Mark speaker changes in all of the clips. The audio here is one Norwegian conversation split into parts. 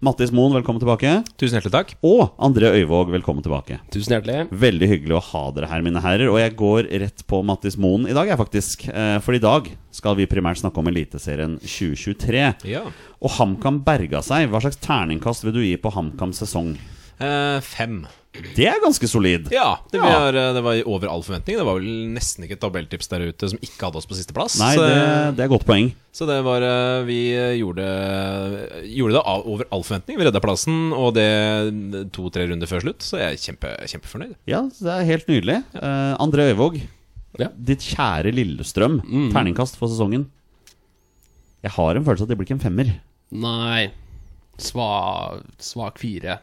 Speaker 1: Mattis Moen, velkommen tilbake.
Speaker 2: Tusen hjertelig takk.
Speaker 1: Og André Øyvåg, velkommen tilbake.
Speaker 2: Tusen hjertelig.
Speaker 1: Veldig hyggelig å ha dere her, mine herrer. Og jeg går rett på Mattis Moen i dag, jeg, faktisk. Eh, For i dag skal vi primært snakke om Eliteserien 2023.
Speaker 2: Ja.
Speaker 1: Og HamKam berga seg. Hva slags terningkast vil du gi på HamKams sesong?
Speaker 2: Eh, fem.
Speaker 1: Det er ganske solid.
Speaker 2: Ja, det,
Speaker 1: Ja.
Speaker 2: var- eh, det var over all forventning. Det var vel nesten ikke et tabelltips der ute som ikke hadde oss på sisteplass.
Speaker 1: Nei, det,
Speaker 3: eh.
Speaker 1: det er et godt poeng.
Speaker 2: Så det var eh, Vi gjorde, gjorde det av, over all forventning. Vi redda plassen, og det to-tre runder før slutt, så jeg er kjempe, kjempefornøyd.
Speaker 1: Ja, det er helt nydelig. Eh, André Øyvåg,
Speaker 3: Ja. Mm.
Speaker 1: ditt kjære Lillestrøm. Terningkast for sesongen. Jeg har en følelse av at det blir ikke en femmer.
Speaker 3: Nei. Sva, svak fire.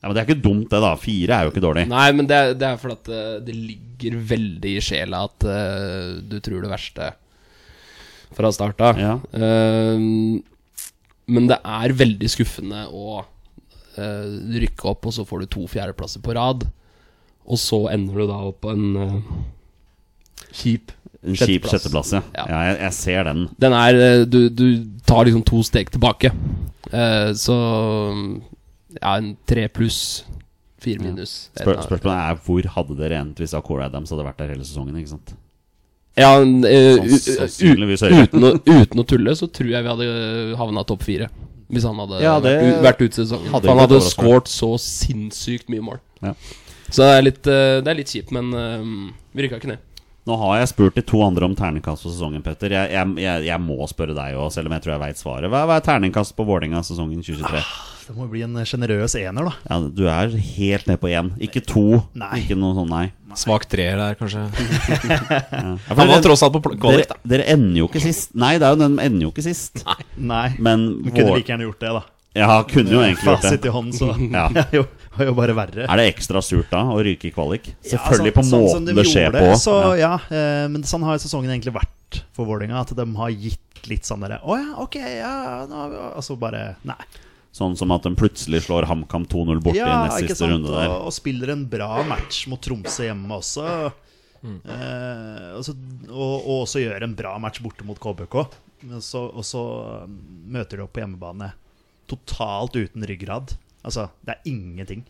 Speaker 1: Ja, Men det er ikke dumt, det, da. Fire er jo ikke dårlig.
Speaker 3: Nei, men det, er- det er fordi at eh, det ligger veldig i sjela at eh, du tror det verste fra start av.
Speaker 1: Ja.
Speaker 3: Ehm, men det er veldig skuffende å eh, rykke opp, og så får du to fjerdeplasser på rad. Og så ender du da opp på en eh, kjip
Speaker 1: En kjip
Speaker 3: sjetteplass.
Speaker 1: sjetteplass, ja.
Speaker 3: Ja.
Speaker 1: ja jeg, jeg ser den.
Speaker 3: Den er eh, du, du tar liksom to steg tilbake. Eh, så Ja, en tre pluss, fire minus.
Speaker 1: Spør, spørsmålet er hvor hadde dere endt hvis Acore Adams hadde vært der hele sesongen? ikke sant?
Speaker 3: Ja, en, eh, u-
Speaker 1: Sanns- sannsynligvis
Speaker 3: u-
Speaker 1: høyere.
Speaker 3: uten, å, uten å tulle, så tror jeg vi hadde havna topp fire. Hvis han hadde
Speaker 1: Ja, det-
Speaker 3: vært, u- vært ute sesongen.
Speaker 1: Hadde
Speaker 3: For
Speaker 1: ikke
Speaker 3: han hadde
Speaker 1: vært
Speaker 3: skåret så sinnssykt mye mål.
Speaker 1: Ja.
Speaker 3: Så det er litt, eh, det er litt kjipt, men eh, vi rykka ikke ned.
Speaker 1: Nå har jeg spurt de to andre om terningkast for sesongen, Petter. Jeg, jeg, jeg, jeg må spørre deg òg, selv om jeg tror jeg veit svaret. Hva, hva er terningkast på Vålerenga sesongen 2023?
Speaker 4: Det må jo bli en sjenerøs ener, da.
Speaker 1: Ja, du er helt ned på én. Ikke to.
Speaker 4: Nei.
Speaker 1: Ikke noe sånn, nei.
Speaker 2: Svak treer der, kanskje.
Speaker 1: Ja, for
Speaker 2: Han var
Speaker 1: dere-
Speaker 2: tross alt på pl- kvalik, da.
Speaker 1: dere, dere ender jo ikke sist. Nei, det er jo den de ender jo ikke sist.
Speaker 4: Nei.
Speaker 1: Men
Speaker 4: Du kunne
Speaker 1: vår-
Speaker 4: like gjerne gjort det, da.
Speaker 1: Ja, kunne jo egentlig gjort
Speaker 4: Fasit
Speaker 1: det.
Speaker 4: i hånden, så
Speaker 1: Ja.
Speaker 4: Det er jo, var jo bare verre.
Speaker 1: Er det ekstra surt da å ryke i kvalik?
Speaker 4: Ja,
Speaker 1: Selvfølgelig
Speaker 4: sånn-
Speaker 1: på
Speaker 4: sånn som
Speaker 1: måten
Speaker 4: de
Speaker 1: det skjer
Speaker 4: gjorde,
Speaker 1: på.
Speaker 4: Så,
Speaker 1: Ja.
Speaker 4: ja. eh, men sånn har jo sesongen egentlig vært for Vålerenga. At de har gitt litt sånn derre Å ja, ok, ja nå, har vi-» Og så bare Nei.
Speaker 1: Sånn som at de plutselig slår HamKam 2-0 bort i nest
Speaker 4: ikke
Speaker 1: siste
Speaker 4: sant?
Speaker 1: runde der.
Speaker 4: Og, og spiller en bra match mot Tromsø hjemme også. Eh, og, så, og, og også gjør en bra match borte mot KBK. Men så, og så um, møter de opp på hjemmebane totalt uten ryggrad. Altså, det er ingenting.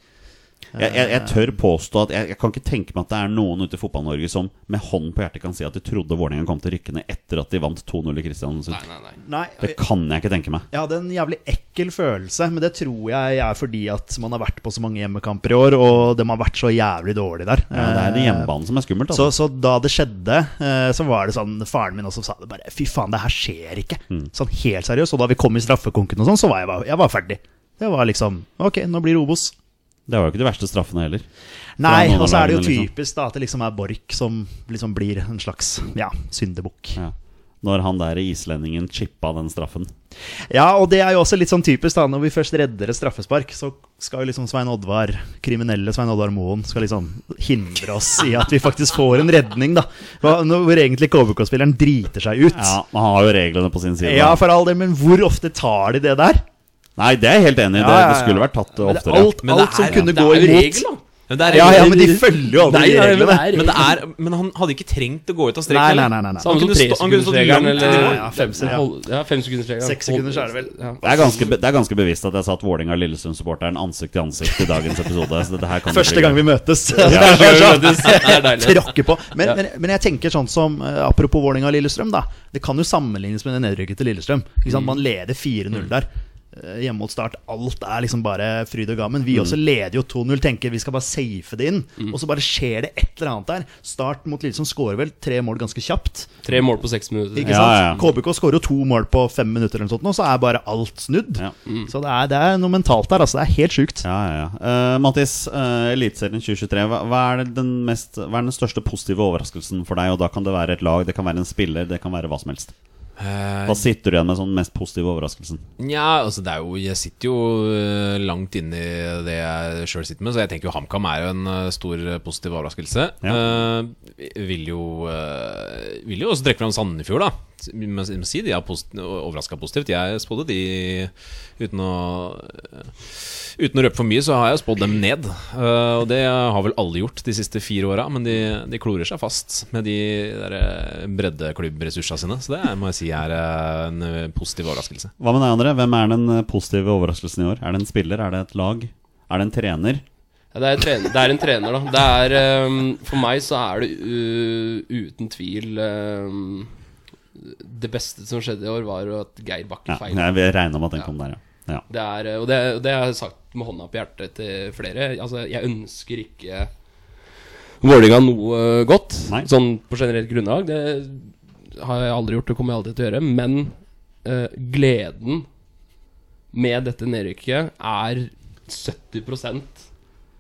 Speaker 1: Jeg, jeg, jeg tør påstå at jeg, jeg kan ikke tenke meg at det er noen ute i Fotball-Norge som med hånden på hjertet kan si at de trodde Vålerenga kom til å rykke ned etter at de vant 2-0 i Kristiansund.
Speaker 3: Nei, nei, nei.
Speaker 4: Nei,
Speaker 1: Det kan jeg ikke tenke meg.
Speaker 4: jeg hadde en jævlig ekkel følelse, men det tror jeg er fordi at man har vært på så mange hjemmekamper i år, og de har vært så jævlig dårlige der.
Speaker 1: Ja, det er det
Speaker 4: Eh,
Speaker 1: hjemmebanen som er skummelt.
Speaker 4: Så,
Speaker 1: Altså.
Speaker 4: så da det skjedde, eh, så var det sånn Faren min også sa det bare Fy faen, det her skjer ikke.
Speaker 1: Mm.
Speaker 4: Sånn helt seriøst. Og da vi kom i straffekonken og sånn, så var jeg, bare- jeg var ferdig. Det var liksom Ok, nå blir det Obos.
Speaker 1: Det var jo ikke de verste straffene heller.
Speaker 4: Nei,
Speaker 1: noen av
Speaker 4: og så er det jo
Speaker 1: lagene, liksom.
Speaker 4: typisk da at det liksom er Borch som liksom blir en slags ja, syndebukk.
Speaker 1: Ja. Når han der islendingen chippa den straffen.
Speaker 4: Ja, og det er jo også litt sånn typisk da når vi først redder et straffespark, så skal jo liksom Svein Oddvar, kriminelle Svein Oddvar Moen, skal liksom hindre oss i at vi faktisk får en redning, da. Hva- Når hvor egentlig KBK-spilleren driter seg ut.
Speaker 1: Ja, Han har jo reglene på sin side.
Speaker 4: Ja, for all del, men hvor ofte tar de det der?
Speaker 1: Nei, det er jeg helt enig i.
Speaker 4: Ja, ja,
Speaker 1: Det,
Speaker 4: ja.
Speaker 1: det skulle vært tatt
Speaker 4: Men det
Speaker 1: oftere.
Speaker 4: er alt,
Speaker 2: Men det
Speaker 4: alt som
Speaker 2: er-
Speaker 4: kunne
Speaker 3: Det
Speaker 4: gå
Speaker 3: er jo
Speaker 4: imot.
Speaker 3: regel, da.
Speaker 2: Men det er,
Speaker 4: Ja, ja, men de følger jo aldri
Speaker 3: Nei,
Speaker 4: de
Speaker 3: nei, men
Speaker 4: reglene.
Speaker 3: det er-
Speaker 2: men, det er, men han hadde ikke trengt å gå ut av streken.
Speaker 4: Nei, nei,
Speaker 2: eller?
Speaker 4: nei, nei, nei.
Speaker 2: Han
Speaker 3: Samme som
Speaker 2: kunne stå- han kunne stått
Speaker 3: tresekundersregelen
Speaker 2: langt
Speaker 3: eller
Speaker 2: ned.
Speaker 3: ja, fem
Speaker 4: Ja.
Speaker 3: sekundersregelen. Ja, fem sekundersregelen.
Speaker 4: Seks sekunders er det vel.
Speaker 3: Ja.
Speaker 1: Det er ganske, be- det er ganske bevisst at jeg satt Vålerenga-Lillestrøm-supporteren ansikt til ansikt i dagens episode. Så dette her kan
Speaker 4: Første gang vi møtes.
Speaker 3: Det er deilig.
Speaker 4: Tråkke på. Men, men, men jeg tenker sånn som eh, Apropos Vålinga og Lillestrøm. da Det kan jo sammenlignes med det nedrykket til Lillestrøm. Ikke
Speaker 3: Mm.
Speaker 4: sant? Man leder 4-0 der. Eh, Hjemme mot start. Alt er liksom bare fryd og gammen. Vi
Speaker 3: Mm.
Speaker 4: også leder jo 2-0. Tenker vi skal bare safe det inn. Og så bare skjer det et eller annet der. Start mot Lillestrøm skårer vel tre mål ganske kjapt.
Speaker 3: Tre mål på seks minutter.
Speaker 4: Ikke
Speaker 1: Ja,
Speaker 4: sant? KBK skårer jo to mål på fem minutter, eller noe sånt, nå, så er bare alt snudd.
Speaker 1: Ja.
Speaker 3: Mm.
Speaker 4: Så det er, det er noe mentalt der. Altså, det er helt sjukt.
Speaker 1: Ja, ja, ja. Eh, Mattis, eh, Eliteserien 2023. Hva, hva, er det den mest, hva er den største positive overraskelsen for deg? Og da kan det være et lag, det kan være en spiller, det kan være hva som helst.
Speaker 3: Eh,
Speaker 1: Hva sitter du igjen med som den mest positive overraskelsen?
Speaker 2: Nja, altså det er jo Jeg sitter jo øh, langt inni det jeg sjøl sitter med, så jeg tenker jo HamKam er jo en øh, stor øh, positiv overraskelse. Eh, vil jo eh, Vil jo også trekke fram Sandefjord, da. S- Vi må, vi må si de er posit overraska positivt. Jeg spådde de uten å eh, Uten å røpe for mye, så har jeg spådd dem ned. Eh, og det har vel alle gjort de siste fire åra, men de, de klorer seg fast med de der eh, breddeklubbressursene sine. Så det er- må jeg si er eh, en eh, positiv overraskelse.
Speaker 1: Hva med deg, André? Hvem er den eh, positive overraskelsen i år? Er det en spiller? Er det et lag? Er det en trener?
Speaker 3: Ja, det, er en trener, det er en trener, da. Det er, ehm, for meg så er det u- uten tvil ehm, Det beste som skjedde i år, var jo at Geir Bakke
Speaker 1: Ja,
Speaker 3: feila.
Speaker 1: jeg vil regne med at den
Speaker 3: Ja.
Speaker 1: kom der, ja. ja.
Speaker 3: Det er, eh, og det, og det har jeg sagt med hånda på hjertet til flere. Altså, jeg ønsker ikke Vålerenga noe godt,
Speaker 1: Nei.
Speaker 3: sånn på generelt grunnlag. Det har jeg aldri gjort, det kommer jeg aldri til å gjøre. Men eh, gleden med dette nedrykket er 70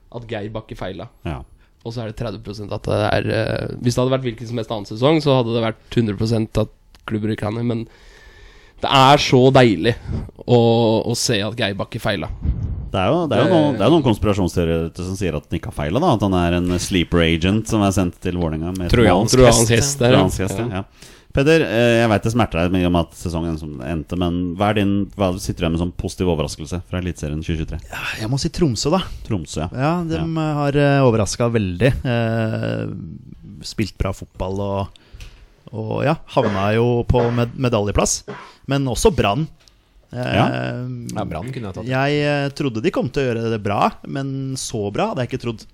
Speaker 3: at Geir Bakke feila.
Speaker 1: ja.
Speaker 3: Og så er det 30 at det er eh, Hvis det hadde vært hvilken som helst annen sesong, så hadde det vært 100 at klubber ikke kan det. Men det er så deilig å, å se at Geir Bakke feila.
Speaker 1: Det er jo, det er jo
Speaker 3: Eh.
Speaker 1: noen, det er noen konspirasjonsteoretikere som sier at den ikke har feila, da. At han er en sleeper agent som er sendt til Vålerenga med et mål.
Speaker 2: Trojansk
Speaker 3: Trojansk hest der, ja.
Speaker 1: Trojansk hest, ja. ja. Peder, eh, jeg veit det smerter deg mye om at sesongen som endte, men hva, er din, hva sitter du igjen med som positiv overraskelse fra Eliteserien 2023?
Speaker 4: Jeg må si Tromsø, da.
Speaker 1: Tromsø, ja.
Speaker 4: Ja, de eh, har uh, overraska veldig. Eh, spilt bra fotball og, og ja, havna jo på med medaljeplass. Men også Brann. Eh,
Speaker 2: Ja, Brann kunne jeg tatt.
Speaker 4: Jeg eh, trodde de kom til å gjøre det bra, men så bra hadde jeg ikke trodd.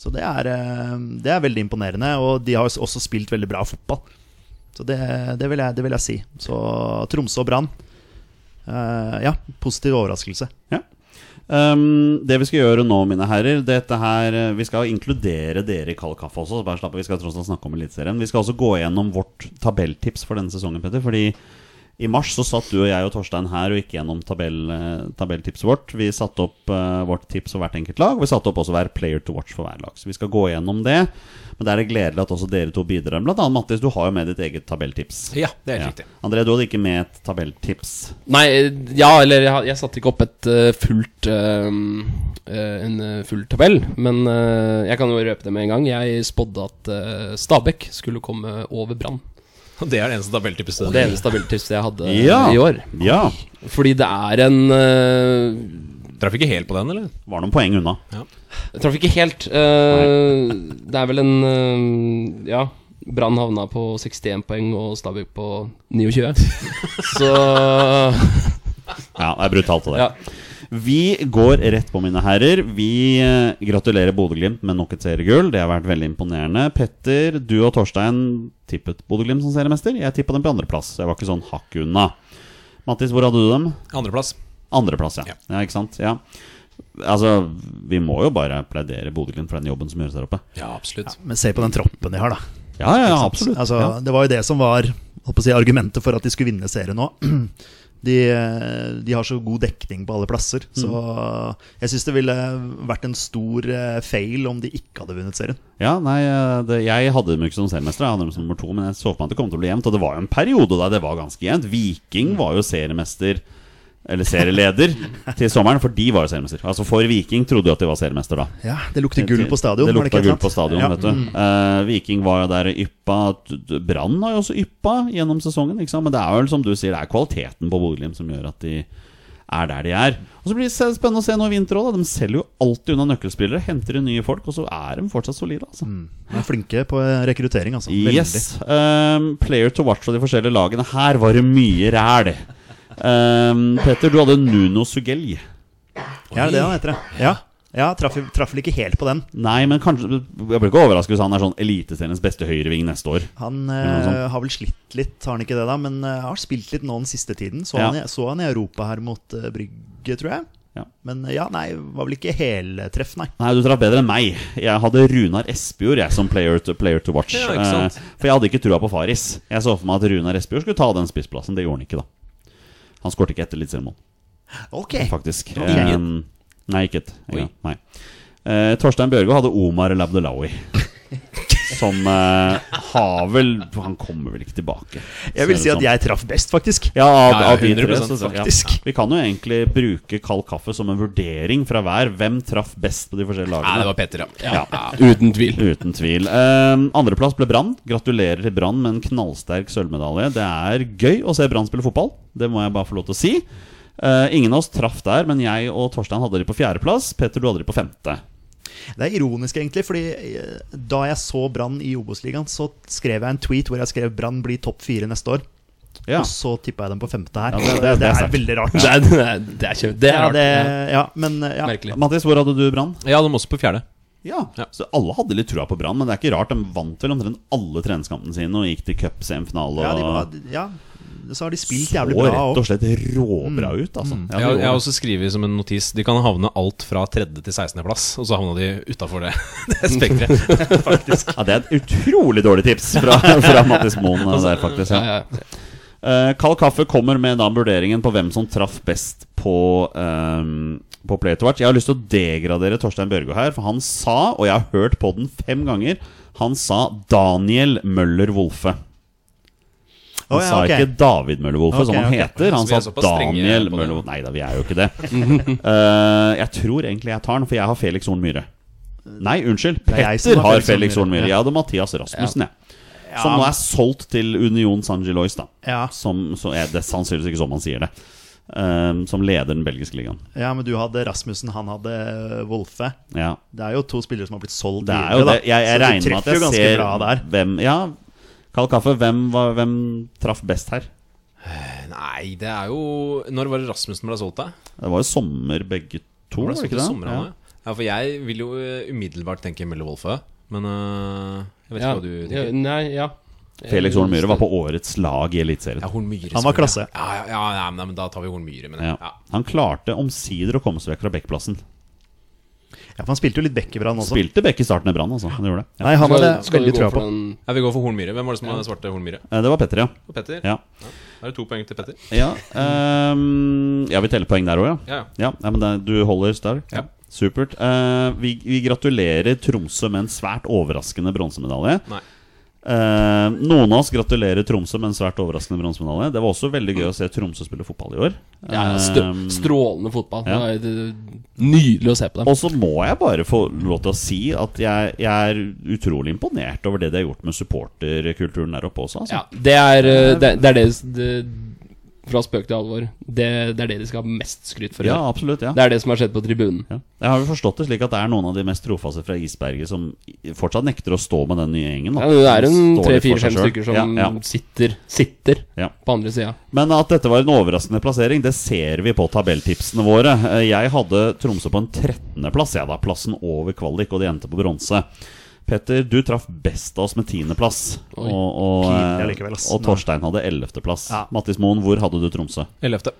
Speaker 4: Så det er, eh, det er veldig imponerende, og de har s- også spilt veldig bra fotball. Så det, det, vil, jeg, det vil jeg si. Så Tromsø og Brann. Eh, ja, positiv overraskelse.
Speaker 1: Um, det vi skal gjøre nå, mine herrer Dette her, eh, Vi skal inkludere dere i kald kaffe også. så Bare slapp av, Vi skal tross alt snakke om Eliteserien. Vi skal også gå gjennom vårt tabelltips for denne sesongen, Petter. Fordi i mars så satt du og jeg og Torstein her og gikk gjennom tabell, eh, tabelltipset vårt. Vi satte opp eh, vårt tips for hvert enkelt lag, og vi satte opp også hver player to watch for hver lag. Så vi skal gå gjennom det. Men det er gledelig at også dere to bidrar. Blant annet Mattis, du har jo med ditt eget tabelltips.
Speaker 2: Ja, det er helt
Speaker 1: Ja.
Speaker 2: riktig.
Speaker 1: André, du hadde ikke med et tabelltips.
Speaker 3: Nei, eh, ja, eller jeg, har- jeg satte ikke opp et eh, fullt eh, eh, En eh, full tabell. Men eh, jeg kan jo røpe det med en gang. Jeg spådde at eh, Stabæk skulle komme over Brann.
Speaker 2: Og det er det eneste tabelltipset.
Speaker 3: Det eneste tabelltipset jeg hadde eh,
Speaker 1: Ja.
Speaker 3: i år.
Speaker 1: Ja.
Speaker 3: Fordi det er en eh,
Speaker 2: Traff ikke helt på den, eller?
Speaker 1: Var noen poeng unna.
Speaker 3: Jeg traff ikke helt. eh, det er vel en eh, Ja. Brann havna på 61 poeng og Stabæk på 29. Så eh,
Speaker 1: Ja, det er brutalt av deg.
Speaker 3: ja.
Speaker 1: Vi går rett på, mine herrer. Vi eh, gratulerer Bodø-Glimt med nok et seriegull. Det har vært veldig imponerende. Petter, du og Torstein tippet Bodø-Glimt som seriemester. Jeg tippa dem på andreplass. Jeg var ikke sånn hakk unna. Mattis, hvor hadde du dem?
Speaker 2: Andreplass.
Speaker 1: Andreplass, ja.
Speaker 2: Ja.
Speaker 1: ja. Ikke sant? Ja. Altså, vi må jo bare plaidere Bodø-Glimt for den jobben som gjøres der oppe.
Speaker 2: Ja, absolutt.
Speaker 4: Men se på den troppen de har, da.
Speaker 1: Ja, ja,
Speaker 4: Ikke
Speaker 1: ja
Speaker 4: sant?
Speaker 1: absolutt.
Speaker 4: Altså,
Speaker 1: ja.
Speaker 4: Det var jo det som var holdt på å si, argumentet for at de skulle vinne serien nå. De, de har så god dekning på alle plasser. Så jeg syns det ville vært en stor eh, fail om de ikke hadde vunnet serien.
Speaker 1: Ja, nei, eh, det, jeg hadde dem jo ikke som seriemestere, jeg hadde dem som nummer to, men jeg så for meg at det kom til å bli jevnt. Og det var jo en periode der det var ganske jevnt. Viking var jo seriemester, eller serieleder, til sommeren, for de var jo seriemester. Altså for Viking trodde jo at de var seriemester da.
Speaker 4: Ja, Det lukter gull på stadion.
Speaker 1: Det
Speaker 4: var
Speaker 1: lukta
Speaker 4: ikke
Speaker 1: gull
Speaker 4: helt
Speaker 1: på
Speaker 4: sant?
Speaker 1: stadion,
Speaker 4: Ja. Mm.
Speaker 1: vet du. Eh, Viking var jo der og yppa. D- d- Brann har jo også yppa gjennom sesongen, ikke sant. Men det er jo som du sier, det er kvaliteten på Bodø-Glimt som gjør at de er der de er. Og Så blir det se- spennende å se nå i vinter òg. De selger jo alltid unna nøkkelspillere. Henter inn nye folk, og så er de fortsatt solide. altså
Speaker 4: De er flinke på rekruttering, altså. Veldig.
Speaker 1: Yes. Um, player to watch av de forskjellige lagene. Her var det mye ræl. Um, Petter, du hadde Nuno Sugell.
Speaker 4: Ja, det er det han heter, ja. ja. Ja, traff, traff vel ikke helt på den.
Speaker 1: Nei, men kanskje Jeg blir ikke overrasket hvis han er sånn eliteseriens beste høyreving neste år.
Speaker 4: Han
Speaker 1: noe
Speaker 4: eh, har vel slitt litt, har han ikke det, da? Men eh, har spilt litt nå den siste tiden. Så,
Speaker 1: Ja.
Speaker 4: han, i- så han i Europa her mot eh, Brygge, tror jeg.
Speaker 1: Ja.
Speaker 4: Men eh, ja, nei, var vel ikke heltreff, nei.
Speaker 1: Nei, du traff bedre enn meg. Jeg hadde Runar Espejord jeg, som player to, player to watch.
Speaker 2: Ja, ikke sant?
Speaker 1: Eh, for jeg hadde ikke trua på Faris. Jeg så for meg at Runar Espejord skulle ta den spissplassen. Det gjorde han ikke, da. Han skårte ikke ett eliteseriemål,
Speaker 4: Ok.
Speaker 1: faktisk.
Speaker 4: Oi. Ikke et?
Speaker 1: Eh, nei, ikke et.
Speaker 2: Oi.
Speaker 1: Ja, nei. Eh, Torstein Bjørgo hadde Omar Labdelawi. Som eh, har vel Han kommer vel ikke tilbake.
Speaker 4: Jeg vil si at
Speaker 1: jeg
Speaker 4: jeg traff best, faktisk.
Speaker 1: ja, av,
Speaker 2: Ja, ja,
Speaker 1: av de tre,
Speaker 2: 100%
Speaker 1: så, så, ja.
Speaker 4: faktisk.
Speaker 1: Vi kan jo egentlig bruke kald kaffe som en vurdering fra hver. Hvem traff best på de forskjellige lagene?
Speaker 2: Nei, det var Petter, ja.
Speaker 1: Ja.
Speaker 3: Uten tvil.
Speaker 1: Uten tvil. Eh, Andreplass ble Brann. Gratulerer til Brann med en knallsterk sølvmedalje. Det er gøy å se Brann spille fotball, det må jeg bare få lov til å si. Eh, ingen av oss traff der, men jeg og Torstein hadde de på fjerdeplass. Petter, du hadde de på femte.
Speaker 4: Det er ironisk, egentlig, fordi eh, da jeg så Brann i Obos-ligaen, så skrev jeg en tweet hvor jeg skrev 'Brann blir topp fire neste år'.
Speaker 1: Ja.
Speaker 4: Og så tippa jeg dem på femte her.
Speaker 1: Ja,
Speaker 4: det,
Speaker 1: det- det-
Speaker 4: det,
Speaker 1: det er
Speaker 4: er
Speaker 1: sterkt.
Speaker 4: veldig rart.
Speaker 3: Det er, det er, det er kjempe... Det er
Speaker 4: Ja,
Speaker 3: rart.
Speaker 4: det,
Speaker 3: Ja,
Speaker 4: ja, men eh, ja.
Speaker 3: Merkelig.
Speaker 1: Mattis, hvor hadde du Brann?
Speaker 2: Jeg hadde dem også på fjerde.
Speaker 1: Ja.
Speaker 2: Ja.
Speaker 1: Så alle hadde litt trua på Brann, men det er ikke rart. De vant vel omtrent alle treningskampene sine og gikk til cupsemifinale.
Speaker 4: Ja, de
Speaker 1: og-
Speaker 4: var, ja, så har de spilt
Speaker 1: så
Speaker 4: jævlig bra Mm.
Speaker 1: rett
Speaker 4: òg.
Speaker 1: og slett råbra ut, altså. Ja,
Speaker 2: Jeg,
Speaker 1: det
Speaker 2: har- jeg har
Speaker 1: var-
Speaker 2: også skrevet som en notis De kan havne alt fra tredje til 16. plass, og så havna de utafor det, det spekteret.
Speaker 1: ja, det er et utrolig dårlig tips fra, fra Mattis Moen eh, der, faktisk. Ja.
Speaker 3: ja, ja.
Speaker 1: Eh, Kald kaffe kommer med da vurderingen på hvem som traff best på, ehm, på Play to Watch. Jeg har lyst til å degradere Torstein Børgo her, for han sa, og jeg har hørt på den fem ganger, han sa Daniel Møller Wolfe. Han
Speaker 4: Å, ja,
Speaker 1: sa
Speaker 4: ok.
Speaker 1: ikke David Møller Wolfe, som
Speaker 4: Ok,
Speaker 1: han
Speaker 4: ok.
Speaker 1: heter. Han
Speaker 2: Så vi er
Speaker 1: sa
Speaker 2: såpass strenge
Speaker 1: Daniel
Speaker 2: på det.
Speaker 1: Møller Wolfe. Nei da, vi er jo ikke det. Eh, jeg tror egentlig jeg tar den, for jeg har Felix Horn Myhre. Nei, unnskyld.
Speaker 4: er jeg som
Speaker 1: Petter
Speaker 4: har
Speaker 1: har
Speaker 4: Felix Horn
Speaker 1: Felix Horn
Speaker 4: Myhre.
Speaker 1: Myhre. Jeg hadde Mathias Rasmussen, jeg. Som
Speaker 4: Ja.
Speaker 1: nå sånn er solgt til Union San Gilois, da.
Speaker 4: Ja.
Speaker 1: Som, så er det er sannsynligvis ikke sånn man sier det. Ehm, som leder den belgiske ligaen.
Speaker 4: Ja, men du hadde Rasmussen, han hadde eh, Wolfe.
Speaker 1: Ja.
Speaker 4: Det er jo to spillere som har blitt solgt
Speaker 1: Det er jo det.
Speaker 4: videre, da.
Speaker 1: Jeg, jeg
Speaker 4: Så du
Speaker 1: regner med at
Speaker 4: treffer jo
Speaker 1: jeg
Speaker 4: ganske
Speaker 1: ser
Speaker 4: bra der.
Speaker 1: hvem Ja, Kald kaffe, hvem, var, hvem traff best her?
Speaker 2: Nei, det er jo Når var det Rasmussen ble solgt, da?
Speaker 1: Det var jo sommer begge to, Oh, var
Speaker 2: Var
Speaker 1: det
Speaker 2: det solgt
Speaker 1: ikke
Speaker 2: i
Speaker 1: det?
Speaker 2: sommerhallen, ja. ja, for jeg vil jo eh, umiddelbart tenke Mølle Wolfe, men eh, jeg vet ikke
Speaker 3: Ja.
Speaker 2: hva du
Speaker 3: Ja,
Speaker 2: tenker.
Speaker 3: Nei, ja.
Speaker 1: Felix Horn Myhre var på årets lag i Eliteserien.
Speaker 2: Ja, Horn Myhre.
Speaker 4: Han var
Speaker 2: selvfølgelig.
Speaker 4: klasse.
Speaker 2: Ja, ja, ja, ja men, nei, men da tar vi Horn Myhre, men
Speaker 1: Ja.
Speaker 2: ja.
Speaker 1: Han klarte omsider å komme seg vekk fra Bekkplassen.
Speaker 4: Ja, for han spilte jo litt Bekkebrand også.
Speaker 1: Spilte Bekk i starten i Brann, altså. Han gjorde det.
Speaker 4: Nei, han hadde
Speaker 3: Skal- skal vi
Speaker 4: veldig
Speaker 3: gå
Speaker 4: trua
Speaker 3: for
Speaker 4: på.
Speaker 3: den-
Speaker 2: ja, Vi går for Horn Myhre. Hvem var det som svarte Horn Myhre?
Speaker 1: Eh, Det var Petter, ja.
Speaker 2: Og Petter?
Speaker 1: Ja,
Speaker 2: Da er det to poeng til Petter.
Speaker 1: ja, ehm, ja vi teller poeng der òg, ja.
Speaker 2: Ja, ja.
Speaker 1: Ja, nei, men det, du holder sterk.
Speaker 2: Ja.
Speaker 1: Supert. Eh, vi, vi gratulerer Tromsø med en svært overraskende bronsemedalje.
Speaker 2: Nei.
Speaker 1: Eh, noen av oss gratulerer Tromsø med en svært overraskende bronsemedalje. Det var også veldig gøy å se Tromsø spille fotball i år.
Speaker 3: Ja, stø-
Speaker 1: Eh,
Speaker 3: strålende fotball.
Speaker 1: ja.
Speaker 3: Det er- det er Nydelig å se på dem.
Speaker 1: og så må jeg bare få lov til å si at jeg, jeg er utrolig imponert over det de har gjort med supporterkulturen der oppe også. Altså.
Speaker 3: Ja, det er eh, det, det, er det, det Fra spøk til alvor. Det, det er det de skal ha mest skryt for. i
Speaker 1: Ja,
Speaker 3: år.
Speaker 1: absolutt. ja
Speaker 3: Det er det som har skjedd på tribunen.
Speaker 1: Ja. Jeg har jo forstått det slik at det er noen av de mest trofaste fra isberget som fortsatt nekter å stå med den nye gjengen. da.
Speaker 3: Ja, det er en
Speaker 1: Som står litt for seg
Speaker 3: tre-fire-fem
Speaker 1: selv.
Speaker 3: stykker som
Speaker 1: ja, ja,
Speaker 3: sitter Sitter
Speaker 1: ja.
Speaker 3: på andre sida.
Speaker 1: Men at dette var en overraskende plassering, det ser vi på tabelltipsene våre. Eh, Jeg hadde Tromsø på en 13.-plass, jeg da. Plassen over kvalik, og de endte på bronse. Petter, du traff best av oss med 10.-plass. Og,
Speaker 3: Oi,
Speaker 1: og, eh,
Speaker 4: pinlig allikevel, ass.
Speaker 1: og Torstein hadde 11.-plass.
Speaker 4: Ja.
Speaker 1: Mattis Moen, hvor hadde du Tromsø?
Speaker 2: Ellevte.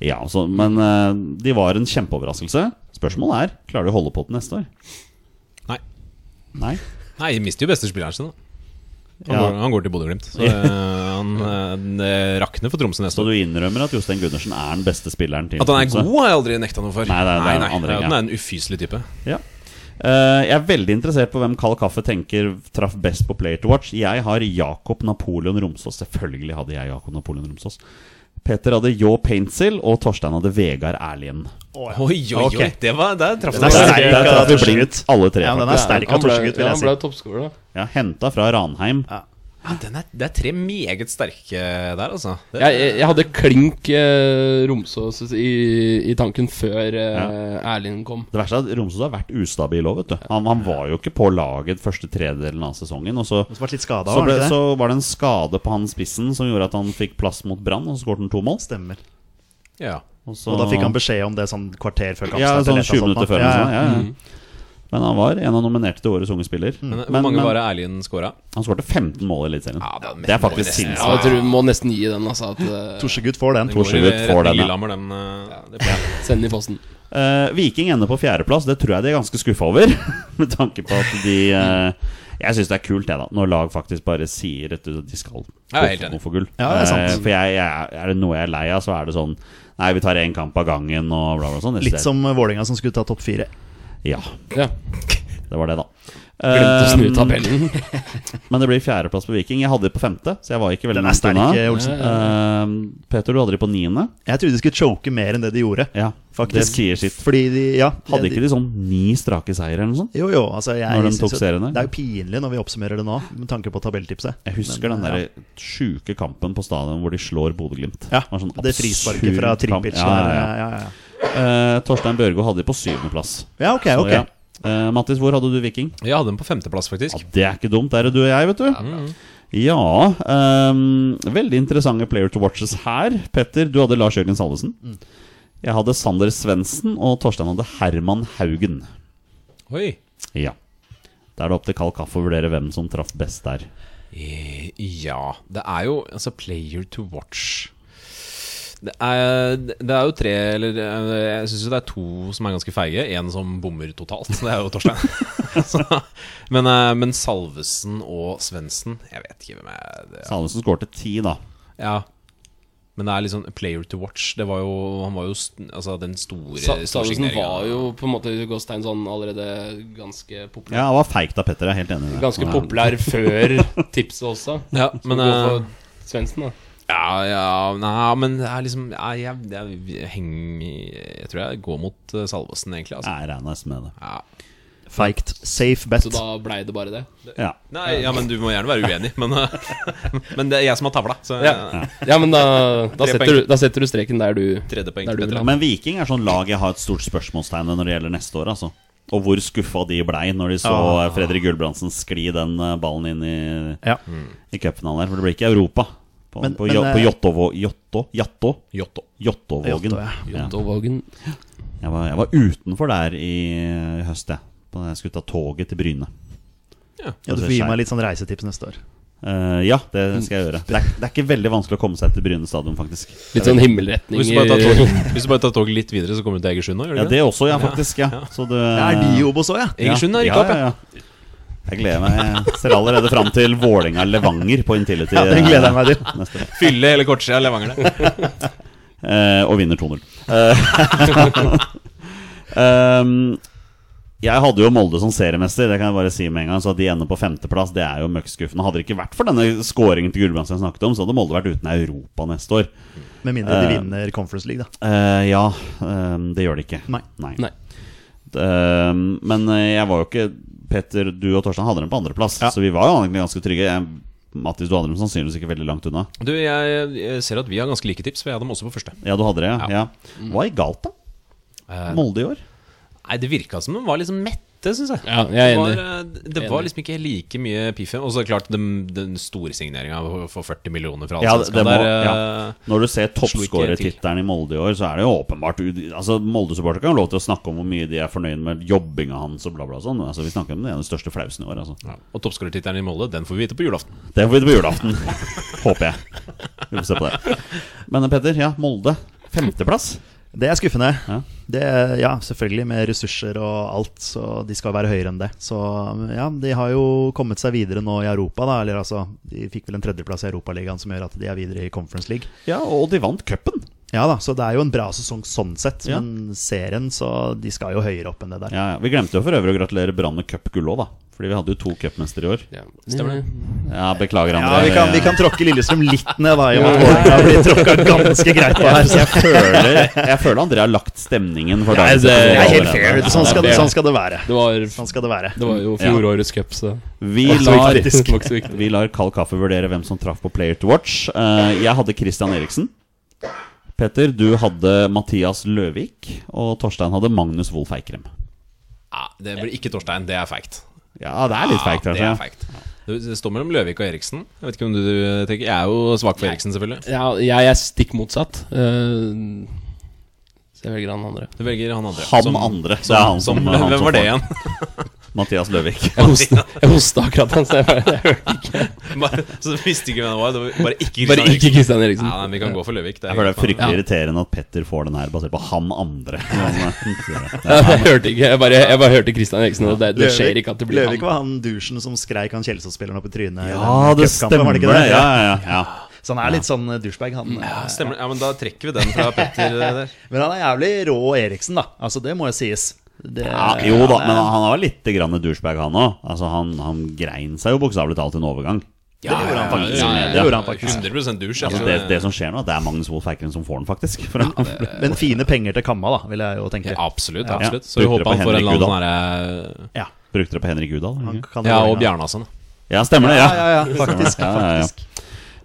Speaker 1: Ja, så, Men eh, de var en kjempeoverraskelse. Spørsmålet er klarer de å holde på til neste år.
Speaker 2: Nei.
Speaker 1: Nei?
Speaker 2: Nei, de mister jo beste spilleren sin, da. Han,
Speaker 1: Ja.
Speaker 2: går, han går til Bodø-Glimt. Så eh, han eh, rakner for Tromsø neste
Speaker 1: Så
Speaker 2: år.
Speaker 1: du innrømmer at Jostein Gundersen er den beste spilleren til
Speaker 2: At han er
Speaker 1: Tromsø?
Speaker 2: god, har jeg aldri nekta noe for.
Speaker 1: Nei, det er- det er andre,
Speaker 2: nei,
Speaker 1: ja.
Speaker 2: Han er en ufyselig type.
Speaker 1: Ja. Eh, jeg er veldig interessert på hvem Kald Kaffe tenker traff best på Player to Watch. Jeg har Jakob Napoleon Romsås. Selvfølgelig hadde jeg Jakob Napoleon Romsås. Peter hadde Jo Paintsil, og Torstein hadde Vegard Erlien.
Speaker 2: Oi, oi, oi.
Speaker 4: Ok.
Speaker 2: Det var, der traff
Speaker 4: Den er
Speaker 2: det.
Speaker 4: sterk.
Speaker 1: Der der traff vi
Speaker 4: Torstein.
Speaker 1: blindt, alle tre.
Speaker 4: Ja, den
Speaker 1: faktisk.
Speaker 4: er sterk av
Speaker 3: ble,
Speaker 4: Torsegutt, vil
Speaker 3: ja,
Speaker 4: jeg
Speaker 3: han ble
Speaker 4: si.
Speaker 3: toppskårer, da.
Speaker 1: Ja, Henta fra Ranheim.
Speaker 4: Ja.
Speaker 2: Ja, den er, det er tre meget sterke der, altså. Det,
Speaker 3: Jeg, jeg, jeg hadde klink eh, Romsås i, i tanken før eh, Erlind kom.
Speaker 1: Det verste er at Romsås har vært ustabil òg, vet du. Han, han var jo ikke på laget første tredelen av sesongen. Og så,
Speaker 4: Og så ble litt skada,
Speaker 1: så,
Speaker 4: var
Speaker 1: ble,
Speaker 4: det ikke
Speaker 1: så
Speaker 4: det?
Speaker 1: var det en skade på han spissen som gjorde at han fikk plass mot Brann, og så skåret han to mål.
Speaker 4: Stemmer.
Speaker 2: ja.
Speaker 1: Og, så,
Speaker 4: Og da fikk han beskjed om det sånn kvarter før
Speaker 1: Ja,
Speaker 4: kampstart.
Speaker 1: sånn
Speaker 4: eller et
Speaker 1: 20
Speaker 4: eller annet
Speaker 1: minutter
Speaker 4: sånt,
Speaker 1: før.
Speaker 4: da.
Speaker 1: eller sånn, Ja, ja. Men han var en av nominerte til årets unge spiller.
Speaker 2: Men, Hvor
Speaker 1: Men-
Speaker 2: mange
Speaker 1: men-
Speaker 2: var det Erlien scora?
Speaker 1: Han skårte 15 mål i Eliteserien.
Speaker 2: Ja, det er
Speaker 1: det er faktisk
Speaker 2: nesten-
Speaker 1: sinnssykt.
Speaker 3: Ja, jeg tror vi må nesten gi den, altså. At, eh,
Speaker 4: Torsegutt får den.
Speaker 1: Torsegutt. Torsegutt får den, ja.
Speaker 2: Lillehammer, den, eh, det ble-
Speaker 3: Send i posten.
Speaker 1: Eh, Viking ender på fjerdeplass. Det tror jeg de er ganske skuffa over. Med tanke på at de eh, Jeg syns det er kult, jeg, da. Når lag faktisk bare sier rett ut at de skal
Speaker 2: Ja, jeg er helt
Speaker 1: gå
Speaker 2: enig.
Speaker 1: for gull.
Speaker 4: Ja, det er sant.
Speaker 1: Eh, for jeg, jeg, er det noe jeg er lei av, så er det sånn Nei, vi tar én kamp av gangen og bla, bla, sånn. Jeg
Speaker 4: Litt
Speaker 1: synes
Speaker 4: som Vålerenga som skulle ta topp fire.
Speaker 1: det- Ja,
Speaker 3: Ja.
Speaker 1: det var det, da.
Speaker 3: Glemte å snu
Speaker 1: Eh,
Speaker 3: tabellen.
Speaker 1: men det blir fjerdeplass på Viking. Jeg hadde de på femte, så jeg var ikke veldig
Speaker 4: Den er
Speaker 1: langt
Speaker 4: sterk,
Speaker 1: unna.
Speaker 4: Olsen.
Speaker 1: Eh, Peter, du hadde de på niende.
Speaker 4: Jeg trodde de skulle choke mer enn det de gjorde.
Speaker 1: Ja, Det
Speaker 4: Faktisk.
Speaker 1: sier sitt.
Speaker 4: Fordi de, ja
Speaker 1: Hadde ikke de sånn ni strake seier eller noe sånt?
Speaker 4: Jo, jo. Altså, jeg
Speaker 1: Når de
Speaker 4: synes
Speaker 1: tok
Speaker 4: jo-
Speaker 1: seriene?
Speaker 4: Det er jo pinlig når vi oppsummerer det nå, med tanke på tabelltipset.
Speaker 1: Jeg husker
Speaker 4: Men,
Speaker 1: den der sjuke kampen på stadion hvor de slår Bodø-Glimt.
Speaker 4: Ja,
Speaker 1: var sånn
Speaker 4: det frisparket
Speaker 1: absurd
Speaker 4: fra
Speaker 1: kamp.
Speaker 4: Tripic.
Speaker 1: Ja, ja, ja.
Speaker 4: ja, ja.
Speaker 1: Eh, Torstein Børgo hadde de på syvendeplass.
Speaker 4: ja, ok. ok
Speaker 1: Ja. Eh, Mattis, hvor hadde du Viking?
Speaker 2: Jeg hadde den på femteplass, faktisk.
Speaker 1: Ja, det er ikke dumt, det er det du og jeg, vet du. Ja, ehm, Veldig interessante player to watches her. Petter, du hadde Lars Jørgen Salvesen. Jeg hadde Sander Svendsen, og Torstein hadde Herman Haugen.
Speaker 2: Oi.
Speaker 1: Ja. Da er det opp til Kald Kaffe å vurdere hvem som traff best der.
Speaker 2: Eh, Ja. Det er jo altså player to watch. Det er, det er jo tre Eller eh, jeg syns jo det er to som er ganske feige. Én som bommer totalt. Det er jo Torstein. Så, men, eh, men Salvesen og Svendsen Jeg vet ikke hvem jeg det,
Speaker 1: Salvesen skårte ti, da.
Speaker 2: Ja. Men det er liksom player to watch. Det var jo Han var jo st- altså, den store
Speaker 3: Sa-
Speaker 2: store
Speaker 3: Salvesen
Speaker 2: signeringen.
Speaker 3: var jo på en måte Gåstein sånn allerede ganske populær.
Speaker 1: Ja, det var feigt av Petter, jeg er helt enig. i det.
Speaker 3: Ganske
Speaker 1: Ja.
Speaker 3: populær før tipset også.
Speaker 2: Ja, men
Speaker 3: Gå
Speaker 2: eh,
Speaker 3: for Svendsen, da.
Speaker 2: Ja, ja Nei, men det er liksom ja, jeg, jeg, jeg, henger, jeg tror jeg går mot eh, Salvesen, egentlig. Altså.
Speaker 1: Jeg regner nesten med det.
Speaker 2: Ja.
Speaker 4: Feigt. Safe bet.
Speaker 3: Så da blei det bare det.
Speaker 1: Ja.
Speaker 2: Nei, ja, men du må gjerne være uenig, men, eh, men det er jeg som har tavla. Så eh,
Speaker 3: Ja, ja men da,
Speaker 2: Tre
Speaker 3: da, setter
Speaker 2: poeng.
Speaker 3: du, da setter du streken der du
Speaker 2: tredje poeng
Speaker 3: Der
Speaker 2: til
Speaker 3: du vil
Speaker 2: Petter.
Speaker 3: ha.
Speaker 1: Men Viking er sånn lag jeg har et stort spørsmålstegn ved når det gjelder neste år. altså Og hvor skuffa de blei når de så Fredrik Gulbrandsen skli den eh, ballen inn i,
Speaker 4: Ja.
Speaker 1: i cupfinalen her. For det blir ikke Europa på,
Speaker 4: Men-
Speaker 1: på,
Speaker 4: men,
Speaker 1: Jo-
Speaker 4: eh,
Speaker 1: på Jottovo, Jotto, Jatto,
Speaker 2: Jotto.
Speaker 1: Jottovågen.
Speaker 4: Jotto, ja.
Speaker 1: Ja.
Speaker 3: Dovågen.
Speaker 1: Jeg, var, jeg var utenfor der i, i høst, jeg. Da jeg skulle ta toget til Bryne.
Speaker 4: Ja, du får gi meg litt sånn reisetips neste år.
Speaker 1: Eh, ja, det skal jeg gjøre. Det er, det er ikke veldig vanskelig å komme seg til Bryne stadion, faktisk.
Speaker 3: Litt sånn himmelretning
Speaker 2: Hvis du bare tar toget hvis du bare tar toget litt videre, så kommer du til Egersund nå? Gjør du
Speaker 1: Ja,
Speaker 2: ikke
Speaker 1: det også, ja, faktisk. Ja. Så det,
Speaker 4: Det er de i Obos òg, ja.
Speaker 2: det? Egersund har
Speaker 1: ja,
Speaker 2: rykka opp,
Speaker 1: ja,
Speaker 2: ja.
Speaker 1: ja. Jeg gleder meg. Jeg ser allerede fram til Vålerenga-Levanger på Intility.
Speaker 4: Ja, Det gleder jeg meg til.
Speaker 1: Neste. år.
Speaker 2: Fylle hele kortsida av Levanger der.
Speaker 1: Eh, og vinner 2-0. Eh, um, jeg hadde jo Molde som seriemester, det kan jeg bare si med en gang. Så at de ender på femteplass, det er jo møkk skuffende. Hadde det ikke vært for denne skåringen til Gulbrandsen jeg snakket om, så hadde Molde vært uten Europa neste år.
Speaker 4: Med mindre de
Speaker 1: Eh.
Speaker 4: vinner Conference League, da.
Speaker 1: Eh, ja, ehm, det gjør det ikke.
Speaker 4: Nei.
Speaker 3: Nei.
Speaker 1: Eh, men eh, jeg var jo ikke Petter, du og Torstein hadde dem på andreplass, så vi var jo egentlig ganske trygge. Jeg, Mattis, du hadde dem sannsynligvis ikke veldig langt unna.
Speaker 2: Du, jeg, jeg ser at vi har ganske like tips, for jeg hadde dem også på første.
Speaker 1: Ja, du hadde det, ja. ja. Hva er galt, da?
Speaker 2: Eh,
Speaker 1: Molde i år?
Speaker 2: Nei, det virka som de var liksom mette, syns jeg.
Speaker 3: Ja, jeg er
Speaker 2: Det
Speaker 3: enig.
Speaker 2: var, eh, det var liksom ikke like mye piff. Og så klart den, den store signeringa for 40 millioner fra
Speaker 1: Ja,
Speaker 2: Allsvenskan
Speaker 1: det må-
Speaker 2: der. eh,
Speaker 1: ja. Når du ser
Speaker 2: slo ikke til.
Speaker 1: toppskårertittelen i Molde i år, så er det jo åpenbart u- Altså, Molde-supportere kan ha lov til å snakke om hvor mye de er fornøyd med jobbinga hans og bla, bla sånn. men Altså, vi snakker om det er den største flausen i år, altså.
Speaker 2: ja. eh, Og toppskårertittelen i Molde, den får vi vite på julaften.
Speaker 1: Det får vi på julaften. Håper jeg. Vi får se på det. Men Petter, ja, Molde. Femteplass.
Speaker 4: Det er skuffende.
Speaker 1: Ja.
Speaker 4: Det, ja, selvfølgelig, med ressurser og alt, så de skal være høyere enn det. Så ja, de har jo kommet seg videre nå i Europa, da. Eller altså, de fikk vel en tredjeplass i Europaligaen som gjør at de er videre i Conference League.
Speaker 1: Ja, og de vant cupen.
Speaker 4: Ja da, så det er jo en bra sesong sånn sett,
Speaker 1: Ja.
Speaker 4: men serien, så de skal jo høyere opp enn det der.
Speaker 1: Ja, ja. Vi glemte jo for øvrig å gratulere Brann med cupgull òg, da. Fordi vi hadde jo to cupmestere i år.
Speaker 3: Ja, stemmer det.
Speaker 1: Ja, Beklager,
Speaker 4: Ja,
Speaker 1: André.
Speaker 4: vi kan, vi kan tråkke Lillestrøm litt ned, da, i og med at Vålerenga blir tråkka ganske greit på her.
Speaker 1: Jeg føler, jeg føler André har lagt stemningen for dagens
Speaker 4: Det er
Speaker 1: episode
Speaker 4: helt
Speaker 1: allerede.
Speaker 4: fair. vet du. Sånn skal det, sånn skal det være.
Speaker 3: Det var,
Speaker 4: Sånn skal det være.
Speaker 3: det var jo fjorårets cup, så
Speaker 1: Vi
Speaker 3: Det
Speaker 1: lar,
Speaker 3: var ikke så viktig. Det var ikke så viktig.
Speaker 1: vi lar Kald Kaffe vurdere hvem som traff på Player to Watch. Eh, jeg hadde Christian Eriksen. Petter, du hadde Mathias Løvik. Og Torstein hadde Magnus Wolff Eikrem.
Speaker 2: Ja, det blir ikke Torstein, det er feigt.
Speaker 1: Ja, det er litt feigt,
Speaker 2: Ja, det er
Speaker 1: kanskje.
Speaker 2: feigt. Det det står mellom Løvik og Eriksen. Jeg vet ikke om du eh, tenker Jeg er jo svak for Eriksen, selvfølgelig.
Speaker 3: Ja, jeg er stikk motsatt. Eh, så jeg velger han andre.
Speaker 2: Du velger han andre.
Speaker 1: Han
Speaker 2: Som-
Speaker 1: andre. Det er han som,
Speaker 2: som,
Speaker 1: han
Speaker 2: hvem
Speaker 1: som
Speaker 2: var det
Speaker 1: får.
Speaker 2: igjen?
Speaker 1: Mathias Løvik.
Speaker 3: Jeg hosta, jeg hosta akkurat han, så jeg bare, jeg hørte
Speaker 2: Bare- Så du visste ikke hvem det var? Det var bare ikke
Speaker 3: bare ikke
Speaker 2: Eriksen.
Speaker 3: Christian Eriksen.
Speaker 2: Ja, nei, vi kan gå for Løvik. Det
Speaker 1: Jeg føler det er
Speaker 2: helt faen.
Speaker 1: fryktelig
Speaker 3: Ja.
Speaker 1: irriterende at Petter får den her basert på han andre. Men, eh,
Speaker 3: Jeg hørte ikke, jeg bare, jeg bare hørte Christian Eriksen, og det, det skjer ikke at det blir
Speaker 4: Løvik
Speaker 3: han.
Speaker 4: var han douchen som skreik han Kjelsås-spilleren opp i trynet. i
Speaker 1: ja,
Speaker 4: den cupkampen,
Speaker 1: det stemmer.
Speaker 4: var det
Speaker 1: det.
Speaker 4: ikke det?
Speaker 1: Ja, ja, ja.
Speaker 4: Så han er litt sånn douchebag, han.
Speaker 2: Ja, Stemmer. Ja, men da trekker vi den fra Petter eh, der.
Speaker 4: Men han er jævlig rå Eriksen, da. Altså, det må jo sies. Det,
Speaker 1: Ja, jo da, men han var litt grann douchebag, han òg. Altså, han, han grein seg jo bokstavelig talt en overgang.
Speaker 2: Ja, det gjorde
Speaker 4: han faktisk.
Speaker 1: Det gjorde
Speaker 4: han faktisk.
Speaker 2: 100 douche.
Speaker 1: Altså,
Speaker 2: Altså,
Speaker 1: det, det som skjer nå, er at det er Magnus Wolff Eikrem som får den, faktisk. For han-
Speaker 4: men fine penger til Kamma, da, vil jeg jo tenke.
Speaker 2: Absolutt.
Speaker 1: Ja.
Speaker 2: absolutt Så vi
Speaker 1: Brukte det
Speaker 2: håper
Speaker 1: på
Speaker 2: han får en
Speaker 1: Henrik
Speaker 2: eller annen sånn eh,
Speaker 4: Ja,
Speaker 1: Brukte det på Henrik Udal?
Speaker 4: han kan jo
Speaker 2: Ja, og
Speaker 4: gjerne.
Speaker 2: Bjarnason.
Speaker 1: Ja, stemmer det.
Speaker 4: Ja, ja, ja, faktisk.
Speaker 1: Ja, ja, ja.
Speaker 4: faktisk.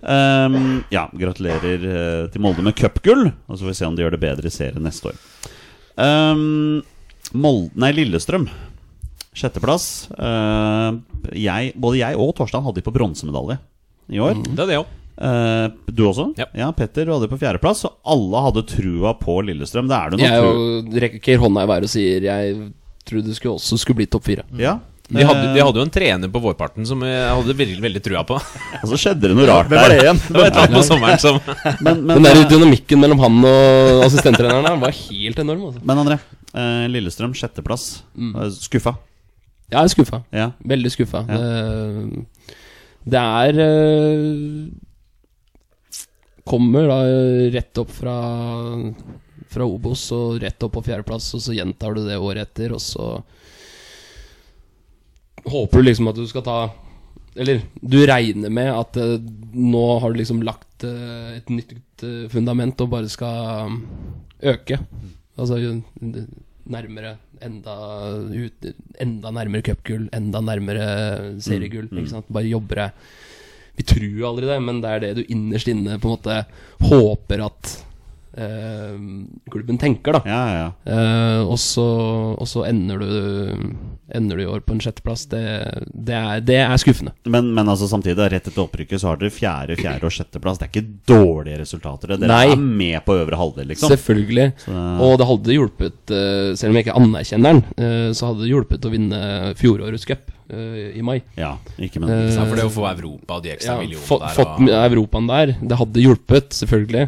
Speaker 1: Ehm, ja, gratulerer eh, til Molde med cupgull. Og så får vi se om de gjør det bedre i serien neste år. Ehm, Molde, nei, Lillestrøm. Sjetteplass. Ehm, jeg, både jeg og Torstein hadde de på bronsemedalje i år.
Speaker 2: Det er det òg.
Speaker 1: Eh, du også?
Speaker 2: Mm. Ja.
Speaker 1: Petter, du hadde det på fjerdeplass. Og alle hadde trua på Lillestrøm. Det er det
Speaker 3: Jeg
Speaker 1: natur...
Speaker 3: jo rekker hånda i været og sier jeg trodde det skulle også skulle bli topp fire.
Speaker 1: Ja.
Speaker 2: De hadde, de hadde jo en trener på vårparten som jeg hadde veldig, veldig trua på.
Speaker 1: Eh, Og så skjedde det noe rart
Speaker 4: Hvem var det
Speaker 1: der.
Speaker 4: igjen?
Speaker 2: Det var et eller annet på sommeren som
Speaker 1: Men, men,
Speaker 3: Den der dynamikken mellom han og assistenttreneren der var helt enorm. Altså.
Speaker 1: men André, eh, Lillestrøm sjetteplass.
Speaker 3: Mm.
Speaker 1: Eh, Skuffa.
Speaker 3: Jeg er skuffa.
Speaker 1: Ja.
Speaker 3: Veldig skuffa.
Speaker 1: Ja.
Speaker 3: Det, det er eh, Kommer da rett opp fra, fra Obos og rett opp på fjerdeplass, og så gjentar du det året etter, og så håper du liksom at du skal ta Eller du regner med at eh, nå har du liksom lagt eh, et nytt eh, fundament og bare skal mm, øke. Altså jo- nærmere enda, ut, enda nærmere cupgull, enda nærmere eh, seriegull. Ikke sant? Bare jobber deg Vi tror jo aldri det, men det er det du innerst inne på en måte håper at eh, klubben tenker, da.
Speaker 1: Ja, ja, ja.
Speaker 3: Eh, og, så, og så ender du Ender du i år på en sjetteplass. Det, det, er, det er skuffende.
Speaker 1: Men, men altså samtidig, da, rett etter opprykket så har dere fjerde, fjerde og sjetteplass. Det er ikke dårlige resultater. det. Dere
Speaker 3: Nei.
Speaker 1: er med på øvre halvdel, liksom.
Speaker 3: Selvfølgelig. Og det hadde hjulpet, eh, selv om jeg ikke anerkjenner den, eh, så hadde det hjulpet å vinne fjorårets cup eh, i mai.
Speaker 1: Ja, ikke
Speaker 3: Eh.
Speaker 1: men
Speaker 2: Ja, For det å få Europa og de ekstra
Speaker 3: Ja, få,
Speaker 2: millionene der
Speaker 3: fått
Speaker 2: og,
Speaker 3: Europaen der. Det hadde hjulpet, selvfølgelig.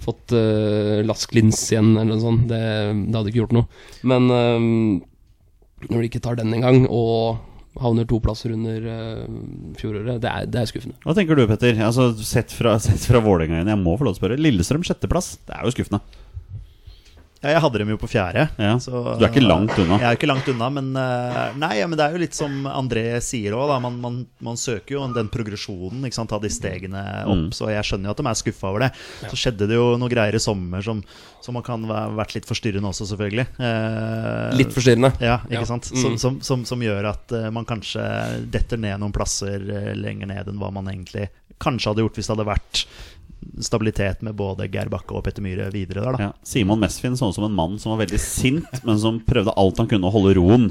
Speaker 3: Fått uh, Lask Lins igjen eller noe sånt. Det, det hadde ikke gjort noe. Men eh, når de ikke tar den engang, og havner to plasser under eh, fjoråret, det er, det er skuffende.
Speaker 1: Hva tenker du, Petter? Altså, sett fra, sett fra Vålerenga igjen, jeg må få lov til å spørre. Lillestrøm sjetteplass, det er jo skuffende.
Speaker 4: Ja, jeg hadde dem jo på fjerde.
Speaker 1: Ja. Du er ikke langt unna.
Speaker 4: Jeg er jo ikke langt unna, men eh, Nei, ja, men det er jo litt som André sier òg, da. Man, man, man søker jo den progresjonen, ikke sant. Ta de stegene opp. Så jeg skjønner jo at de er skuffa over det. Så skjedde det jo noe greier i sommer som, som man kan ha vært litt forstyrrende også, selvfølgelig. Eh,
Speaker 3: Litt forstyrrende.
Speaker 4: ja, ikke
Speaker 3: Ja.
Speaker 4: sant?
Speaker 3: Mm.
Speaker 4: Som, som, som, som gjør at eh, man kanskje detter ned noen plasser eh, lenger ned enn hva man egentlig kanskje hadde gjort hvis det hadde vært stabilitet med både Geir Bakke og Petter Myhre videre der, da.
Speaker 1: Ja. Simon Mesfin så ut som en mann som var veldig sint, men som prøvde alt han kunne å holde roen.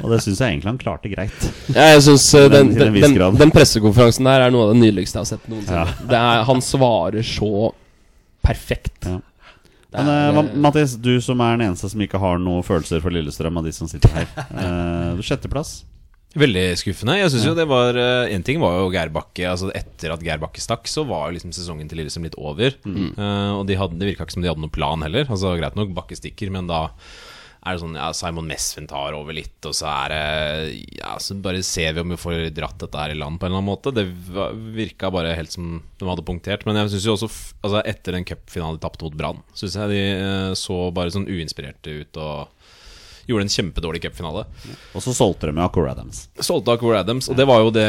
Speaker 1: Og det syns jeg egentlig han klarte greit.
Speaker 3: Ja, jeg synes eh, den,
Speaker 1: Men til en
Speaker 3: den,
Speaker 1: viss
Speaker 3: den,
Speaker 1: grad.
Speaker 3: den pressekonferansen der er noe av det nydeligste jeg har sett noensinne. Det er, han svarer så perfekt.
Speaker 1: Ja.
Speaker 3: Det
Speaker 1: Men
Speaker 3: er,
Speaker 1: eh, Ma-
Speaker 3: eh,
Speaker 1: Mathis, du som er den eneste som ikke har noen følelser for Lillestrøm av de som sitter her. Eh, sjetteplass?
Speaker 2: Veldig skuffende. Jeg synes jo det var eh, En ting var jo Geir Bakke. Altså Etter at Geir Bakke stakk, så var jo liksom sesongen til Lillestrøm litt over. Eh, og de hadde, det virka ikke som de hadde noen plan heller. Altså Greit nok, Bakke stikker, men da er det sånn ja, Simon Mesvin tar over litt, og så er det Ja, så bare ser vi om vi får dratt dette her i land på en eller annen måte. Det va- virka bare helt som de hadde punktert. Men jeg syns jo også, f- altså etter den cupfinalen de tapte mot Brann, syns jeg de eh, så bare sånn uinspirerte ut og gjorde en kjempedårlig cupfinale.
Speaker 1: Og så solgte de med Acor Adams.
Speaker 2: Solgte av Core Adams, og det var jo det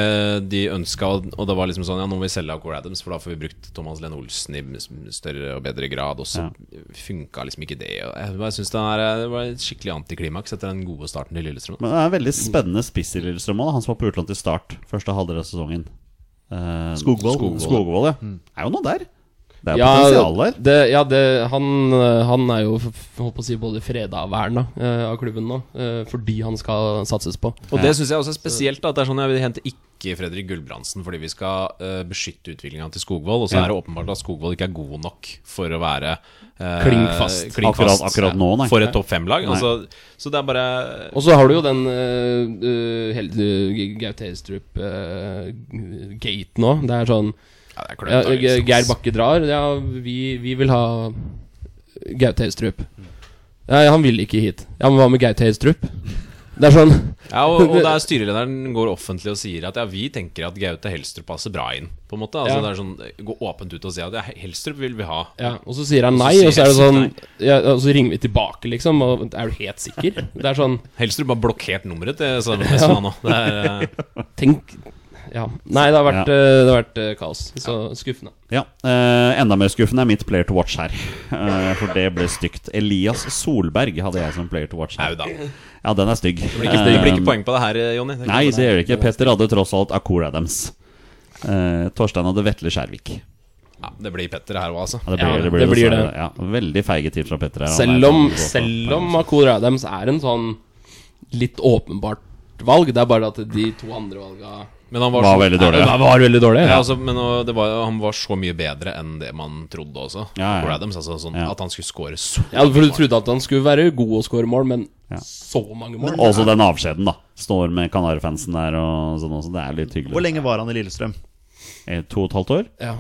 Speaker 2: de ønska. Og det var liksom sånn Ja, nå må vi selge av Core Adams, for da får vi brukt Thomas Lene Olsen i s- større og bedre grad. Og så funka liksom ikke det. Og jeg bare synes det, er- det var et skikkelig antiklimaks etter den gode starten i Lillestrøm.
Speaker 1: Men det er en veldig spennende spiss i Lillestrøm òg. Han som var på utlån til start første halvdel av sesongen. Eh,
Speaker 4: Skogvold.
Speaker 1: Skogvold, Skogvold, ja. Er jo noe der. Det er
Speaker 3: Ja,
Speaker 1: potensial der.
Speaker 3: det, ja det, han, eh, han er jo f- f- holdt på å si, både freda og verna eh, av klubben nå, eh, fordi han skal satses på.
Speaker 2: Og det syns jeg også er spesielt. da, At det er sånn Jeg vil hente ikke Fredrik Gulbrandsen fordi vi skal eh, beskytte utviklinga til Skogvold. Og så er det åpenbart at Skogvold ikke er god nok for å være eh,
Speaker 3: Klink fast.
Speaker 2: klink
Speaker 1: Akkurat-
Speaker 2: fast,
Speaker 1: akkurat nå, nei.
Speaker 2: For et topp fem-lag. Altså, så det er bare
Speaker 3: Og så har du jo den eh, eh, Hel- eh, Gaute eh, Helstrup-gaten òg. Det er sånn
Speaker 2: ja, det er
Speaker 3: ja,
Speaker 2: klønete,
Speaker 3: Ge-
Speaker 2: liksom.
Speaker 3: Geir Bakke drar. Ja, vi, vi vil ha Gaute Helstrup. Ja, han vil ikke hit. Ja, men hva med Gaute Helstrup? Det er sånn
Speaker 2: Ja, og, og der styrelederen går offentlig og sier at ja, vi tenker at Gaute Helstrup passer bra inn, på en måte. Altså
Speaker 3: Ja.
Speaker 2: det er sånn, Gå åpent ut og si at ja, Helstrup vil vi ha.
Speaker 3: ja, Og så sier han nei,
Speaker 2: sier
Speaker 3: og så er det sånn
Speaker 2: Helstrup
Speaker 3: ja, Og så ringer vi tilbake, liksom. Og er du helt sikker? Det er sånn
Speaker 2: Helstrup har blokkert nummeret til Simon Nesson han nå. Det er, eh,
Speaker 3: Tenk Ja. Nei, det har vært,
Speaker 1: Ja.
Speaker 3: eh, det har vært eh, kaos. Så skuffende.
Speaker 1: Ja, eh, Enda mer skuffende er mitt player to watch her. Eh, for det ble stygt. Elias Solberg hadde jeg som player to watch her.
Speaker 2: eh, Au da. Det
Speaker 1: Ja, den er stygg.
Speaker 2: blir ikke, det blir ikke poeng på det her, eh, Jonny. Det kan
Speaker 1: Nei,
Speaker 2: jeg
Speaker 1: det
Speaker 2: si.
Speaker 1: gjør det ikke. Petter hadde tross alt Acor Adams. Eh, Torstein hadde Vetle Skjærvik.
Speaker 2: ja, det blir Petter her òg, altså.
Speaker 1: Ja, det
Speaker 3: Ja,
Speaker 1: blir det. Blir
Speaker 3: det blir
Speaker 1: dessverre.
Speaker 3: det.
Speaker 1: Ja, veldig feige tips fra Petter. her. Han er
Speaker 3: Selv om,
Speaker 1: sånn-
Speaker 3: selv om Akor Adams er en sånn litt åpenbart valg, det er bare at de to andre valga
Speaker 2: Men han var,
Speaker 1: Var
Speaker 2: så-
Speaker 1: veldig dårlig.
Speaker 3: var, var veldig dårlige.
Speaker 2: Ja, altså, men og, det var, han var så mye bedre enn det man trodde også.
Speaker 1: Ja, ja.
Speaker 2: For Adams, altså, sånn,
Speaker 1: Ja.
Speaker 2: At han skulle score så
Speaker 3: Ja, for du trodde at han skulle være god og skåre mål, men så mange mål
Speaker 1: Og Også den avskjeden, da. Står med Kanarifansen der og sånn også. Det er litt hyggelig.
Speaker 4: Hvor lenge var han i Lillestrøm?
Speaker 1: Eh, To og et halvt år?
Speaker 3: ja.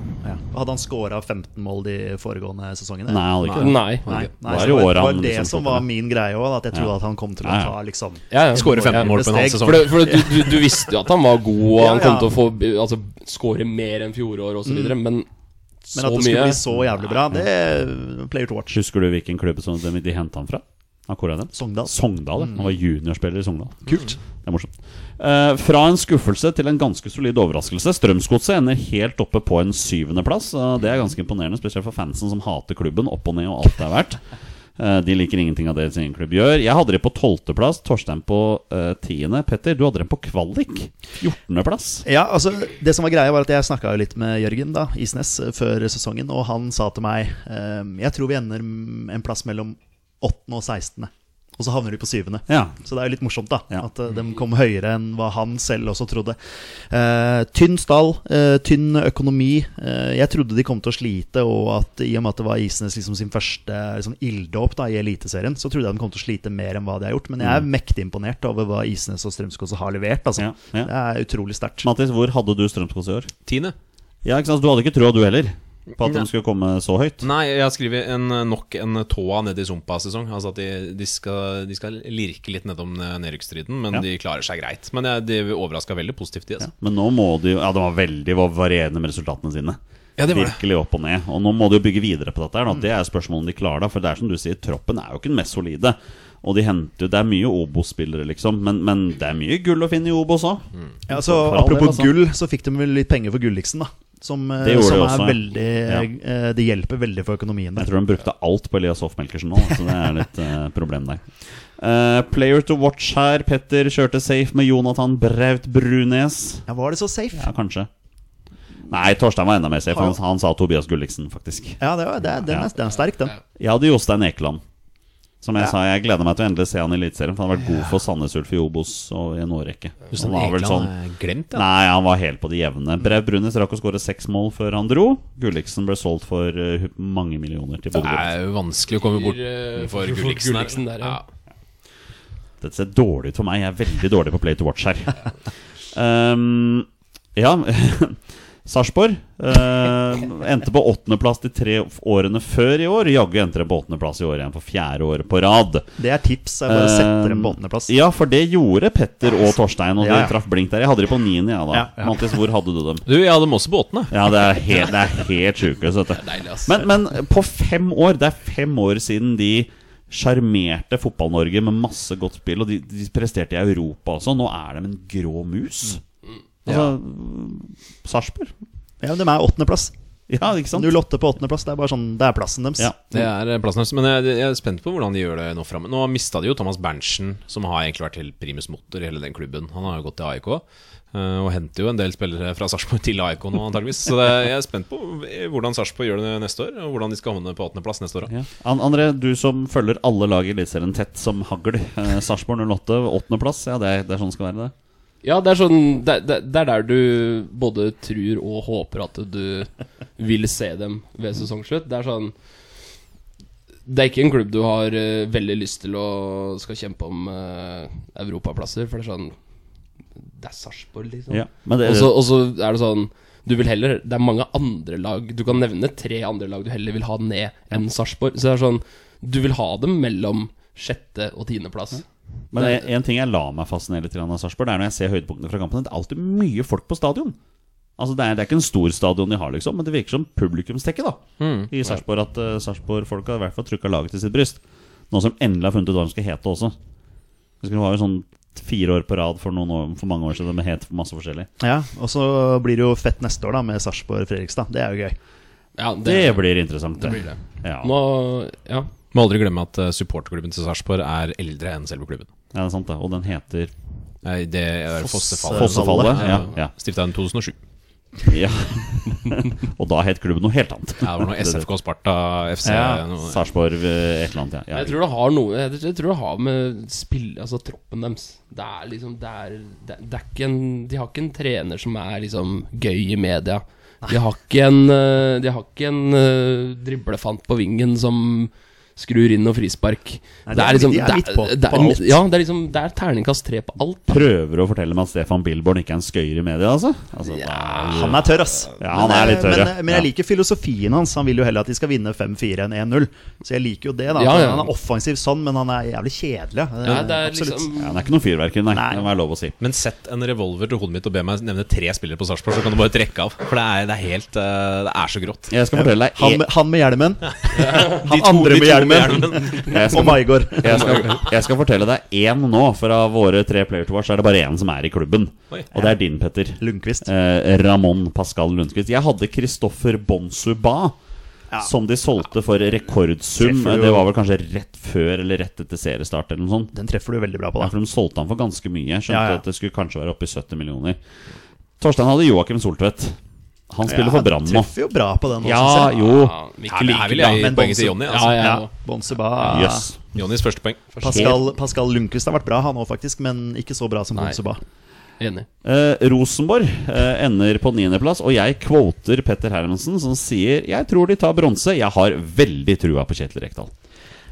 Speaker 4: Hadde han scora 15 mål de foregående sesongene?
Speaker 1: Nei, han hadde ikke det.
Speaker 3: Nei.
Speaker 4: Nei, nei,
Speaker 1: Var
Speaker 4: så
Speaker 1: det
Speaker 4: det var,
Speaker 1: året
Speaker 4: det
Speaker 1: han
Speaker 4: var det
Speaker 1: liksom
Speaker 4: som
Speaker 1: tok
Speaker 4: var
Speaker 1: det?
Speaker 4: min greie òg, at jeg trodde at han kom til å
Speaker 1: Ja, ja.
Speaker 4: ta liksom
Speaker 3: Ja, ja.
Speaker 2: Skåre 15 mål på en halv
Speaker 4: Steg.
Speaker 2: sesong.
Speaker 3: For, det, for det, du, du, du visste jo at han var god, og
Speaker 4: Ja,
Speaker 3: han
Speaker 4: ja.
Speaker 3: kom til å få altså, skåre mer enn fjoråret osv., videre men så
Speaker 4: Men at det skulle
Speaker 3: mye
Speaker 4: bli så jævlig bra, det er player to watch.
Speaker 1: Husker du hvilken klubb som de, de henta han fra? Akkurat den?
Speaker 4: Sogndal.
Speaker 1: Sogndal, ja. Han var juniorspiller i Sogndal. Mm.
Speaker 4: Kult.
Speaker 1: Det er morsomt. Eh, fra en skuffelse til en ganske solid overraskelse. Strømsgodset ender helt oppe på en syvendeplass. Uh, det er ganske imponerende, spesielt for fansen som hater klubben opp og ned og alt det er verdt. Eh, de liker ingenting av det sin egen klubb gjør. Jeg hadde de på tolvteplass, Torstein på eh, tiende. Petter, du hadde dem på kvalik. Fjortendeplass.
Speaker 4: Ja, altså Det som var greia, var at jeg snakka litt med Jørgen da, Isnes eh, før sesongen, og han sa til meg ehm, Jeg tror vi ender m- en plass mellom 8. og 16. Og så havner de på 7.
Speaker 1: Ja.
Speaker 4: Så det er jo litt morsomt, da.
Speaker 1: Ja.
Speaker 4: At eh, de kom høyere enn hva han selv også trodde. Eh, tynn stall, eh, tynn økonomi. Eh, jeg trodde de kom til å slite, og at i og med at det var Isnes liksom sin første liksom, ilddåp da, i Eliteserien, så trodde jeg de kom til å slite mer enn hva de har gjort. Men jeg er mektig imponert over hva Isnes og Strømskog har levert. Altså.
Speaker 1: Mm. Ja, ja.
Speaker 4: Det er utrolig sterkt.
Speaker 1: Mattis, hvor hadde du Strømsgodset i år?
Speaker 2: Tiende.
Speaker 1: Ja, ikke sant? Du hadde ikke trua, du heller, på at
Speaker 2: Nei.
Speaker 1: de skulle komme så høyt?
Speaker 2: Nei, jeg har skrevet en, eh, nok en tåa ned i sumpa-sesong. Altså at de, de, skal, de skal lirke litt nedom nedrykksstriden, men
Speaker 1: Ja.
Speaker 2: de klarer seg greit. Men jeg, de overraska veldig positivt, de. Altså.
Speaker 1: Men nå må de jo Ja, de var veldig var varierende med resultatene sine.
Speaker 2: Ja, det var det.
Speaker 1: Virkelig opp og ned. Og nå må de jo bygge videre på dette. her da. Det er spørsmålet om de klarer det. For det er som du sier, troppen er jo ikke den mest solide. Og de henter jo Det er mye Obos-spillere, liksom. Men, men det er mye gull å finne i Obos òg.
Speaker 4: Ja, så
Speaker 1: For all del,
Speaker 4: Apropos
Speaker 1: altså.
Speaker 4: gull, så fikk de vel litt penger for Gulliksen, da. Som, eh,
Speaker 1: Det gjorde
Speaker 4: som
Speaker 1: de
Speaker 4: er
Speaker 1: også, ja.
Speaker 4: veldig eh, Det hjelper veldig for økonomien der.
Speaker 1: Jeg tror de brukte alt på Elias Hoff-Melkersen nå, så det er litt eh, problem der. Eh, player to watch her. Petter kjørte safe med Jonathan Braut Brunes.
Speaker 4: Ja, var det så safe?
Speaker 1: Ja, kanskje. Nei, Torstein var enda mer safe. Han,
Speaker 4: Har-
Speaker 1: han sa Tobias Gulliksen, faktisk.
Speaker 4: Ja, det var, det, er- den,
Speaker 1: Ja.
Speaker 4: er, den er sterk, den.
Speaker 1: Jeg hadde Jostein Ekeland. Som jeg sa, jeg gleder meg til å endelig se han i Eliteserien. For han har vært god for Sandnes Ulf i Obos og i en årrekke. Han var vel sånn
Speaker 2: Glemt, ja.
Speaker 1: Nei, han var helt på det jevne. Brev Brunes rakk å skåre seks mål før han dro. Gulliksen ble solgt for eh, mange millioner til Bodø.
Speaker 2: Det
Speaker 1: Glimt.
Speaker 2: er jo vanskelig å komme bort
Speaker 3: Fyr, eh,
Speaker 2: for
Speaker 3: for
Speaker 2: Gulliksen,
Speaker 3: Gulliksen der, ja.
Speaker 1: Dette ser dårlig ut for meg. Jeg er veldig dårlig på Play to Watch her. Um, ja Ehm, Sarpsborg eh, endte på åttendeplass de tre årene før i år. Jaggu endte de på åttendeplass i år igjen for fjerde året på rad.
Speaker 4: Det er tips. Jeg bare setter dem på
Speaker 1: Eh,
Speaker 4: åttendeplass.
Speaker 1: Ja, for det gjorde Petter og Torstein, og
Speaker 4: Ja, ja.
Speaker 1: de traff blink der. Jeg hadde de på niende, ja, da.
Speaker 4: Ja, ja.
Speaker 1: Mattis, hvor hadde du dem?
Speaker 2: Du, jeg hadde dem også på åttende.
Speaker 1: Ja, det er helt, det er helt sjukehus, dette.
Speaker 3: Deilig, ass.
Speaker 1: Men, men på fem år Det er fem år siden de sjarmerte Fotball-Norge med masse godt spill, og de, de presterte i Europa også. Nå er de en grå mus. Altså Sarpsborg.
Speaker 4: Ja, men de er åttendeplass.
Speaker 1: Ja, ikke sant?
Speaker 4: 08 på åttendeplass. Det er bare sånn, det er plassen deres.
Speaker 1: Ja.
Speaker 2: Det er eh, plassen deres. Men jeg, jeg er spent på hvordan de gjør det nå framme. Nå mista de jo Thomas Berntsen, som har egentlig vært helt primus motor i hele den klubben. Han har jo gått til AIK. eh, Og henter jo en del spillere fra Sarpsborg til AIK nå, antageligvis. Så det, jeg er spent på hvordan Sarpsborg gjør det neste år, og hvordan de skal havne på åttendeplass neste år.
Speaker 1: Ja.
Speaker 2: da.
Speaker 1: An- André, du som følger alle lag i Eliteserien tett som hagl. Eh, Sarpsborg 08, åttendeplass. Ja, det, er- det er sånn det skal være, det.
Speaker 3: Ja, det er sånn det, det, det er der du både tror og håper at du vil se dem ved sesongslutt. Det er sånn Det er ikke en klubb du har eh, veldig lyst til å skal kjempe om eh, europaplasser, for det er sånn Det er Sarpsborg, liksom.
Speaker 1: Ja. Men det,
Speaker 3: Og så- Og så er det sånn du vil heller, Det er mange andre lag Du kan nevne tre andre lag du heller vil ha ned enn Sarpsborg. Så det er sånn Du vil ha dem mellom sjette- og tiendeplass.
Speaker 1: Men en, en ting jeg la meg fascinere litt grann av Sarpsborg, det er når jeg ser høydepunktene fra kampen. Det er alltid mye folk på stadion. Altså Det er, det er ikke en stor stadion de har, liksom, men det virker som publikumstekket da
Speaker 3: Mm.
Speaker 1: i Sarpsborg. At uh, Sarpsborg-folka i hvert fall trykka laget til sitt bryst. Nå som endelig har funnet ut hva de skal hete også. Det skulle være sånn fire år på rad for, noen år, for mange år siden med het masse forskjellig.
Speaker 4: Ja, Og så blir det jo fett neste år da med Sarpsborg-Fredrikstad. Det er jo gøy.
Speaker 3: Ja, det,
Speaker 1: Det blir interessant.
Speaker 3: det blir det.
Speaker 1: Ja.
Speaker 3: Nå, ja
Speaker 2: Må aldri glemme at eh, supporterklubben til Sarpsborg er eldre enn selve klubben.
Speaker 1: ja, det er sant, det. Og den heter
Speaker 2: Nei, Det er Fossefallet.
Speaker 1: Fossefallet. Ja, ja.
Speaker 2: Stifta i 2007.
Speaker 1: ja. Og da het klubben noe helt annet.
Speaker 2: Ja, Det var noe SFK Sparta FC
Speaker 1: Ja,
Speaker 2: noe-
Speaker 1: Sarpsborg eh, et eller annet, ja. ja.
Speaker 3: Jeg tror det har noe Jeg, jeg tror det har med spill, altså troppen deres Det er liksom det er, det, det er ikke en, De har ikke en trener som er liksom gøy i media De har ikke en eh, De har ikke en eh, driblefant på vingen som skrur inn og frispark
Speaker 4: Nei,
Speaker 3: Det
Speaker 4: de er-
Speaker 3: er liksom
Speaker 4: de er
Speaker 3: det
Speaker 4: midt på-
Speaker 3: det er-
Speaker 4: på alt.
Speaker 3: Ja, det er liksom Det er terningkast tre på alt
Speaker 1: prøver å fortelle meg at Stefan Billborn ikke er en skøyer i media, altså? altså da-
Speaker 4: Han er tørr, ass.
Speaker 1: Ja, han er litt tørr,
Speaker 4: men, eh,
Speaker 1: ja.
Speaker 4: men jeg
Speaker 1: Ja.
Speaker 4: liker filosofien hans. Han vil jo heller at de skal vinne 5-4 enn 1-0. Så jeg liker jo det. da
Speaker 3: Ja, ja.
Speaker 4: Han er offensiv sånn, men han er jævlig kjedelig. ja.
Speaker 3: Nei, det er
Speaker 4: Absolutt.
Speaker 3: liksom
Speaker 1: ja, det er ikke noe fyrverkeri, nei.
Speaker 4: Nei.
Speaker 1: Det må være lov å si.
Speaker 2: Men sett en revolver til hodet mitt og be meg nevne tre spillere på Sarpsborg, så kan du bare trekke av. For det er, det er helt eh, Det er så grått.
Speaker 1: Jeg skal fortelle deg
Speaker 4: Han,
Speaker 1: en-
Speaker 4: med- han med hjelmen. Han
Speaker 2: to-
Speaker 4: andre
Speaker 2: de
Speaker 4: med
Speaker 2: to med
Speaker 4: hjelmen.
Speaker 1: jeg
Speaker 4: Og
Speaker 1: skal,
Speaker 4: Maigård.
Speaker 1: jeg, skal, jeg skal fortelle deg én nå, for av våre tre player to watch er det bare én som er i klubben.
Speaker 2: Oi.
Speaker 1: Og det er din, Petter.
Speaker 4: Lundqvist.
Speaker 1: Eh, Ramón Pascal Lundqvist. Jeg hadde Kristoffer Bonsuba.
Speaker 4: Ja.
Speaker 1: Som de solgte for rekordsum.
Speaker 4: Treffer jo-
Speaker 1: Det var vel kanskje rett før eller rett etter seriestart. eller noe sånt
Speaker 4: Den treffer du veldig bra på,
Speaker 1: Ja,
Speaker 4: da.
Speaker 1: for de solgte han for ganske mye. Jeg skjønte
Speaker 4: Ja, ja.
Speaker 1: at det skulle kanskje være oppe i 70 millioner. Torstein hadde Joakim Soltvedt. Han spiller for Brann nå.
Speaker 4: Treffer jo bra på den. også,
Speaker 1: Ja,
Speaker 4: synes jeg.
Speaker 1: jo.
Speaker 3: ja,
Speaker 2: Her,
Speaker 3: vi ikke
Speaker 2: her
Speaker 3: liker
Speaker 2: vil jeg
Speaker 4: bra,
Speaker 2: gi
Speaker 4: men
Speaker 2: poenget til
Speaker 4: Bonzo-
Speaker 2: Jonny.
Speaker 3: Ja,
Speaker 2: Altså.
Speaker 3: ja,
Speaker 4: Ja,
Speaker 3: ja.
Speaker 4: Bonsuba
Speaker 1: Jøss.
Speaker 2: Jonnys første poeng.
Speaker 4: Pascal, Pascal Lundqvist har vært bra, han òg, faktisk, men ikke så bra som
Speaker 3: Nei.
Speaker 4: Bonsuba.
Speaker 3: Enig
Speaker 1: Eh, Rosenborg eh, ender på niendeplass, og jeg kvoter Petter Hermansen, som sier 'Jeg tror de tar bronse'. Jeg har veldig trua på Kjetil Rekdal.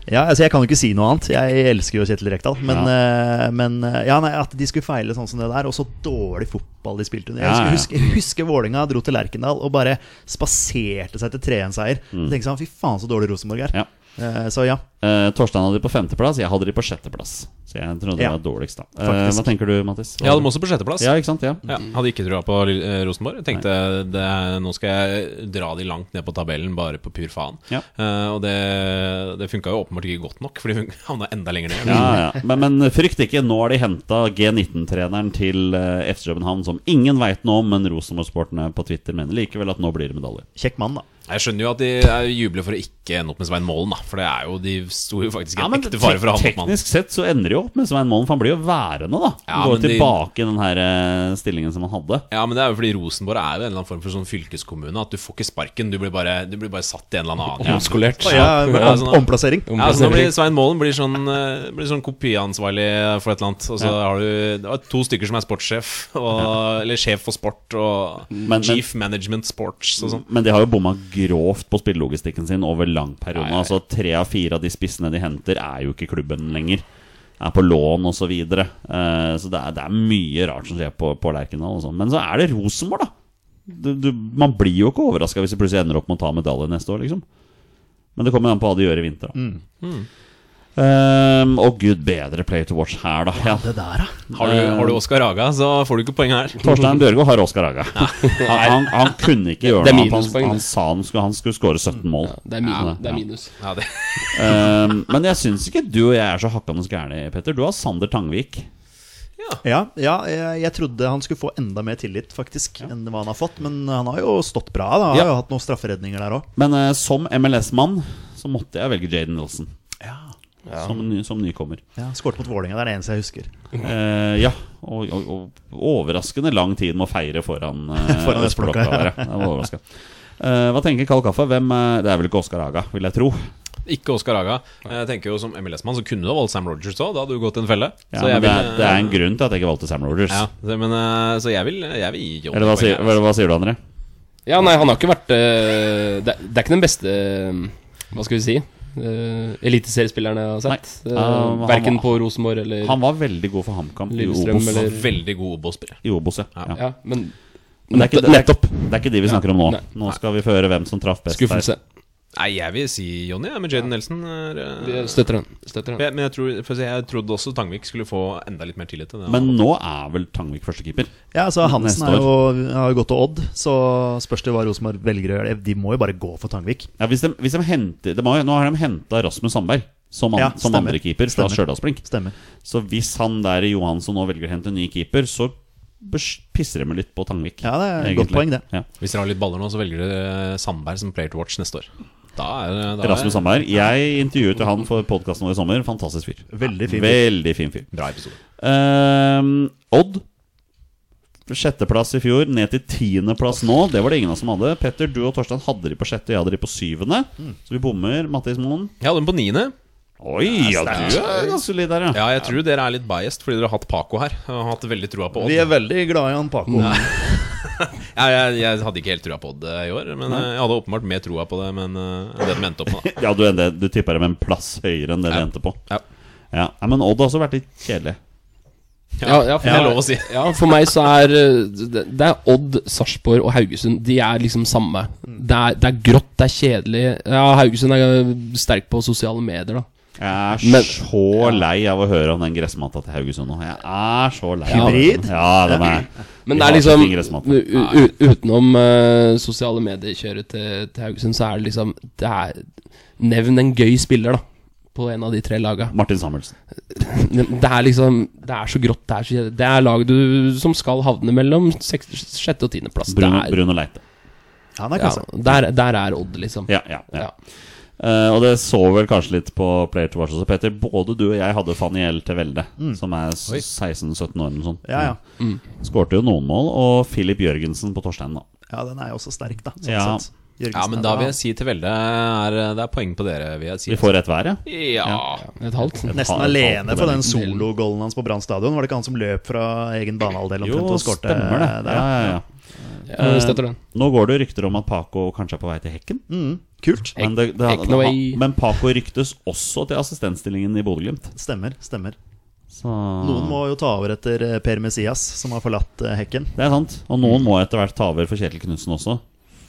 Speaker 4: Ja, altså Jeg kan jo ikke si noe annet. Jeg elsker jo Kjetil Rekdal. Men, eh, men eh, ja, nei, at de skulle feile sånn som det der, og så dårlig fotball de spilte under. Jeg
Speaker 1: Ja, ja, ja.
Speaker 4: husker, husker, husker Vålinga dro til Lerkendal og bare spaserte seg til 3-1-seier. Mm. Tenkte sånn, Fy faen, så dårlig Rosenborg er.
Speaker 1: Ja.
Speaker 4: Eh, så ja.
Speaker 1: Eh, Torstein hadde de på femteplass, jeg hadde de på sjetteplass. Så jeg trodde det
Speaker 4: Ja.
Speaker 1: var dårligst, da. Eh,
Speaker 4: Faktisk.
Speaker 1: hva tenker du, Mattis? Hva-
Speaker 2: Jeg hadde dem også på sjetteplass.
Speaker 1: Ja, ikke sant? Ja.
Speaker 2: Ja, hadde ikke trua på Lill- eh, Rosenborg. Jeg Tenkte det, er- nå skal jeg dra de langt ned på tabellen, bare på pur faen.
Speaker 1: Ja.
Speaker 2: Eh, og det, det funka jo åpenbart ikke godt nok, for de fun- havna enda lenger ned.
Speaker 1: Ja, ja. Men, men frykt ikke, nå har de henta G19-treneren til eh, FC København, som ingen veit noe om, men Rosenborg-sportene på Twitter mener likevel at nå blir det medalje.
Speaker 4: Kjekk mann, da.
Speaker 2: Jeg skjønner jo at de er jubler for å ikke ende opp med Svein Målen, da. For det er jo, de sto jo faktisk i en ekte fare for å havne opp med han.
Speaker 1: teknisk sett så ender de jo opp med Svein Målen, for han blir jo værende, da.
Speaker 2: Ja,
Speaker 1: Går
Speaker 2: men de-
Speaker 1: tilbake i den her eh, stillingen som han hadde.
Speaker 2: Ja, men det er jo fordi Rosenborg er jo en eller annen form for sånn fylkeskommune. At du får ikke sparken, du blir bare, du blir bare satt i en eller annen annen.
Speaker 3: Omskolert
Speaker 4: Ja,
Speaker 2: Ja,
Speaker 4: om,
Speaker 2: sånn, da.
Speaker 4: omplassering.
Speaker 2: Ja, så nå blir Svein Målen blir sånn, eh, blir sånn kopiansvarlig for et eller annet. Og så har du det var to stykker som er sportssjef, og, eller sjef for sport, og
Speaker 1: Men-
Speaker 2: chief management sports og sånn.
Speaker 1: Men de har jo bomma grovt på spillelogistikken sin over lang periode. Altså Tre av fire av de spissene de henter, er jo ikke i klubben lenger. Er på lån osv. Så, videre. Eh, så det er, det er mye rart som skjer på, på Lerkendal. og sånn. Men så er det Rosenborg, da. Du, du, man blir jo ikke overraska hvis de plutselig ender opp med å ta medalje neste år, liksom. Men det kommer an på hva de gjør i vinter. da.
Speaker 2: Mm.
Speaker 1: Ehm, og gud bedre play to watch her, da. Ja.
Speaker 4: Det der, da.
Speaker 2: Har du,
Speaker 1: Mm.
Speaker 2: har du Oskar Raga, så får du ikke poeng her.
Speaker 1: Torstein Bjørgo har Oscar Haga. Han, han, han kunne ikke gjøre
Speaker 3: Det er
Speaker 1: noe. annet.
Speaker 3: minuspoeng,
Speaker 1: Han, han
Speaker 3: det.
Speaker 1: sa han skulle, han skulle skåre 17 mål.
Speaker 3: Det er, min,
Speaker 1: Ja, ja.
Speaker 3: det er minus.
Speaker 2: Ja, det.
Speaker 1: Ehm, men jeg syns ikke du og jeg er så hakkende gærne, Petter. Du har Sander Tangvik.
Speaker 4: Ja, ja jeg, jeg trodde han skulle få enda mer tillit faktisk enn hva han har fått. Men han har jo stått bra. da Han
Speaker 1: Ja.
Speaker 4: har jo hatt noen strafferedninger der òg.
Speaker 1: Men eh, som MLS-mann så måtte jeg velge Jaden Nelson
Speaker 4: Ja.
Speaker 1: som, ny, som nykommer.
Speaker 4: Ja, Skåret mot Vålerenga, det er det eneste jeg husker.
Speaker 1: Eh, ja, og, og, og overraskende lang tid med å feire foran, eh,
Speaker 4: Foran
Speaker 1: østblokka
Speaker 4: østblokka,
Speaker 1: der, ja. Jeg var overrasket. Eh, hva tenker Karl Kaffe? Hvem, eh, det er vel ikke Oskar Haga, vil jeg tro.
Speaker 2: Ikke Oskar Haga. Jeg tenker jo Som MLS-mann så kunne du ha valgt Sam Rogers òg. Da hadde du gått i en felle.
Speaker 1: Ja,
Speaker 2: så
Speaker 1: men
Speaker 2: jeg
Speaker 1: det,
Speaker 2: vil, eh,
Speaker 1: er, det er
Speaker 3: eh,
Speaker 1: en grunn til at jeg ikke valgte Sam Rogers.
Speaker 2: ja, det- men, eh, Så jeg vil, jeg vil gi John
Speaker 1: Eller hva
Speaker 2: poeng
Speaker 1: sier,
Speaker 2: her,
Speaker 1: hva,
Speaker 2: altså.
Speaker 1: hva sier du, André?
Speaker 3: Ja, nei, han har ikke vært eh, det, er- det er ikke den beste eh, Hva skal vi si? Uh, eliteseriespilleren jeg har sett.
Speaker 1: Nei.
Speaker 3: Eh,
Speaker 1: Ja, han
Speaker 3: Verken
Speaker 1: var-
Speaker 3: på Rosenborg eller
Speaker 1: Han var veldig god for HamKam i
Speaker 3: Lillestrøm,
Speaker 1: Obos.
Speaker 3: eller-
Speaker 2: Veldig god Obos-spiller.
Speaker 1: I Obos, ja. ja.
Speaker 3: Ja, men
Speaker 1: Men det er, ikke, det,
Speaker 3: nettopp.
Speaker 1: det, er, det er ikke de vi snakker om nå.
Speaker 3: Nei.
Speaker 1: Nå skal vi føre hvem som traff best.
Speaker 3: Skuffelse.
Speaker 2: Nei, jeg vil si Jonny jeg, med Jaden Nelson. er, eh,
Speaker 3: Vi støtter den. Støtter den.
Speaker 2: Men jeg- men jeg, tror, for å si, jeg trodde også Tangvik skulle få enda litt mer tillit. Enn det
Speaker 1: Der.
Speaker 2: han
Speaker 1: Men
Speaker 2: hadde.
Speaker 1: nå er vel Tangvik førstekeeper.
Speaker 4: Ja, altså Hansen
Speaker 1: Neste
Speaker 4: er jo, har jo gått til Odd, så spørs det hva Rosenborg velger å gjøre. De må jo bare gå for Tangvik.
Speaker 1: Ja, hvis de, hvis de henter, de har, nå har de henta Rasmus Sandberg som, an,
Speaker 4: Ja,
Speaker 1: som
Speaker 4: stemmer.
Speaker 1: andrekeeper fra
Speaker 4: Stemmer.
Speaker 1: Stjørdalsblink.
Speaker 4: Stemmer.
Speaker 1: Så hvis han der Johansson nå velger å hente en ny keeper, så bes- pisser de litt på Tangvik.
Speaker 4: Ja, det er et godt poeng, det.
Speaker 1: Ja.
Speaker 2: Hvis dere har litt baller nå, så velger dere eh, Sandberg som player to watch neste år. Da er, da er
Speaker 1: Rasmus Sandberg. Jeg intervjuet jo han for podkasten vår i sommer. Fantastisk fyr.
Speaker 4: Veldig fint.
Speaker 1: Veldig fin fyr.
Speaker 2: Bra episode.
Speaker 1: Ehm, Odd. Sjetteplass i fjor, ned til tiendeplass nå. Det var det ingen av oss som hadde. Petter, du og Torstein hadde de på sjette, jeg hadde de på syvende.
Speaker 3: Hmm.
Speaker 1: Så vi bommer. Mattis Moen.
Speaker 2: Jeg hadde den på niende.
Speaker 1: Oi, ja, du er ganske solid der, ja.
Speaker 2: Ja, jeg tror dere er litt biased fordi dere har hatt Paco her. Og har hatt veldig trua på Odd.
Speaker 4: Vi er veldig glad i han Paco.
Speaker 2: Ja, jeg, jeg hadde ikke helt trua på Odd eh, i år, men eh, jeg hadde åpenbart mer trua på det men, eh, enn det de endte opp med. da.
Speaker 1: Ja, du, endte- du tippa dem en plass høyere enn det de
Speaker 2: Ja.
Speaker 1: endte på.
Speaker 2: Ja.
Speaker 1: Ja, Nei, Men Odd har også vært litt kjedelig.
Speaker 3: Ja, ja,
Speaker 2: det er lov å si.
Speaker 3: ja, for meg så er eh, Det det er Odd, Sarpsborg og Haugesund. De er liksom samme.
Speaker 1: Mm.
Speaker 3: Det er, det er grått, det er kjedelig. Ja, Haugesund er eh, sterk på sosiale medier, da.
Speaker 1: Jeg er
Speaker 3: Men-
Speaker 1: så lei av å høre om den gressmatta til Haugesund nå. Jeg er så lei. av
Speaker 4: Hybrid?
Speaker 1: den. Ja, den er
Speaker 3: Men
Speaker 1: Vi
Speaker 3: det er
Speaker 1: har så
Speaker 3: liksom
Speaker 1: fin gressmatte.
Speaker 3: u- u- Utenom eh, sosiale medier-kjøret til, til Haugesund, så er det liksom det er, Nevn en gøy spiller, da. På en av de tre laga.
Speaker 1: Martin Samuelsen.
Speaker 3: Men Det er liksom Det er så grått. Det er, så, kjedelig. det er lag du som skal havne mellom seks- sjette og tiendeplass. Det
Speaker 1: Bruno,
Speaker 3: er-
Speaker 1: Bruno Leite.
Speaker 4: Han er
Speaker 3: Ja,
Speaker 4: klasse.
Speaker 3: der, der er Odd, liksom.
Speaker 1: Ja, ja, ja.
Speaker 3: Ja.
Speaker 1: Eh, og det så vel kanskje litt på Player to Watch også, Petter. Både du og jeg hadde Faniel til velde, som er s- 16-17 år eller noe sånt. Mm.
Speaker 4: Ja, ja.
Speaker 1: Skårte jo noen mål, og Filip Jørgensen på Torstein, da.
Speaker 4: ja, den er jo også sterk, da. Sånn
Speaker 1: Ja.
Speaker 4: sett.
Speaker 2: Ja,
Speaker 4: Jørgensen
Speaker 2: men
Speaker 4: er
Speaker 2: da
Speaker 4: bra.
Speaker 2: vil jeg si til Velde er, eh, Det er poeng på dere, vil jeg si.
Speaker 1: Vi får rett hver, ja.
Speaker 2: Ja.
Speaker 3: Et halvt.
Speaker 4: Nesten
Speaker 1: Ha-
Speaker 4: alene
Speaker 1: ha-
Speaker 4: for den sologollen hans på Brann stadion. Var det ikke han som løp fra egen banehalvdel
Speaker 1: Jo,
Speaker 4: omtrent og skårte?
Speaker 1: stemmer det.
Speaker 4: der,
Speaker 1: Ja,
Speaker 4: da?
Speaker 1: ja, ja.
Speaker 3: Ja, jeg støtter den.
Speaker 1: Nå går det jo rykter om at Paco kanskje er på vei til Hekken.
Speaker 4: Mm, kult.
Speaker 1: Men, det, det,
Speaker 3: Hekken away.
Speaker 1: men Paco ryktes også til assistentstillingen i Bodø-Glimt.
Speaker 4: Stemmer. stemmer
Speaker 1: Så
Speaker 4: Noen må jo ta over etter eh, Per Messias, som har forlatt eh, hekken.
Speaker 1: Det er sant. Og noen må etter hvert ta over for Kjetil Knutsen også.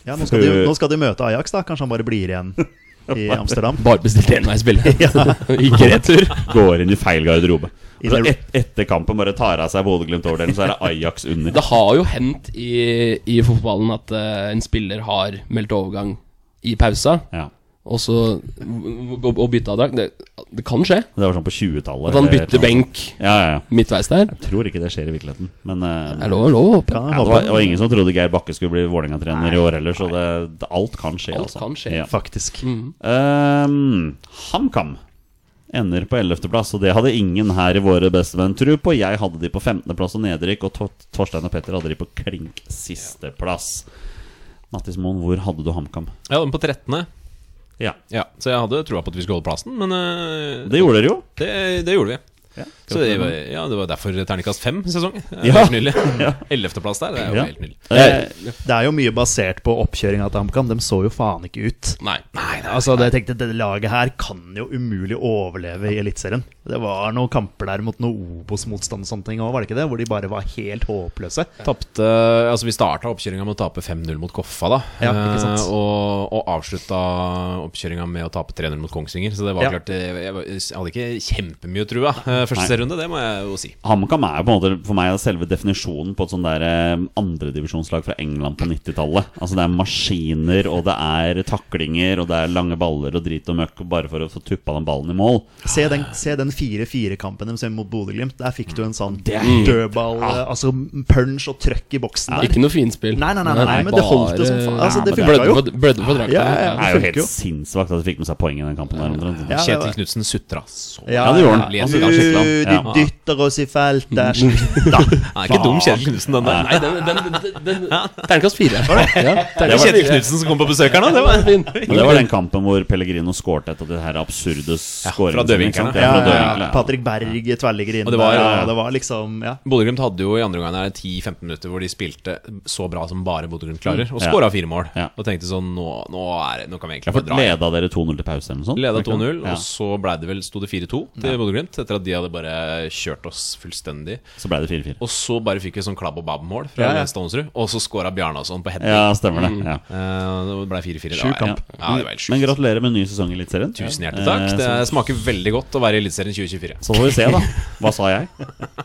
Speaker 4: Ja, nå skal,
Speaker 1: Eh.
Speaker 4: de, nå skal de møte Ajax, da. Kanskje han bare blir igjen i Amsterdam.
Speaker 3: Bare bestilt enveisbillett. Ikke retur.
Speaker 1: Går inn i feil garderobe.
Speaker 4: I
Speaker 1: Altså,
Speaker 4: det-
Speaker 1: et, etter kampen bare tar av seg Bodø-Glimt-overdelen, så er det Ajax under.
Speaker 3: Det har jo hendt i, i fotballen at eh, en spiller har meldt overgang i pausa,
Speaker 1: Ja.
Speaker 3: og så og, og bytta dag. Det, det kan skje.
Speaker 1: Det var sånn på 20-tallet.
Speaker 3: At han
Speaker 1: eller
Speaker 3: bytter
Speaker 1: noe sånt.
Speaker 3: benk
Speaker 1: Ja, ja, ja.
Speaker 3: midtveis der.
Speaker 1: Jeg tror ikke det skjer i virkeligheten. Men eh,
Speaker 3: Det er lov, lov å håpe.
Speaker 4: Ja,
Speaker 1: ja, det, var, det var ingen som trodde Geir Bakke skulle bli Vålerenga-trener i år heller, så det, det, alt kan skje.
Speaker 3: Alt
Speaker 1: altså.
Speaker 3: kan skje.
Speaker 1: Ja.
Speaker 4: Faktisk.
Speaker 3: Mm.
Speaker 1: Ehm, HamKam ender på 11.-plass, og det hadde ingen her i våre bestevenn tro på. Jeg hadde de på 15.-plass og nedrykk, og Tor Torstein og Petter hadde de på klink sisteplass. Mattis Moen, hvor hadde du HamKam?
Speaker 2: Jeg hadde den på 13.
Speaker 1: Ja,
Speaker 2: Ja, så jeg hadde trua på at vi skulle holde plassen, men eh,
Speaker 1: det gjorde dere jo.
Speaker 2: det, det gjorde vi.
Speaker 1: Ja.
Speaker 2: Så det var, ja, det var derfor terningkast fem sesong.
Speaker 1: Ja.
Speaker 2: Ja. Ellevteplass der, det er jo
Speaker 1: Ja.
Speaker 2: helt nydelig.
Speaker 1: Eh,
Speaker 4: Det er jo mye basert på oppkjøringa til HamKam. De så jo faen ikke ut.
Speaker 3: Nei.
Speaker 4: Altså, det jeg tenkte, Dette laget her kan jo umulig overleve i Eliteserien. Det var noen kamper der mot noe Obos-motstand og sånne ting òg, var det ikke det? Hvor de bare var helt håpløse.
Speaker 2: Tapte, altså Vi starta oppkjøringa med å tape 5-0 mot Koffa, da.
Speaker 4: Ja, ikke sant.
Speaker 2: Eh, og, og avslutta oppkjøringa med å tape 3-0 mot Kongsvinger. Så det var
Speaker 4: Ja.
Speaker 2: klart jeg, jeg, var- jeg hadde ikke kjempemye trua eh, første
Speaker 1: Nei.
Speaker 2: serierunde, det må jeg jo si.
Speaker 1: HamKam er jo på en måte for meg selve definisjonen på et sånn der eh, andredivisjonslag fra England på 90-tallet. Altså det er maskiner, og det er taklinger, og det er lange baller og drit og møkk bare for å få tuppa den ballen i mål.
Speaker 4: Se den, se den 4-4-kampen deres hjemme mot Bodø-Glimt. Der fikk du en sånn dødball, altså punch og trøkk i boksen der.
Speaker 3: Ikke noe finspill.
Speaker 4: Nei, nei, nei, nei, nei, men det holdt jo som faen. Altså, det
Speaker 3: Bare-
Speaker 4: funka jo.
Speaker 3: Blødde på- Blødde på drakta.
Speaker 4: Ja, ja, ja.
Speaker 1: Det er jo
Speaker 4: funker jo.
Speaker 1: helt sinnssvakt at de fikk med seg poeng i den kampen der omtrent.
Speaker 4: Ja, det var-
Speaker 2: Kjetil Knutsen sutra så
Speaker 1: Ja, det gjorde han.
Speaker 2: Ja,
Speaker 1: Han
Speaker 2: du-
Speaker 1: suttet skikkelig.
Speaker 4: Du, de
Speaker 1: Ja.
Speaker 4: dytter oss i feltet. Slutt, da.
Speaker 2: Han er ikke dum, Kjetil Knutsen, den der.
Speaker 3: Nei, den, den, den, den Terningkast fire. Ja,
Speaker 2: Det
Speaker 3: terningkast
Speaker 2: var Kjetil
Speaker 3: fire.
Speaker 2: Knutsen som kom på besøk her nå, det var
Speaker 3: fin.
Speaker 1: Men det var den kampen hvor Pellegrino skårte etter det her absurde skåringen. sin,
Speaker 2: Døvikerne.
Speaker 1: ikke sant?
Speaker 4: Ja,
Speaker 1: Ja, fra
Speaker 4: ja, ja.
Speaker 1: Døvikerne.
Speaker 4: Patrick Berg tverrligger inn
Speaker 2: Og det var-
Speaker 4: der, og det var liksom ja.
Speaker 2: Bodø-Glimt hadde jo i andre omgang her 10-15 minutter hvor de spilte så bra som bare Bodø-Glimt klarer, og
Speaker 1: Ja.
Speaker 2: skåra fire mål.
Speaker 1: Ja.
Speaker 2: Og tenkte sånn nå, nå, er, det- nå kan vi egentlig
Speaker 1: For
Speaker 2: få dra. hjem.
Speaker 1: Leda dere 2-0 til pause eller noe sånt?
Speaker 2: Leda
Speaker 1: ikke sant?
Speaker 2: 2-0,
Speaker 1: Ja.
Speaker 2: og så ble det vel, sto det 4-2 til Bodø-Glimt. Etter at de hadde bare kjørt oss fullstendig.
Speaker 1: Så ble det 4-4.
Speaker 2: Og så bare fikk vi sånn klabb og babb-mål fra
Speaker 1: Ja, ja.
Speaker 2: Stånesrud. Og så skåra Bjarnason på heading.
Speaker 1: Ja, stemmer det. Ja.
Speaker 2: Eh, det ble 4-4. Det
Speaker 1: Sjuk
Speaker 2: var-
Speaker 1: kamp.
Speaker 2: Ja, det var helt sjukt.
Speaker 1: Men gratulerer med ny sesong i Eliteserien.
Speaker 2: Tusen hjertelig takk.
Speaker 1: Eh,
Speaker 2: Det
Speaker 1: så-
Speaker 2: smaker veldig godt å være i Eliteserien 2024.
Speaker 1: Så får vi se, da. Hva sa jeg?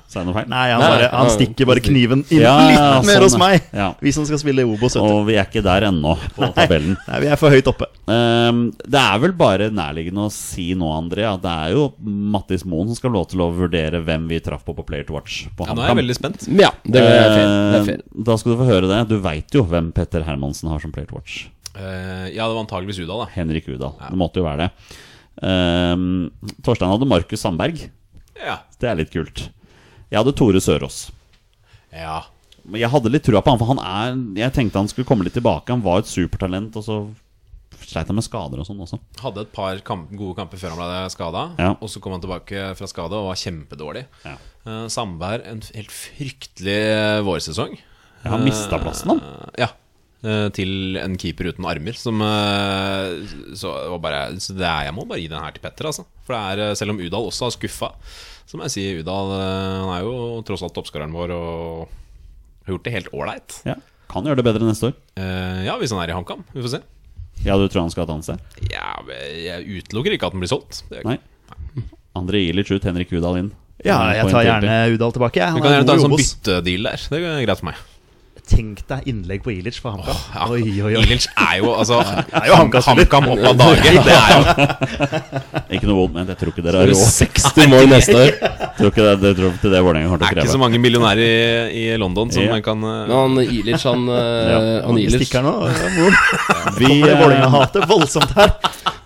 Speaker 1: Sa jeg noe feil?
Speaker 4: Nei, han, bare, han stikker bare kniven inn
Speaker 1: Ja,
Speaker 4: litt
Speaker 1: ja,
Speaker 4: mer
Speaker 1: sånn,
Speaker 4: hos meg.
Speaker 1: ja.
Speaker 4: Vi som skal spille i Obos. vet du.
Speaker 1: Og vi er ikke der ennå på tabellen.
Speaker 4: Nei, vi er for høyt oppe.
Speaker 1: Ehm, det er vel bare nærliggende å si nå, André, at det er jo Mattis Moen som skal lov til å vurdere hvem vi traff på på Player to Watch på
Speaker 2: Ja, nå er jeg
Speaker 1: HamKam.
Speaker 2: veldig spent.
Speaker 3: Ja, det er
Speaker 4: Eh,
Speaker 3: fair. Det er fair.
Speaker 1: Ehm, da skal du få høre det. Du veit jo hvem Petter Hermansen har som Player to Watch.
Speaker 2: Eh, ja, det var antageligvis Udal, da.
Speaker 1: Henrik Udal. Det måtte jo være det. Ehm, Torstein hadde Markus Sandberg.
Speaker 2: Ja.
Speaker 1: Det er litt kult. Jeg hadde Tore Sørås.
Speaker 2: ja.
Speaker 1: Men Jeg hadde litt trua på han, for han er Jeg tenkte han skulle komme litt tilbake. Han var et supertalent, og så sleit han med skader og sånn også.
Speaker 2: Hadde et par kamp, gode kamper før han ble skada.
Speaker 1: Ja.
Speaker 2: Og så kom han tilbake fra skade og var kjempedårlig.
Speaker 1: Ja.
Speaker 2: Eh, Sandberg en f- helt fryktelig eh, vårsesong.
Speaker 1: Ja, han mista plassen, han.
Speaker 2: Eh, ja. Eh, til en keeper uten armer som eh, Så, det var bare, så det er, jeg må bare gi den her til Petter, altså. For det er, eh, selv om Udal også har skuffa, så må jeg si Udal eh, Han er jo tross alt toppskåreren vår og har gjort det helt ålreit.
Speaker 1: Ja. Kan gjøre det bedre neste år.
Speaker 2: Eh, ja, hvis han er i HamKam. Vi får se.
Speaker 1: Ja, du tror han skal ha et annet sted?
Speaker 2: Ja, jeg utelukker ikke at den blir solgt. Det gjør jeg ikke.
Speaker 1: Nei. André Ilic ut, Henrik Udal inn.
Speaker 4: Ja, jeg tar
Speaker 1: Poeng til
Speaker 4: gjerne Udal tilbake. jeg.
Speaker 2: Vi
Speaker 4: Han
Speaker 2: kan
Speaker 4: er
Speaker 2: gjerne ta
Speaker 4: god i
Speaker 2: en sånn
Speaker 4: Obos.
Speaker 2: byttedeal der. Det er greit for meg.
Speaker 4: Tenk deg innlegg på Ilic for HamKam.
Speaker 2: Ja.
Speaker 4: Oi, oi, oi.
Speaker 2: Ilic er jo altså
Speaker 4: er jo HamKam spiller.
Speaker 2: HamKam opp av dage. Det er jo
Speaker 1: Ikke noe vondt ment, jeg tror ikke dere har råd.
Speaker 3: 60 mål neste år.
Speaker 1: Tror ikke det, det, tror ikke det Vålerenga kommer til
Speaker 2: er
Speaker 1: å
Speaker 2: ikke så
Speaker 1: kreve.
Speaker 2: mange millionærer i, i London som
Speaker 1: Ja.
Speaker 2: man kan eh,
Speaker 3: Men han Ilic, han, eh, han
Speaker 4: Vi
Speaker 3: Ilic
Speaker 4: stikker nå. Ja, hvor-
Speaker 1: Vi,
Speaker 4: Kommer det
Speaker 1: eh,
Speaker 4: Vålerenga-hatet voldsomt her?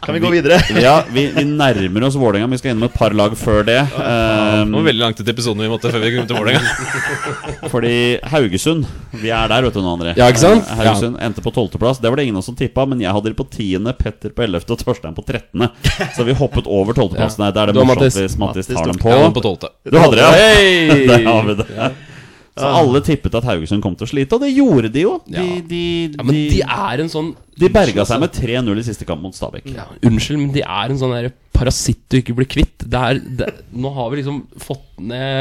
Speaker 4: Kan vi gå videre?
Speaker 1: ja, vi, vi nærmer oss Vålerenga, men vi skal innom et par lag før det.
Speaker 2: Det var veldig langt ut i episoden vi måtte før vi kom til Vålerenga.
Speaker 1: Eh, fordi Haugesund Vi er der, vet du nå, André.
Speaker 3: Ja, ikke sant?
Speaker 1: Eh, Haugesund endte på 12. plass Det var det ingen av oss som tippa, men jeg hadde de på 10., Petter på 11. og Torstein på 13. Så vi hoppet over 12.-plassen her. Det er det
Speaker 3: Du har
Speaker 1: morsomt
Speaker 3: Mattis.
Speaker 1: hvis Mattis tar dem
Speaker 4: tok-
Speaker 1: på.
Speaker 2: Ja, på tolvte.
Speaker 1: Du hadde det, ja?
Speaker 3: Hey!
Speaker 1: Der har vi det. Så alle tippet at Haugesund kom til å slite, og det gjorde de jo. De,
Speaker 3: Ja.
Speaker 1: de,
Speaker 3: Ja, men de
Speaker 1: de,
Speaker 3: er en sånn
Speaker 1: de berga seg med 3-0 i siste kamp mot Stabæk.
Speaker 3: ja, Unnskyld, men de er en sånn der parasitt du ikke blir kvitt. Det er, det, nå har vi liksom fått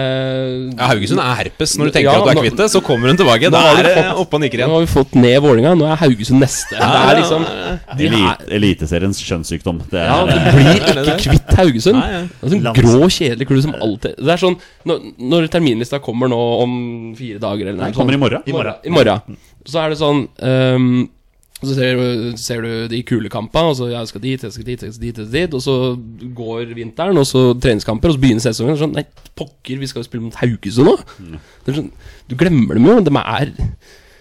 Speaker 3: ned
Speaker 2: Ja, Haugesund er herpes. Når du tenker
Speaker 3: Ja,
Speaker 2: at du er
Speaker 3: nå-
Speaker 2: kvitt det, så kommer hun tilbake. Da
Speaker 3: Nå har
Speaker 2: er
Speaker 3: du
Speaker 2: det
Speaker 3: fått-
Speaker 2: oppe og nikker
Speaker 3: Nå
Speaker 2: igjen.
Speaker 3: har vi fått ned Vålerenga, nå er Haugesund neste. Det er liksom de er,
Speaker 1: Elite, eliteseriens skjønnssykdom. Det
Speaker 3: ja,
Speaker 1: er,
Speaker 3: Du
Speaker 1: eh,
Speaker 3: blir ikke kvitt Haugesund.
Speaker 2: Nei, ja.
Speaker 3: Det er sånn grå, kjedelig klubb som alltid Det er sånn når, når terminlista kommer nå om fire dager eller noe sånt.
Speaker 1: kommer i morgen.
Speaker 3: I morgen. I morgen. Så er det sånn ehm, Så ser, du- ser du de kule kampene, og så jeg skal dit, jeg skal dit, jeg skal dit, jeg skal dit Og så går vinteren, og så treningskamper, og så begynner sesongen. Og sånn, nei, pokker, vi skal jo spille mot Haugesund nå! Det er sånn, du glemmer dem jo. De er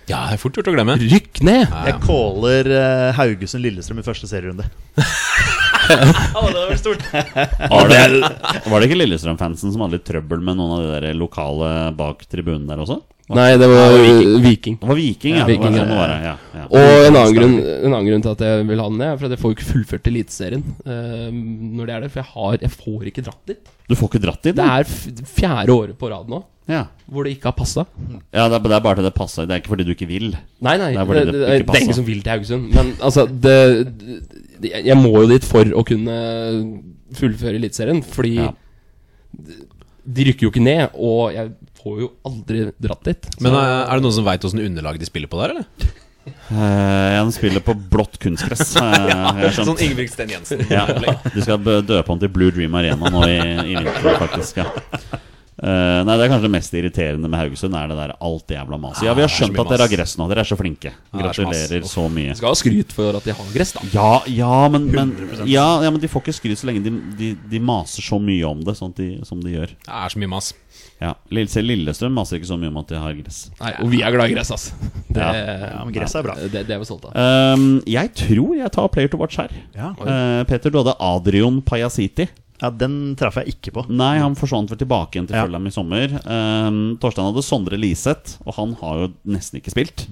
Speaker 2: Ja, det er fort gjort å glemme.
Speaker 3: Rykk ned!
Speaker 4: Jeg caller eh, Haugesund-Lillestrøm i første serierunde.
Speaker 1: Var det, var det ikke Lillestrøm-fansen som hadde litt trøbbel med noen av de der lokale bak tribunen der også?
Speaker 3: Nei, det var eh, Viking.
Speaker 1: Det var Viking, ja.
Speaker 3: Viking,
Speaker 1: det var, sånn det
Speaker 3: ja.
Speaker 1: var, ja, ja.
Speaker 3: Og en annen, grunn, en annen grunn til at jeg vil ha den ned, er for at jeg får jo ikke fullført Eliteserien. eh, når det er det, For jeg, har, jeg får ikke dratt dit.
Speaker 1: Du får ikke dratt i
Speaker 3: Det
Speaker 1: den?
Speaker 3: er f fjerde året på rad nå
Speaker 1: Ja,
Speaker 3: hvor det ikke har passa.
Speaker 1: ja det, er, det er bare til det passer. Det er ikke fordi du ikke vil.
Speaker 3: Nei, nei,
Speaker 1: Det er
Speaker 3: det,
Speaker 1: fordi
Speaker 3: det,
Speaker 1: det
Speaker 3: det,
Speaker 1: ikke
Speaker 3: er
Speaker 1: passer.
Speaker 3: ingen som vil til Haugesund. Men altså, det, det, jeg må jo dit for å kunne fullføre Eliteserien. Fordi
Speaker 1: Ja.
Speaker 3: de rykker jo ikke ned, og jeg får jo aldri dratt dit.
Speaker 2: Men eh, er det noen som veit åssen underlag de spiller på der, eller?
Speaker 1: Eh, jeg spiller på blått kunstgress. eh, jeg skjønner.
Speaker 2: Sånn Ingebrigtsen Jensen.
Speaker 1: Ja, de skal bø- døpe om til Blue Dream Arena nå i, i vinter, faktisk. Ja. Eh, nei, Det er kanskje det mest irriterende med Haugesund, er det der alt jævla maset. Ja, vi har
Speaker 2: Ah, det er så
Speaker 1: skjønt
Speaker 2: mye
Speaker 1: at dere har
Speaker 2: mas.
Speaker 1: gress nå. Dere er så flinke.
Speaker 2: det er så mas.
Speaker 1: Gratulerer så mye.
Speaker 3: Skal ha skryt for at de har gress, da.
Speaker 1: Ja, ja, men, men, ja, ja, men de får ikke skryt så lenge de, de, de maser så mye om det sånn at de, som de gjør.
Speaker 2: Det er så mye mas.
Speaker 1: Ja, Lille- Selv Lillestrøm maser ikke så mye om at de har gress.
Speaker 3: Nei, og vi er glad i gress, ass. Det,
Speaker 4: Ja, men gresset er bra.
Speaker 3: det, det er vi stolte av.
Speaker 1: Ehm, jeg tror jeg tar player to watch her.
Speaker 4: Ja.
Speaker 1: Eh, Peter, du hadde Adrian Pajasiti.
Speaker 4: Ja, den traff jeg ikke på.
Speaker 1: Nei, han forsvant vel tilbake igjen til
Speaker 4: Mm. Ja.
Speaker 1: Fulham i sommer. Ehm, Torstein hadde Sondre Liseth, og han har jo nesten ikke spilt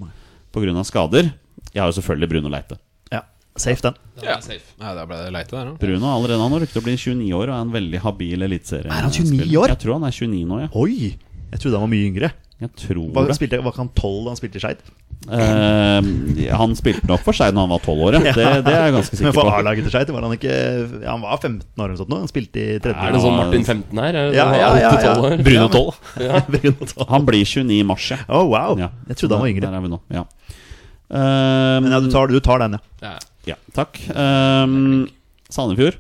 Speaker 1: pga. skader. Jeg har jo selvfølgelig Bruno Leite.
Speaker 4: Ja, Safe, den.
Speaker 2: Ja, ja da ble det leite der, da.
Speaker 1: Bruno er allerede han har rukket å bli 29 år og er en veldig habil eliteserie.
Speaker 4: Er han 29 år?
Speaker 1: Jeg tror han er 29 nå, ja.
Speaker 4: Oi! Jeg trodde han var mye yngre.
Speaker 1: Jeg tror
Speaker 4: Hva,
Speaker 1: det.
Speaker 4: spilte, var ikke han tolv da han spilte i Skeid?
Speaker 1: Ehm, han spilte nok for seg når han var 12 år, ja. Det, det er jeg ganske
Speaker 4: Men
Speaker 1: sikker
Speaker 4: for
Speaker 1: på.
Speaker 4: A-laget til Skeid var han ikke ja, Han var 15 år eller noe sånt nå. Han spilte i tredje
Speaker 3: Er det sånn Martin 15 her? Er det
Speaker 4: Ja, ja, ja, ja.
Speaker 3: 8-12 her?
Speaker 2: Bruno 12.
Speaker 4: Bruno Toll.
Speaker 1: Han blir 29 i mars, ja.
Speaker 4: Å, wow!
Speaker 1: Ja.
Speaker 4: Jeg trodde han var
Speaker 1: Der
Speaker 4: yngre.
Speaker 1: er vi nå, ja. Ehm,
Speaker 4: Men ja, du tar, du tar den, ja.
Speaker 3: Ja.
Speaker 1: Eh, Ja, takk. Ehm, Sandefjord.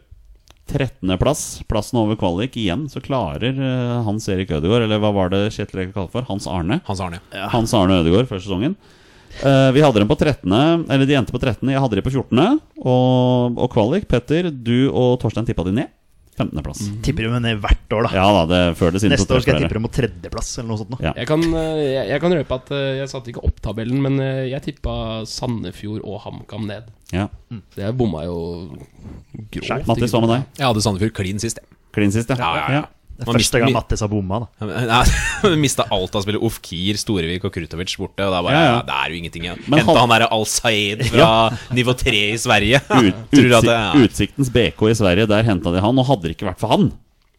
Speaker 1: 13.plass, plassen over kvalik. Igjen så klarer eh, Hans Erik Ødegaard, eller hva var det Kjetil Rekdal kalte for? Hans Arne.
Speaker 2: Hans Arne.
Speaker 1: Hans Arne Ødegaard før sesongen. Eh, vi hadde dem på 13., eller de endte på 13., jeg hadde de på 14., og, og kvalik. Petter, du og Torstein tippa de ned. 15.plass.
Speaker 4: Tipper jo ned hvert år, da.
Speaker 1: Ja da, det før det siden
Speaker 4: Neste år skal jeg tippe dem på tredjeplass eller noe sånt. nå
Speaker 1: Ja.
Speaker 3: Jeg, kan, eh, jeg, jeg kan røpe at eh, jeg satte ikke opp tabellen, men eh, jeg tippa Sandefjord og HamKam ned.
Speaker 1: Ja.
Speaker 3: Så jeg bomma jo grovt.
Speaker 1: Mattis, hva med deg?
Speaker 2: Jeg hadde Sandefjord klin sist, jeg.
Speaker 1: Klin sist,
Speaker 2: Ja, ja, ja.
Speaker 4: Det er
Speaker 2: Man mister
Speaker 4: første gang
Speaker 2: mi-
Speaker 4: Mattis har bomma, da.
Speaker 2: Nei, Mista alt av spillere. Ofkir, Storevik og Krutovic borte. Og det er bare
Speaker 1: Ja, ja.
Speaker 2: Det er jo ingenting igjen.
Speaker 1: Men
Speaker 2: Henta
Speaker 1: han-
Speaker 2: han derre Al-Sayed fra nivå 3 i Sverige.
Speaker 1: Ut,
Speaker 2: Tror du at det
Speaker 1: utsi-
Speaker 2: er
Speaker 1: utsiktens BK i Sverige, der henta de han, og hadde det ikke vært for han,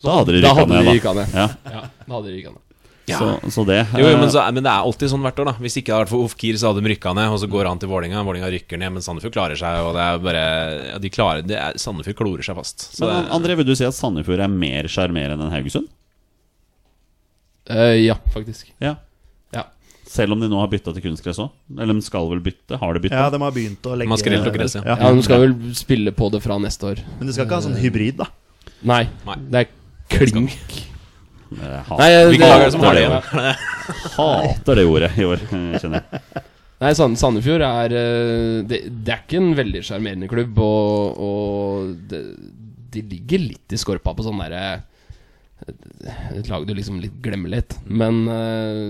Speaker 1: da hadde de
Speaker 3: Da
Speaker 1: rykka
Speaker 3: hadde
Speaker 1: ned.
Speaker 3: de
Speaker 1: da.
Speaker 3: rykka ned.
Speaker 1: Ja,
Speaker 3: Ja, da hadde de rykka ned.
Speaker 2: ja.
Speaker 1: så, så det
Speaker 2: jo, jo,
Speaker 1: eh,
Speaker 2: men, så, men det er alltid sånn hvert år, da. Hvis ikke det hadde vært for Ofkir, så hadde de rykka ned, og så går han til Vålinga Vålinga rykker ned, men Sandefjord klarer seg, og det er bare ja, de klarer, det er, Sandefjord klorer seg fast.
Speaker 1: eh,
Speaker 2: Så
Speaker 1: Men
Speaker 2: det,
Speaker 1: An- André, vil du si at Sandefjord er mer sjarmerende enn Haugesund?
Speaker 3: Eh, ja, faktisk.
Speaker 1: Ja.
Speaker 3: Ja.
Speaker 1: Selv om de nå har bytta til kunstgress òg? Eller de skal vel bytte? Har de bytta?
Speaker 4: Ja, de har begynt å legge
Speaker 2: Man skrelt og gress, ja.
Speaker 3: ja, De skal vel spille på det fra neste år.
Speaker 4: Men du skal ikke ha sånn hybrid, da.
Speaker 3: Nei,
Speaker 2: Nei.
Speaker 3: det er klink.
Speaker 1: Jeg Eh, ha-
Speaker 3: Nei, eh, jeg-
Speaker 2: Hvilke lag er det som har det?
Speaker 1: det ordet. hater det ordet i år, eh, kjenner jeg.
Speaker 3: Nei, Sand- Sandefjord er eh, det, det er ikke en veldig sjarmerende klubb, og, og det, de ligger litt i skorpa på sånn derre Et lag du liksom litt glemmer litt. Men eh,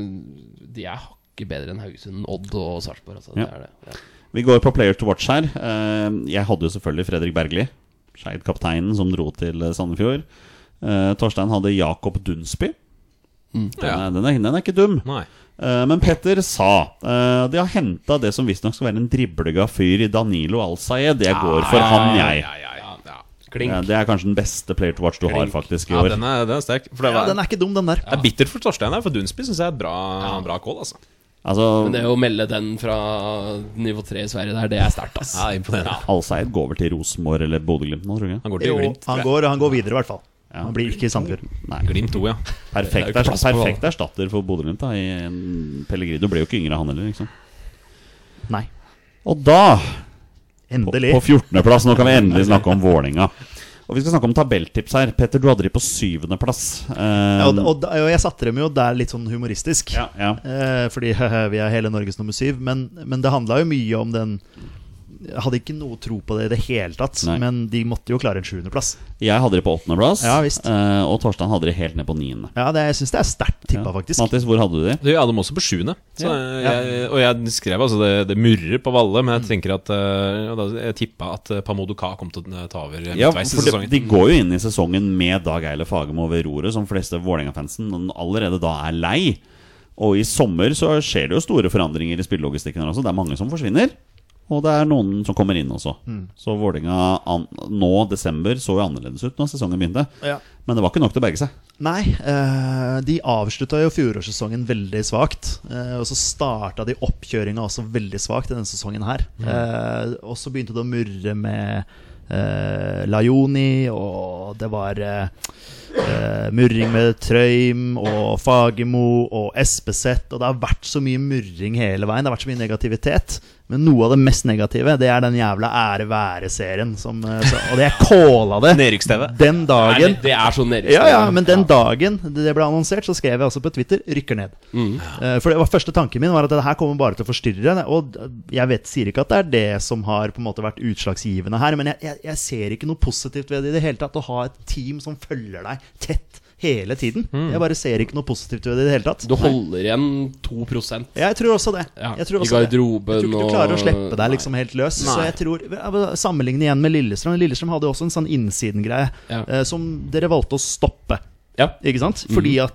Speaker 3: de er hakket bedre enn Haugesund, Odd og Sarpsborg. Altså,
Speaker 1: Ja.
Speaker 3: det er det. Ja.
Speaker 1: Vi går på player to watch her. Eh, Jeg hadde jo selvfølgelig Fredrik Bergli, Skeid-kapteinen som dro til eh, Sandefjord. Eh, Torstein hadde Jakob Dunsby. Den,
Speaker 2: Ja.
Speaker 1: er, den, er, den er ikke dum.
Speaker 2: nei.
Speaker 1: Eh, Men Petter sa eh, de har henta det som visstnok skal være en driblega fyr i Danilo Al-Sayed. Jeg går for han, jeg.
Speaker 2: Ja, ja, ja, ja.
Speaker 1: Ja,
Speaker 3: Klink.
Speaker 1: det er kanskje den beste player to watch du har faktisk i
Speaker 2: Ja,
Speaker 1: år.
Speaker 2: den er, den er sterk. For det,
Speaker 4: Ja,
Speaker 2: var,
Speaker 4: Den er ikke dum, den der.
Speaker 2: det er bittert for Torstein her, for Dunsby syns jeg er et bra, bra call, altså.
Speaker 3: Men
Speaker 1: Altså,
Speaker 3: det å melde den fra nivå 3 i Sverige der, det er sterkt, ass.
Speaker 2: Ja, imponerende.
Speaker 1: Alseid går vel til Rosenborg eller Bodø-Glimt nå, tror jeg.
Speaker 2: Han går til
Speaker 4: Jo,
Speaker 2: Glimt.
Speaker 4: han går, han går videre, i hvert fall. Han blir ikke i Sandefjord.
Speaker 1: Nei,
Speaker 2: Glimt 2, ja.
Speaker 1: perfekt,
Speaker 3: Det er jo ikke plass på
Speaker 1: perfekt erstatter for Bodø-Glimt da, i en Pellegrino. Ble jo ikke yngre, han heller, liksom.
Speaker 4: Nei.
Speaker 1: Og da, på,
Speaker 4: Endelig.
Speaker 1: på 14.-plass, nå kan vi endelig snakke om Vålinga. Og vi skal snakke om tabelltips her. Petter, du hadde de på 7.-plass.
Speaker 4: Ja, og, og, og jeg satte dem jo der litt sånn humoristisk.
Speaker 1: ja, ja.
Speaker 4: Eh, fordi vi er hele Norges nummer syv. Men, men det handla jo mye om den Jeg hadde ikke noe tro på det i det hele tatt,
Speaker 1: Nei.
Speaker 4: men de måtte jo klare en sjuendeplass.
Speaker 1: Jeg hadde de på 8.-plass,
Speaker 4: Ja, visst.
Speaker 1: og Torstein hadde de helt ned på 9.
Speaker 4: Ja, det, jeg syns det er sterkt tippa, faktisk.
Speaker 1: Mattis, hvor hadde du de?
Speaker 2: Du, Jeg hadde dem også på sjuende. Så jeg- Og jeg skrev altså det, det murrer på Valle, men jeg tenker at eh, og da, Jeg tippa at eh, Pamodo Ka kom til å ta over
Speaker 1: Ja,
Speaker 2: midtveis i
Speaker 1: for de,
Speaker 2: sesongen.
Speaker 1: de går jo inn i sesongen med Dag Eiler Fagermo ved roret, som fleste Vålerenga-fansen allerede da er lei. Og i sommer så skjer det jo store forandringer i spillelogistikken her også. Det er mange som forsvinner, og det er noen som kommer inn også.
Speaker 4: Mm.
Speaker 1: Så Vålerenga an- nå, desember, så jo annerledes ut når sesongen begynte.
Speaker 4: Ja.
Speaker 1: Men det var ikke nok til å berge seg.
Speaker 4: Nei, eh, de avslutta jo fjorårssesongen veldig svakt. eh, og så starta de oppkjøringa også veldig svakt i denne sesongen her.
Speaker 3: Mm.
Speaker 4: Eh, og så begynte det å murre med eh, Lajoni, og det var eh, eh, murring med Trøim og Fagermo og Espeseth. Og det har vært så mye murring hele veien. Det har vært så mye negativitet. Men noe av det mest negative, det er den jævla ære være-serien. som, eh, så- Og det er kåla det
Speaker 2: Nedrykks-TV.
Speaker 4: den
Speaker 3: Nei,
Speaker 4: dagen.
Speaker 3: men det er så nedrykk.
Speaker 4: Ja, ja, men den dagen det ble annonsert, så skrev jeg også på Twitter 'rykker ned'. Eh, For det var Første tanken min var at det her kommer bare til å forstyrre. Og jeg vet, sier ikke at det er det som har på en måte vært utslagsgivende her, men jeg, jeg, jeg ser ikke noe positivt ved det i det hele tatt. Å ha et team som følger deg tett hele tiden.
Speaker 3: Mm.
Speaker 4: Jeg bare ser ikke noe positivt ved det i det hele tatt.
Speaker 3: Du holder igjen 2
Speaker 4: Jeg tror også det.
Speaker 3: Ja,
Speaker 4: Jeg tror
Speaker 3: i
Speaker 4: også det.
Speaker 3: garderoben
Speaker 4: Jeg tror ikke
Speaker 3: og-
Speaker 4: du klarer å slippe deg liksom helt løs. Så
Speaker 3: Nei.
Speaker 4: jeg tror ja, men Sammenligne igjen med Lillestrøm. Lillestrøm hadde også en sånn innsiden-greie
Speaker 3: Ja.
Speaker 4: eh, som dere valgte å stoppe.
Speaker 3: Ja.
Speaker 4: Ikke sant? Fordi at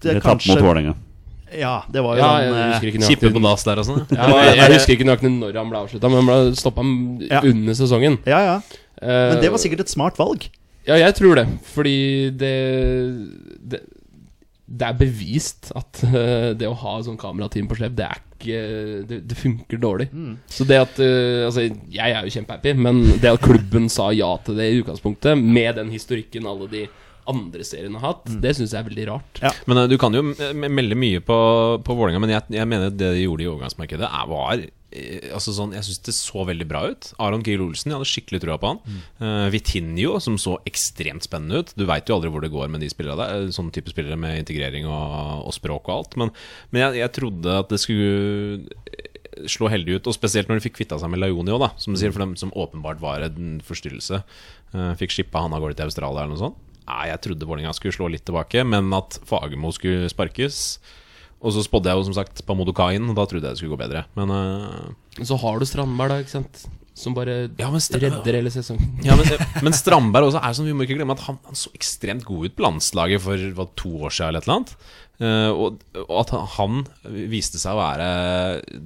Speaker 4: det
Speaker 1: Dere tapte
Speaker 4: kanskje
Speaker 1: mot Vålerenga.
Speaker 4: Ja, det var jo
Speaker 3: ja,
Speaker 4: sånn
Speaker 3: jeg
Speaker 4: eh,
Speaker 3: husker ikke
Speaker 2: Kippe på
Speaker 3: nøyaktig,
Speaker 2: dass der og sånn.
Speaker 3: ja, jeg, jeg husker ikke nøyaktig når han ble avslutta, men han ble stoppa
Speaker 4: Ja.
Speaker 3: under sesongen.
Speaker 4: Ja, ja.
Speaker 3: Eh,
Speaker 4: Men det var sikkert et smart valg.
Speaker 3: Ja, jeg tror det. Fordi det Det, det er bevist at eh, det å ha sånn kamerateam på slep, det er ikke Det, det funker dårlig. Så det at eh, Altså, jeg er jo kjempehappy, men det at klubben sa ja til det i utgangspunktet, med den historikken alle de andre seriene har hatt, det syns jeg er veldig rart.
Speaker 2: Men eh, du kan jo eh, melde mye på, på Vålerenga, men jeg, jeg mener det de gjorde i overgangsmarkedet, er, var eh, Altså sånn, Jeg syns det så veldig bra ut. Aron Kiel Olsen, jeg hadde skikkelig trua på han. Eh, Vitinho, som så ekstremt spennende ut. Du veit jo aldri hvor det går med de spillerne der. eh, Sånne type spillere med integrering og, og språk og alt. Men, men jeg, jeg trodde at det skulle eh, slå heldig ut, og spesielt når de fikk kvitta seg med Laioni òg, da. Som du sier, for dem som åpenbart var en forstyrrelse. Eh, Fikk skippa han av gårde til Australia eller noe sånt. Nei, jeg trodde Vålerenga skulle slå litt tilbake, men at Fagermo skulle sparkes. Og så spådde jeg jo som sagt på Modokain, og da trodde jeg det skulle gå bedre. Men eh,
Speaker 3: Så har du Strandberg, da, ikke sant. Som bare
Speaker 2: Ja, men Strand-
Speaker 3: redder hele sesongen.
Speaker 2: ja, men, eh, men Strandberg også er sånn, vi må ikke glemme at han, han så ekstremt god ut på landslaget for hva, to år siden eller et eller annet. Eh, og, og at han viste seg å være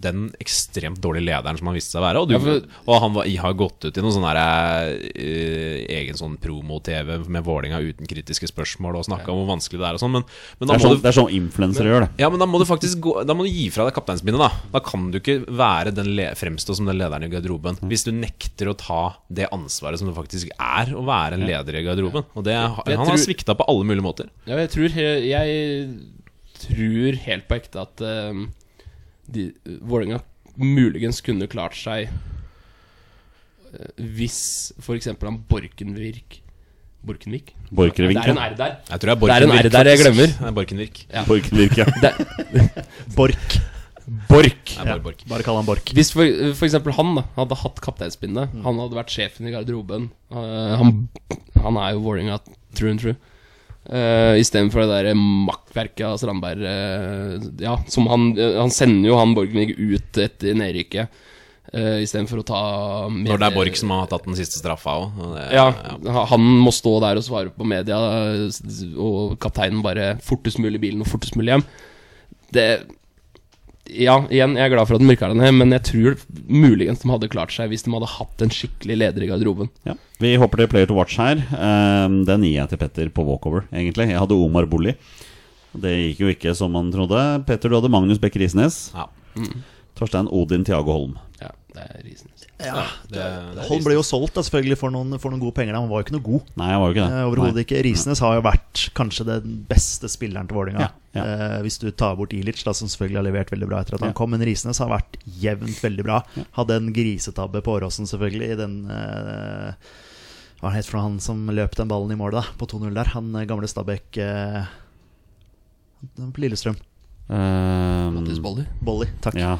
Speaker 2: den ekstremt dårlige lederen som han viste seg å være. Og, du,
Speaker 3: Ja, for-
Speaker 2: og han var, har gått ut i noen sånn derre, eh, egen sånn promo-TV med Vålinga uten kritiske spørsmål og snakka om hvor vanskelig det er og sånn, men, men
Speaker 1: Det
Speaker 2: da
Speaker 1: er
Speaker 2: må
Speaker 1: sånn,
Speaker 2: du
Speaker 1: det er sånn influensere gjør det.
Speaker 2: ja, men da må du faktisk gå, da må du gi fra deg kapteinsbindet. Da Da kan du ikke være den le, fremstå som den lederen i garderoben hvis du nekter å ta det ansvaret som det faktisk er å være en leder i garderoben. Og det,
Speaker 3: Jeg
Speaker 2: Han har
Speaker 3: tror-
Speaker 2: svikta på alle mulige måter.
Speaker 3: Ja, jeg tror, he- jeg tror helt på ekte at um, de, Vålerenga muligens kunne klart seg eh, hvis f.eks. han Borkenvirk Borkenvik?
Speaker 1: Borchgrevink.
Speaker 3: Det er en R der.
Speaker 2: Jeg tror det er
Speaker 3: Det er en
Speaker 2: Borkenvirk.
Speaker 3: R der jeg
Speaker 2: faktisk.
Speaker 3: glemmer.
Speaker 2: Det er Borkenvirk. Det
Speaker 1: Borchgrevink, ja.
Speaker 3: Det er,
Speaker 4: Bork.
Speaker 3: Bork.
Speaker 2: er bare Bork.
Speaker 4: Bare kall han Bork.
Speaker 3: Hvis for, for eksempel han da, hadde hatt kapteinspinnet,
Speaker 2: Mm.
Speaker 3: han hadde vært sjefen i garderoben eh, han, han er jo Vålerenga true and true. Uh, Istedenfor det der makkverket av Strandberg eh, Ja, som han eh, Han sender jo han Borgenvig ut etter nedrykket uh, istedenfor å ta med-
Speaker 2: Når det er Bork som har tatt den siste straffa òg.
Speaker 3: ja, Eh, han må stå der og svare på media, eh, og kapteinen bare fortest mulig i bilen og fortest mulig hjem. Det Ja, igjen, jeg er glad for at den mørka den ned, men jeg tror muligens de hadde klart seg hvis de hadde hatt en skikkelig leder i garderoben.
Speaker 1: Ja. Vi hopper til Player to Watch her. Ehm, Den gir jeg til Petter på walkover, egentlig. Jeg hadde Omar Bolli. Det gikk jo ikke som man trodde. Petter, du hadde Magnus Bekker Isnes.
Speaker 2: Ja.
Speaker 1: Torstein Odin Tiago Holm.
Speaker 3: Ja, det er risen.
Speaker 4: Ja,
Speaker 2: Det, det
Speaker 4: Holm ble jo solgt da, selvfølgelig for noen, for noen gode penger. da. Han var jo ikke noe god.
Speaker 1: Nei, jeg var jo ikke det.
Speaker 4: Eh, Overhodet ikke. Risnes har jo vært kanskje den beste spilleren til Vålerenga.
Speaker 1: Ja, ja.
Speaker 4: Eh, hvis du tar bort Ilic, da, som selvfølgelig har levert veldig bra etter at han
Speaker 1: Ja.
Speaker 4: kom. Men Risnes har vært jevnt veldig bra. Hadde en grisetabbe på Åråsen, selvfølgelig, i den eh, Hva var det het for noe, han som løp den ballen i mål, da? På 2-0 der. Han eh, gamle Stabæk eh, På Lillestrøm.
Speaker 1: Ehm,
Speaker 3: Mattis Bolli.
Speaker 4: Bolly, takk.
Speaker 1: ja.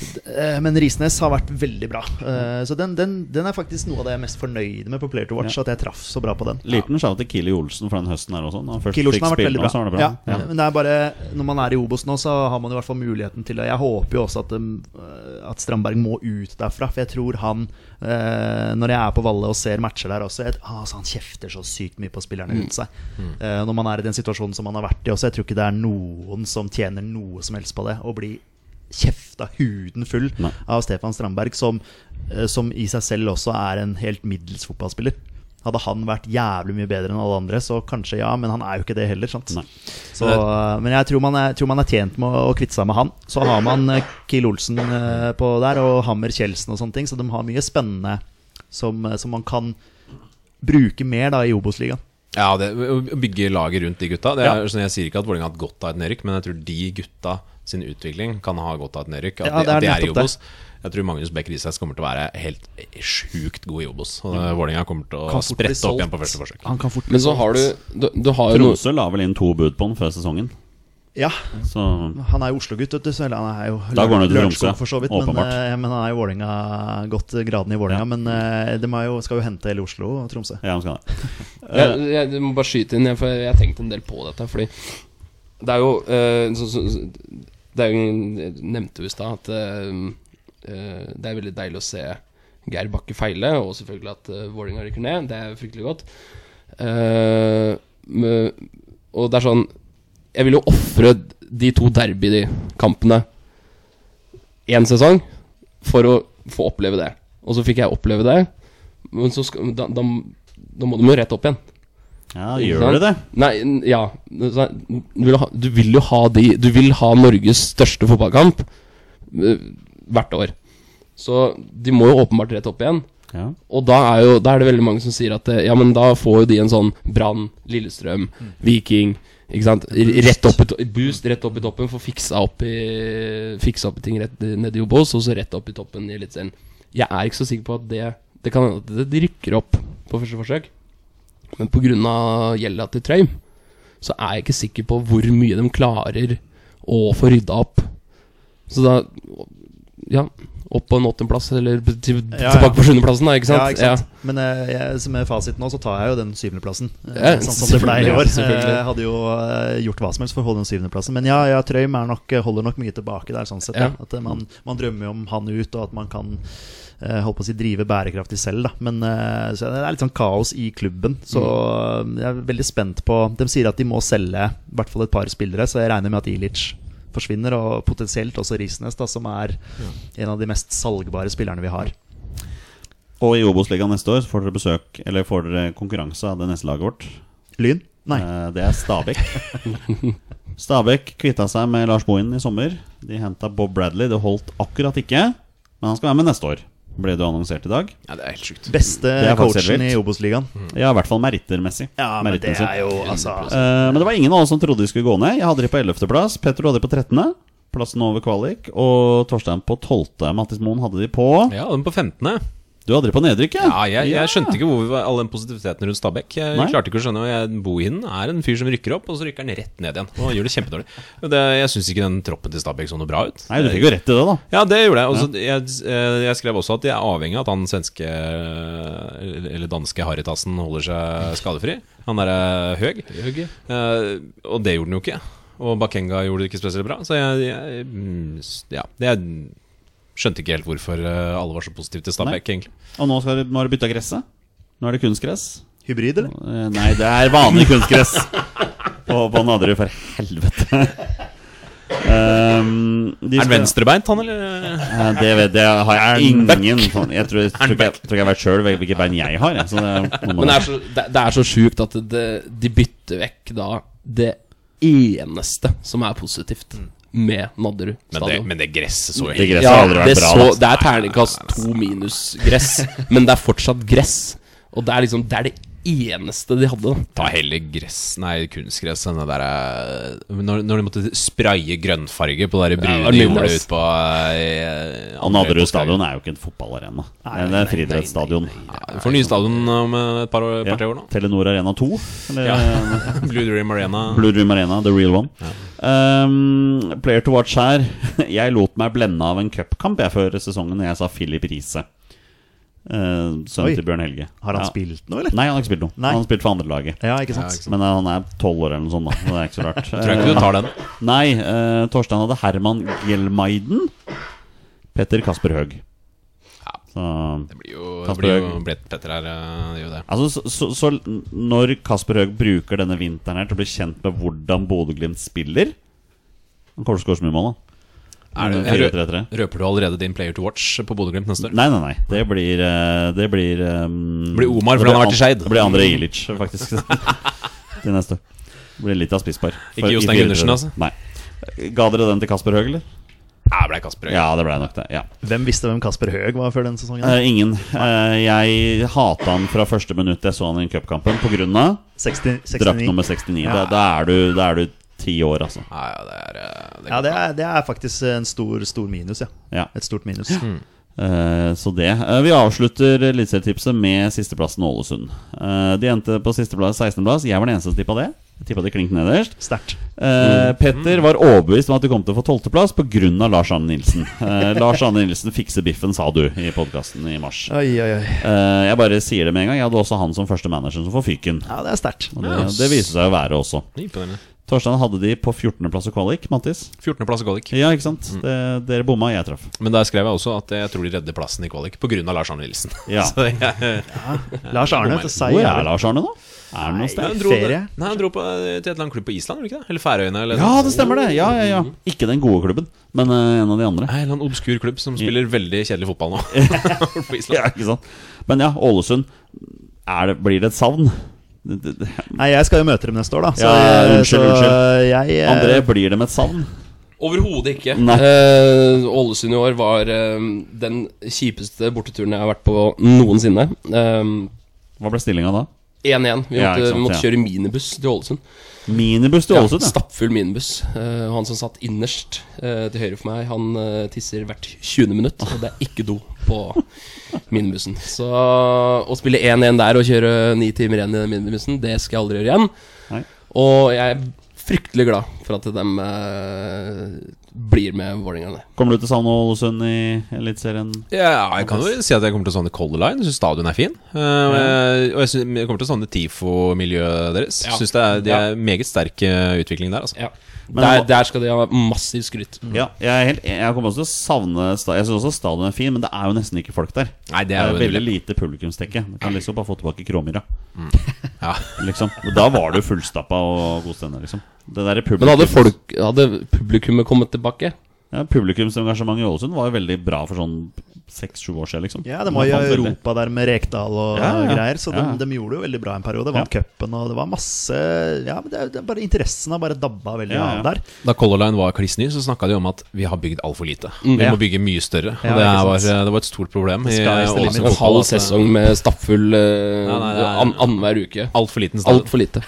Speaker 4: Eh, Men Risnes har vært veldig bra. Eh, Så den, den, den er faktisk noe av det jeg er mest fornøyd med på Player to Watch. At jeg traff så bra på den.
Speaker 1: Liten shout til Kili Olsen for den høsten her også. Når han først
Speaker 4: Kilorsen
Speaker 1: fikk
Speaker 4: har vært veldig
Speaker 1: spille nå,
Speaker 4: bra.
Speaker 1: så var det bra.
Speaker 4: Ja,
Speaker 1: Ja.
Speaker 4: Men det er bare, når man er i Obos nå, så har man i hvert fall muligheten til det. Jeg håper jo også at, um, eh, at Strandberg må ut derfra, for jeg tror han eh, Når jeg er på Valle og ser matcher der også jeg, ah, altså Han kjefter så sykt mye på spillerne
Speaker 1: Mm.
Speaker 4: rundt seg. Eh, når man er i den situasjonen som man har vært i også, jeg tror ikke det er noen som tjener noe som helst på det. Å bli kjefta huden full
Speaker 1: Nei.
Speaker 4: av Stefan Strandberg, som, eh, som i seg selv også er en helt middels fotballspiller. Hadde han vært jævlig mye bedre enn alle andre, så kanskje ja, men han er jo ikke det heller. sant?
Speaker 1: Nei.
Speaker 4: Så, eh, men jeg tror, man er, tror man er tjent med å å kvitte seg med han. Så har man eh, Kiel Olsen eh, på der, og Hammer Kjeldsen og sånne ting, så de har mye spennende som, eh, som man kan bruke mer da i Obos-ligaen.
Speaker 2: Ja, det, å bygge laget rundt de gutta. Det er,
Speaker 4: Ja.
Speaker 2: sånn, jeg sier ikke at Vålerenga har hatt godt av et nedrykk, men jeg tror de gutta sin utvikling kan ha godt av et nedrykk. At,
Speaker 4: Ja,
Speaker 2: de-
Speaker 4: det er
Speaker 2: at de er i
Speaker 4: nettopp det.
Speaker 2: Obos. Jeg tror Magnus Bech Riseth kommer til å være helt sjukt god i Obos. Og Vålerenga kommer til
Speaker 4: Mm.
Speaker 2: å
Speaker 4: Kan fort bli
Speaker 2: sprette opp
Speaker 4: solgt.
Speaker 2: igjen på første forsøk.
Speaker 4: Han kan fort
Speaker 3: Men så har du Du, du har jo noe
Speaker 1: Tromsø la vel inn to bud på den før sesongen.
Speaker 4: Ja,
Speaker 1: Så
Speaker 4: han er jo Oslo-gutt, vet du. Så eller han er jo
Speaker 1: Da går han jo til
Speaker 4: Lørenskog
Speaker 1: Tromsø,
Speaker 4: for så vidt. Men,
Speaker 1: åpenbart.
Speaker 4: eh, men han er jo Vålinga, godt eh, graden i Vålerenga. Men eh, de er jo, skal jo hente hele Oslo og Tromsø.
Speaker 1: ja, han skal det.
Speaker 3: jeg, jeg, jeg må bare skyte inn, jeg- for jeg har tenkt en del på dette. Fordi det er jo eh, så, så, så- Det er jo Jeg nevnte jo i stad at eh, eh, det er veldig deilig å se Geir Bakke feile, og selvfølgelig at uh, Vålerenga rykker ned. Det er fryktelig godt. Eh, men- og det er sånn Jeg vil jo ofre de to derbykampene én sesong for å få oppleve det. Og så fikk jeg oppleve det, men så skal, da, da, da må de jo rett opp igjen.
Speaker 1: Ja,
Speaker 3: Ikke
Speaker 1: gjør
Speaker 3: sant?
Speaker 1: det det?
Speaker 3: Nei, n- ja Så, du, vil ha, du vil jo ha de Du vil ha Norges største fotballkamp eh, hvert år. Så de må jo åpenbart rett opp igjen.
Speaker 1: Ja.
Speaker 3: Og da er, jo, da er det veldig mange som sier at eh, ja, men da får jo de en sånn Brann, Lillestrøm,
Speaker 4: Mm.
Speaker 3: Viking ikke sant? R- Rett opp i to boost rett opp i toppen, få fiksa opp i Fiksa opp i ting rett nede i Obos, og så rett opp i toppen i Eliteserien. Jeg er ikke så sikker på at det Det kan hende at det- de rykker opp på første forsøk, men pga. gjelda til Trøim, så er jeg ikke sikker på hvor mye de klarer å få rydda opp. Så da Ja, opp på en åttendeplass, eller til,
Speaker 4: Ja, ja.
Speaker 3: tilbake på sjuendeplassen, da, ikke sant?
Speaker 4: Ja, ikke sant? Men eh, jeg, som er fasit nå, så tar jeg jo den syvendeplassen.
Speaker 3: Ja,
Speaker 4: Eh, sånn som det ble i
Speaker 3: selvfølgelig,
Speaker 4: år.
Speaker 3: selvfølgelig.
Speaker 4: Eh, Jeg hadde jo eh, gjort hva som helst for å holde den syvendeplassen. Men ja, ja Trøim er nok, holder nok mye tilbake der, sånn sett.
Speaker 3: Ja.
Speaker 4: Ja. At eh, man, man drømmer jo om han ut, og at man kan eh, holdt på å si drive bærekraftig selv. Da. Men eh, så det er litt sånn kaos i klubben. Så
Speaker 3: Mm.
Speaker 4: eh, jeg er veldig spent på De sier at de må selge i hvert fall et par spillere, så jeg regner med at Ilic forsvinner. Og potensielt også Risnes, da, som er en av de mest salgbare spillerne vi har.
Speaker 1: Og i Obos-ligaen neste år så får dere besøk Eller får dere konkurranse av det neste laget vårt.
Speaker 4: Lyn? Nei.
Speaker 1: Eh, Det er Stabæk. Stabæk kvitta seg med Lars Bohin i sommer. De henta Bob Bradley. Det holdt akkurat ikke, men han skal være med neste år. Ble det jo annonsert i dag.
Speaker 2: Ja, det er helt sjukt.
Speaker 4: Beste
Speaker 1: er faktisk
Speaker 4: coachen
Speaker 1: helt vilt.
Speaker 4: i Obos-ligaen.
Speaker 2: Mm.
Speaker 1: Ja, i hvert fall merittermessig.
Speaker 4: Ja, men det
Speaker 1: Merittmessig.
Speaker 4: er jo altså
Speaker 1: Eh, men det var ingen av oss som trodde de skulle gå ned. Jeg hadde de på 11.-plass. Petter hadde de på 13. Plassen over kvalik. Og Torstein på 12. Mattis Moen hadde de på
Speaker 2: Ja, den på 15.
Speaker 1: Du hadde de på nedrykk,
Speaker 2: Ja, jeg, jeg skjønte ikke hvor vi var, all den positiviteten rundt Stabæk. Jeg
Speaker 1: Nei.
Speaker 2: klarte ikke å skjønne og jeg- Bohinen er en fyr som rykker opp, og så rykker han rett ned igjen. Og gjør det kjempedårlig. Det, jeg syns ikke den troppen til Stabæk så noe bra ut.
Speaker 1: Nei, du fikk jo rett i det, da.
Speaker 2: Ja, det gjorde jeg. Også, jeg. eh, Jeg skrev også at jeg er avhengig av at han svenske eh, Eller danske Haritassen holder seg skadefri. Han derre Høg.
Speaker 3: Høg, ja.
Speaker 2: Eh, og det gjorde han jo ikke. Og Bakenga gjorde det ikke spesielt bra. Så jeg, jeg mm, s- Ja. Jeg skjønte ikke helt hvorfor eh, alle var så positive til Stabæk, egentlig.
Speaker 1: Og nå, skal, du- nå har de bytta gresset. Nå er det kunstgress.
Speaker 4: Hybrid, eller?
Speaker 1: Eh, Nei, det er vanlig kunstgress på, på Nadderud, for helvete. Um, de
Speaker 2: Er han
Speaker 1: skal-
Speaker 2: venstrebeint, han, eller?
Speaker 1: Eh, Det, vet, det har jeg
Speaker 2: den back?
Speaker 1: ingen sånn Jeg tror, tror, ikke, jeg, tror ikke jeg vet sjøl hvilket bein jeg har. Jeg, så det, er- nå må
Speaker 3: Men det
Speaker 1: jeg-
Speaker 3: er så, det, det er så sjukt at det, de bytter vekk da det eneste som er positivt med Nadderud
Speaker 2: Men det,
Speaker 3: stadion.
Speaker 2: men det gresset så
Speaker 1: det
Speaker 2: helt
Speaker 1: gresset
Speaker 3: ja,
Speaker 1: har aldri
Speaker 3: det,
Speaker 1: vært bra.
Speaker 3: så,
Speaker 1: da.
Speaker 3: det er terningkast to minus gress, men det er fortsatt gress. Og det er liksom Det er det eneste de hadde. da.
Speaker 2: Ta heller gress, nei, kunstgress enn det der eh, når, når de måtte spraye grønnfarge på det der
Speaker 3: Ja,
Speaker 2: brune
Speaker 3: nydelig,
Speaker 2: jordet
Speaker 3: ass.
Speaker 2: ut på eh,
Speaker 1: Og
Speaker 2: andre
Speaker 1: Nadderud
Speaker 2: på Skagen.
Speaker 1: stadion er jo ikke en fotballarena. Det er en friidrettsstadion.
Speaker 2: Ja, Du får ny stadion eh, om et par år, par
Speaker 1: Ja.
Speaker 2: tre år nå.
Speaker 1: Telenor Arena 2. Eller
Speaker 2: Ja. Blue Dream Arena.
Speaker 1: Blue Dream Arena, the real one. Um, player to watch her. Jeg lot meg blende av en cupkamp jeg før sesongen da jeg sa Filip Riise.
Speaker 4: Oi.
Speaker 1: Uh, Sønnen til Bjørn Helge.
Speaker 4: Har han
Speaker 1: Ja.
Speaker 4: spilt noe, eller?
Speaker 1: Nei, han har ikke spilt noe.
Speaker 4: Nei.
Speaker 1: Han har spilt for andrelaget.
Speaker 4: Ja, ikke
Speaker 2: Ja,
Speaker 4: sant?
Speaker 2: ikke
Speaker 1: Men eh, han er tolv år eller noe sånt, da. så Det er ikke så rart. Ehm,
Speaker 2: Tror jeg ikke du tar den.
Speaker 1: Nei, eh, Torstein hadde Herman Gjelmeiden. Petter Kasper Høeg.
Speaker 2: Ja.
Speaker 1: Så,
Speaker 2: Det blir jo, det
Speaker 1: Kasper
Speaker 2: blir jo
Speaker 1: Høeg.
Speaker 2: Brett Petter her. eh, Det gjør jo det.
Speaker 1: altså, så, så, så når Kasper Høeg bruker denne vinteren her til å bli kjent med hvordan Bodø-Glimt spiller Han kommer til å skåre så mye mål, da.
Speaker 2: Er det,
Speaker 1: Fire, tre, tre.
Speaker 2: røper du allerede din player to watch på Bodø-Glimt neste år?
Speaker 1: Nei, nei, nei. Det blir eh, Det blir um,
Speaker 2: blir Omar, for han har vært i Skeid.
Speaker 1: Det blir André Ilic, faktisk. til neste. Det blir litt av spisspar.
Speaker 2: Ikke
Speaker 1: For- i
Speaker 2: Jostein
Speaker 1: fire-
Speaker 2: Gundersen, altså?
Speaker 1: Nei. Ga dere den til Kasper Høeg, eller?
Speaker 2: Ja, Ah, det ble Kasper Høeg.
Speaker 1: Ja, det ble nok det. ja
Speaker 4: Hvem visste hvem Kasper Høeg var før den sesongen?
Speaker 1: Eh, ingen. Eh, jeg hata han fra første minutt jeg så han i cupkampen pga.
Speaker 4: 60,
Speaker 1: drakt
Speaker 4: 69.
Speaker 1: nummer 69. Da, da er du da er du ti år, altså.
Speaker 2: Ja, ja, det er, eh, det
Speaker 4: Ja, det er, det er faktisk en stor, stor minus, ja.
Speaker 1: Ja.
Speaker 4: Et stort minus.
Speaker 1: Eh, så det. Eh, vi avslutter eliteserietipset med sisteplassen Ålesund. Eh, de endte på sisteplass 16.-plass. Jeg var den eneste som tippa det. Jeg Tippa de klink nederst.
Speaker 4: Sterkt.
Speaker 1: Eh, Petter var overbevist om at de kom til å få tolvteplass pga. Lars Arne Nilsen. Eh, Lars Arne Nilsen fikser biffen, sa du i podkasten i mars.
Speaker 4: Oi, oi, oi.
Speaker 1: Eh, jeg bare sier det med en gang. Jeg hadde også han som første manageren som får fyken.
Speaker 4: Ja, det er sterkt.
Speaker 1: Og det, det viste seg å være også.
Speaker 2: Imponerende.
Speaker 1: Torstein hadde de på 14.-plass og kvalik, Mattis.
Speaker 2: 14.-plass i kvalik.
Speaker 1: Ja, ikke sant? Det, dere bomma, jeg traff.
Speaker 2: Men der skrev jeg også at jeg tror de redder plassen i kvalik pga. Lars Arne Nilsen.
Speaker 1: Ja.
Speaker 2: Så jeg,
Speaker 4: Lars Arne til seg.
Speaker 1: Hvor er Lars Arne nå? Er han noe
Speaker 4: Nei,
Speaker 1: sted?
Speaker 2: han dro,
Speaker 4: Ferie?
Speaker 2: Nei, han dro på, eh, til et eller annet klubb på Island, gjorde han ikke det? Eller Færøyene? Eller
Speaker 1: Ja, det stemmer det! Ja, ja, ja. Ikke den gode klubben, men eh, en av de andre.
Speaker 2: Nei, En eller annen obskur klubb som spiller veldig kjedelig fotball nå. på Island.
Speaker 1: Ja, ikke sant? Men ja, Ålesund. Er det, blir det et savn? Det- det- det-
Speaker 4: Nei, jeg skal jo møte dem neste år, da. Så,
Speaker 1: Ja, unnskyld,
Speaker 4: så
Speaker 1: unnskyld.
Speaker 4: jeg eh,
Speaker 1: André, blir dem et savn?
Speaker 2: Overhodet ikke.
Speaker 1: Nei.
Speaker 3: Eh, Ålesund i år var eh, den kjipeste borteturen jeg har vært på noensinne. Eh,
Speaker 1: Hva ble stillinga da?
Speaker 3: 1-1. Vi måtte,
Speaker 1: Ja, ikke sant,
Speaker 3: vi måtte
Speaker 1: ja.
Speaker 3: kjøre minibuss til Ålesund.
Speaker 1: Minibuss til Ålesund, ja.
Speaker 3: Stappfull minibuss. Eh, og han som satt innerst eh, til høyre for meg, han eh, tisser hvert 20. minutt. Og det er ikke do på minibussen. Så å spille 1-1 der og kjøre ni timer igjen i den minibussen, det skal jeg aldri gjøre igjen.
Speaker 1: Nei.
Speaker 3: Og jeg er fryktelig glad for at de eh, blir med Vålerenga.
Speaker 1: Kommer du til å savne Ålesund i Eliteserien?
Speaker 2: Ja, jeg kan jo si at jeg kommer til å savne Color Line. Jeg syns stadion er fin. Eh, og jeg- og jeg, synes, jeg kommer til å savne TIFO-miljøet deres.
Speaker 3: Ja.
Speaker 2: Synes det er, de
Speaker 3: Ja.
Speaker 2: er meget sterk eh, utvikling der, altså.
Speaker 3: Ja.
Speaker 1: Men
Speaker 3: Der,
Speaker 1: hva-
Speaker 3: der skal de ha massiv skryt.
Speaker 1: Ja, jeg, er helt, jeg kommer også til å savne sta- Jeg syns også stadion er fin, men det er jo nesten ikke folk der.
Speaker 2: Nei, det
Speaker 1: Det
Speaker 2: er
Speaker 1: er
Speaker 2: jo en
Speaker 1: veldig
Speaker 2: ulempe.
Speaker 1: lite publikumstekke. Du kan liksom bare få tilbake Kråmyra.
Speaker 2: Ja.
Speaker 1: Liksom. Og Da var du fullstappa og god stemning, liksom. Det der publikum,
Speaker 3: Men hadde, folk, hadde publikummet kommet tilbake?
Speaker 1: ja, Publikumsengasjementet i Ålesund var jo veldig bra for sånn seks-sju år siden, liksom.
Speaker 4: Ja, de var i
Speaker 1: fant veldig.
Speaker 4: Europa der med Rekdal og
Speaker 1: Ja, ja.
Speaker 4: greier, så de,
Speaker 1: Ja.
Speaker 4: de gjorde det jo veldig bra en periode. Vant cupen, og det var masse Ja, men det, er- det er bare interessen har bare dabba veldig
Speaker 1: Ja, ja.
Speaker 4: av der.
Speaker 2: Da Color Line var kliss ny, så snakka de om at vi har bygd altfor lite. vi
Speaker 4: Ja.
Speaker 2: må bygge mye større. Og
Speaker 4: Ja,
Speaker 2: det,
Speaker 4: ikke
Speaker 2: var, eh,
Speaker 4: sant.
Speaker 2: det var et stort problem. i
Speaker 4: Sky is the
Speaker 2: Ålesund
Speaker 4: limit.
Speaker 3: Altså, En
Speaker 2: fotball, altså.
Speaker 3: halv
Speaker 2: at-
Speaker 3: sesong med stappfull uh,
Speaker 2: Nei, nei, nei, nei.
Speaker 3: an- annenhver uke.
Speaker 2: Altfor liten stadion.
Speaker 3: Altfor lite.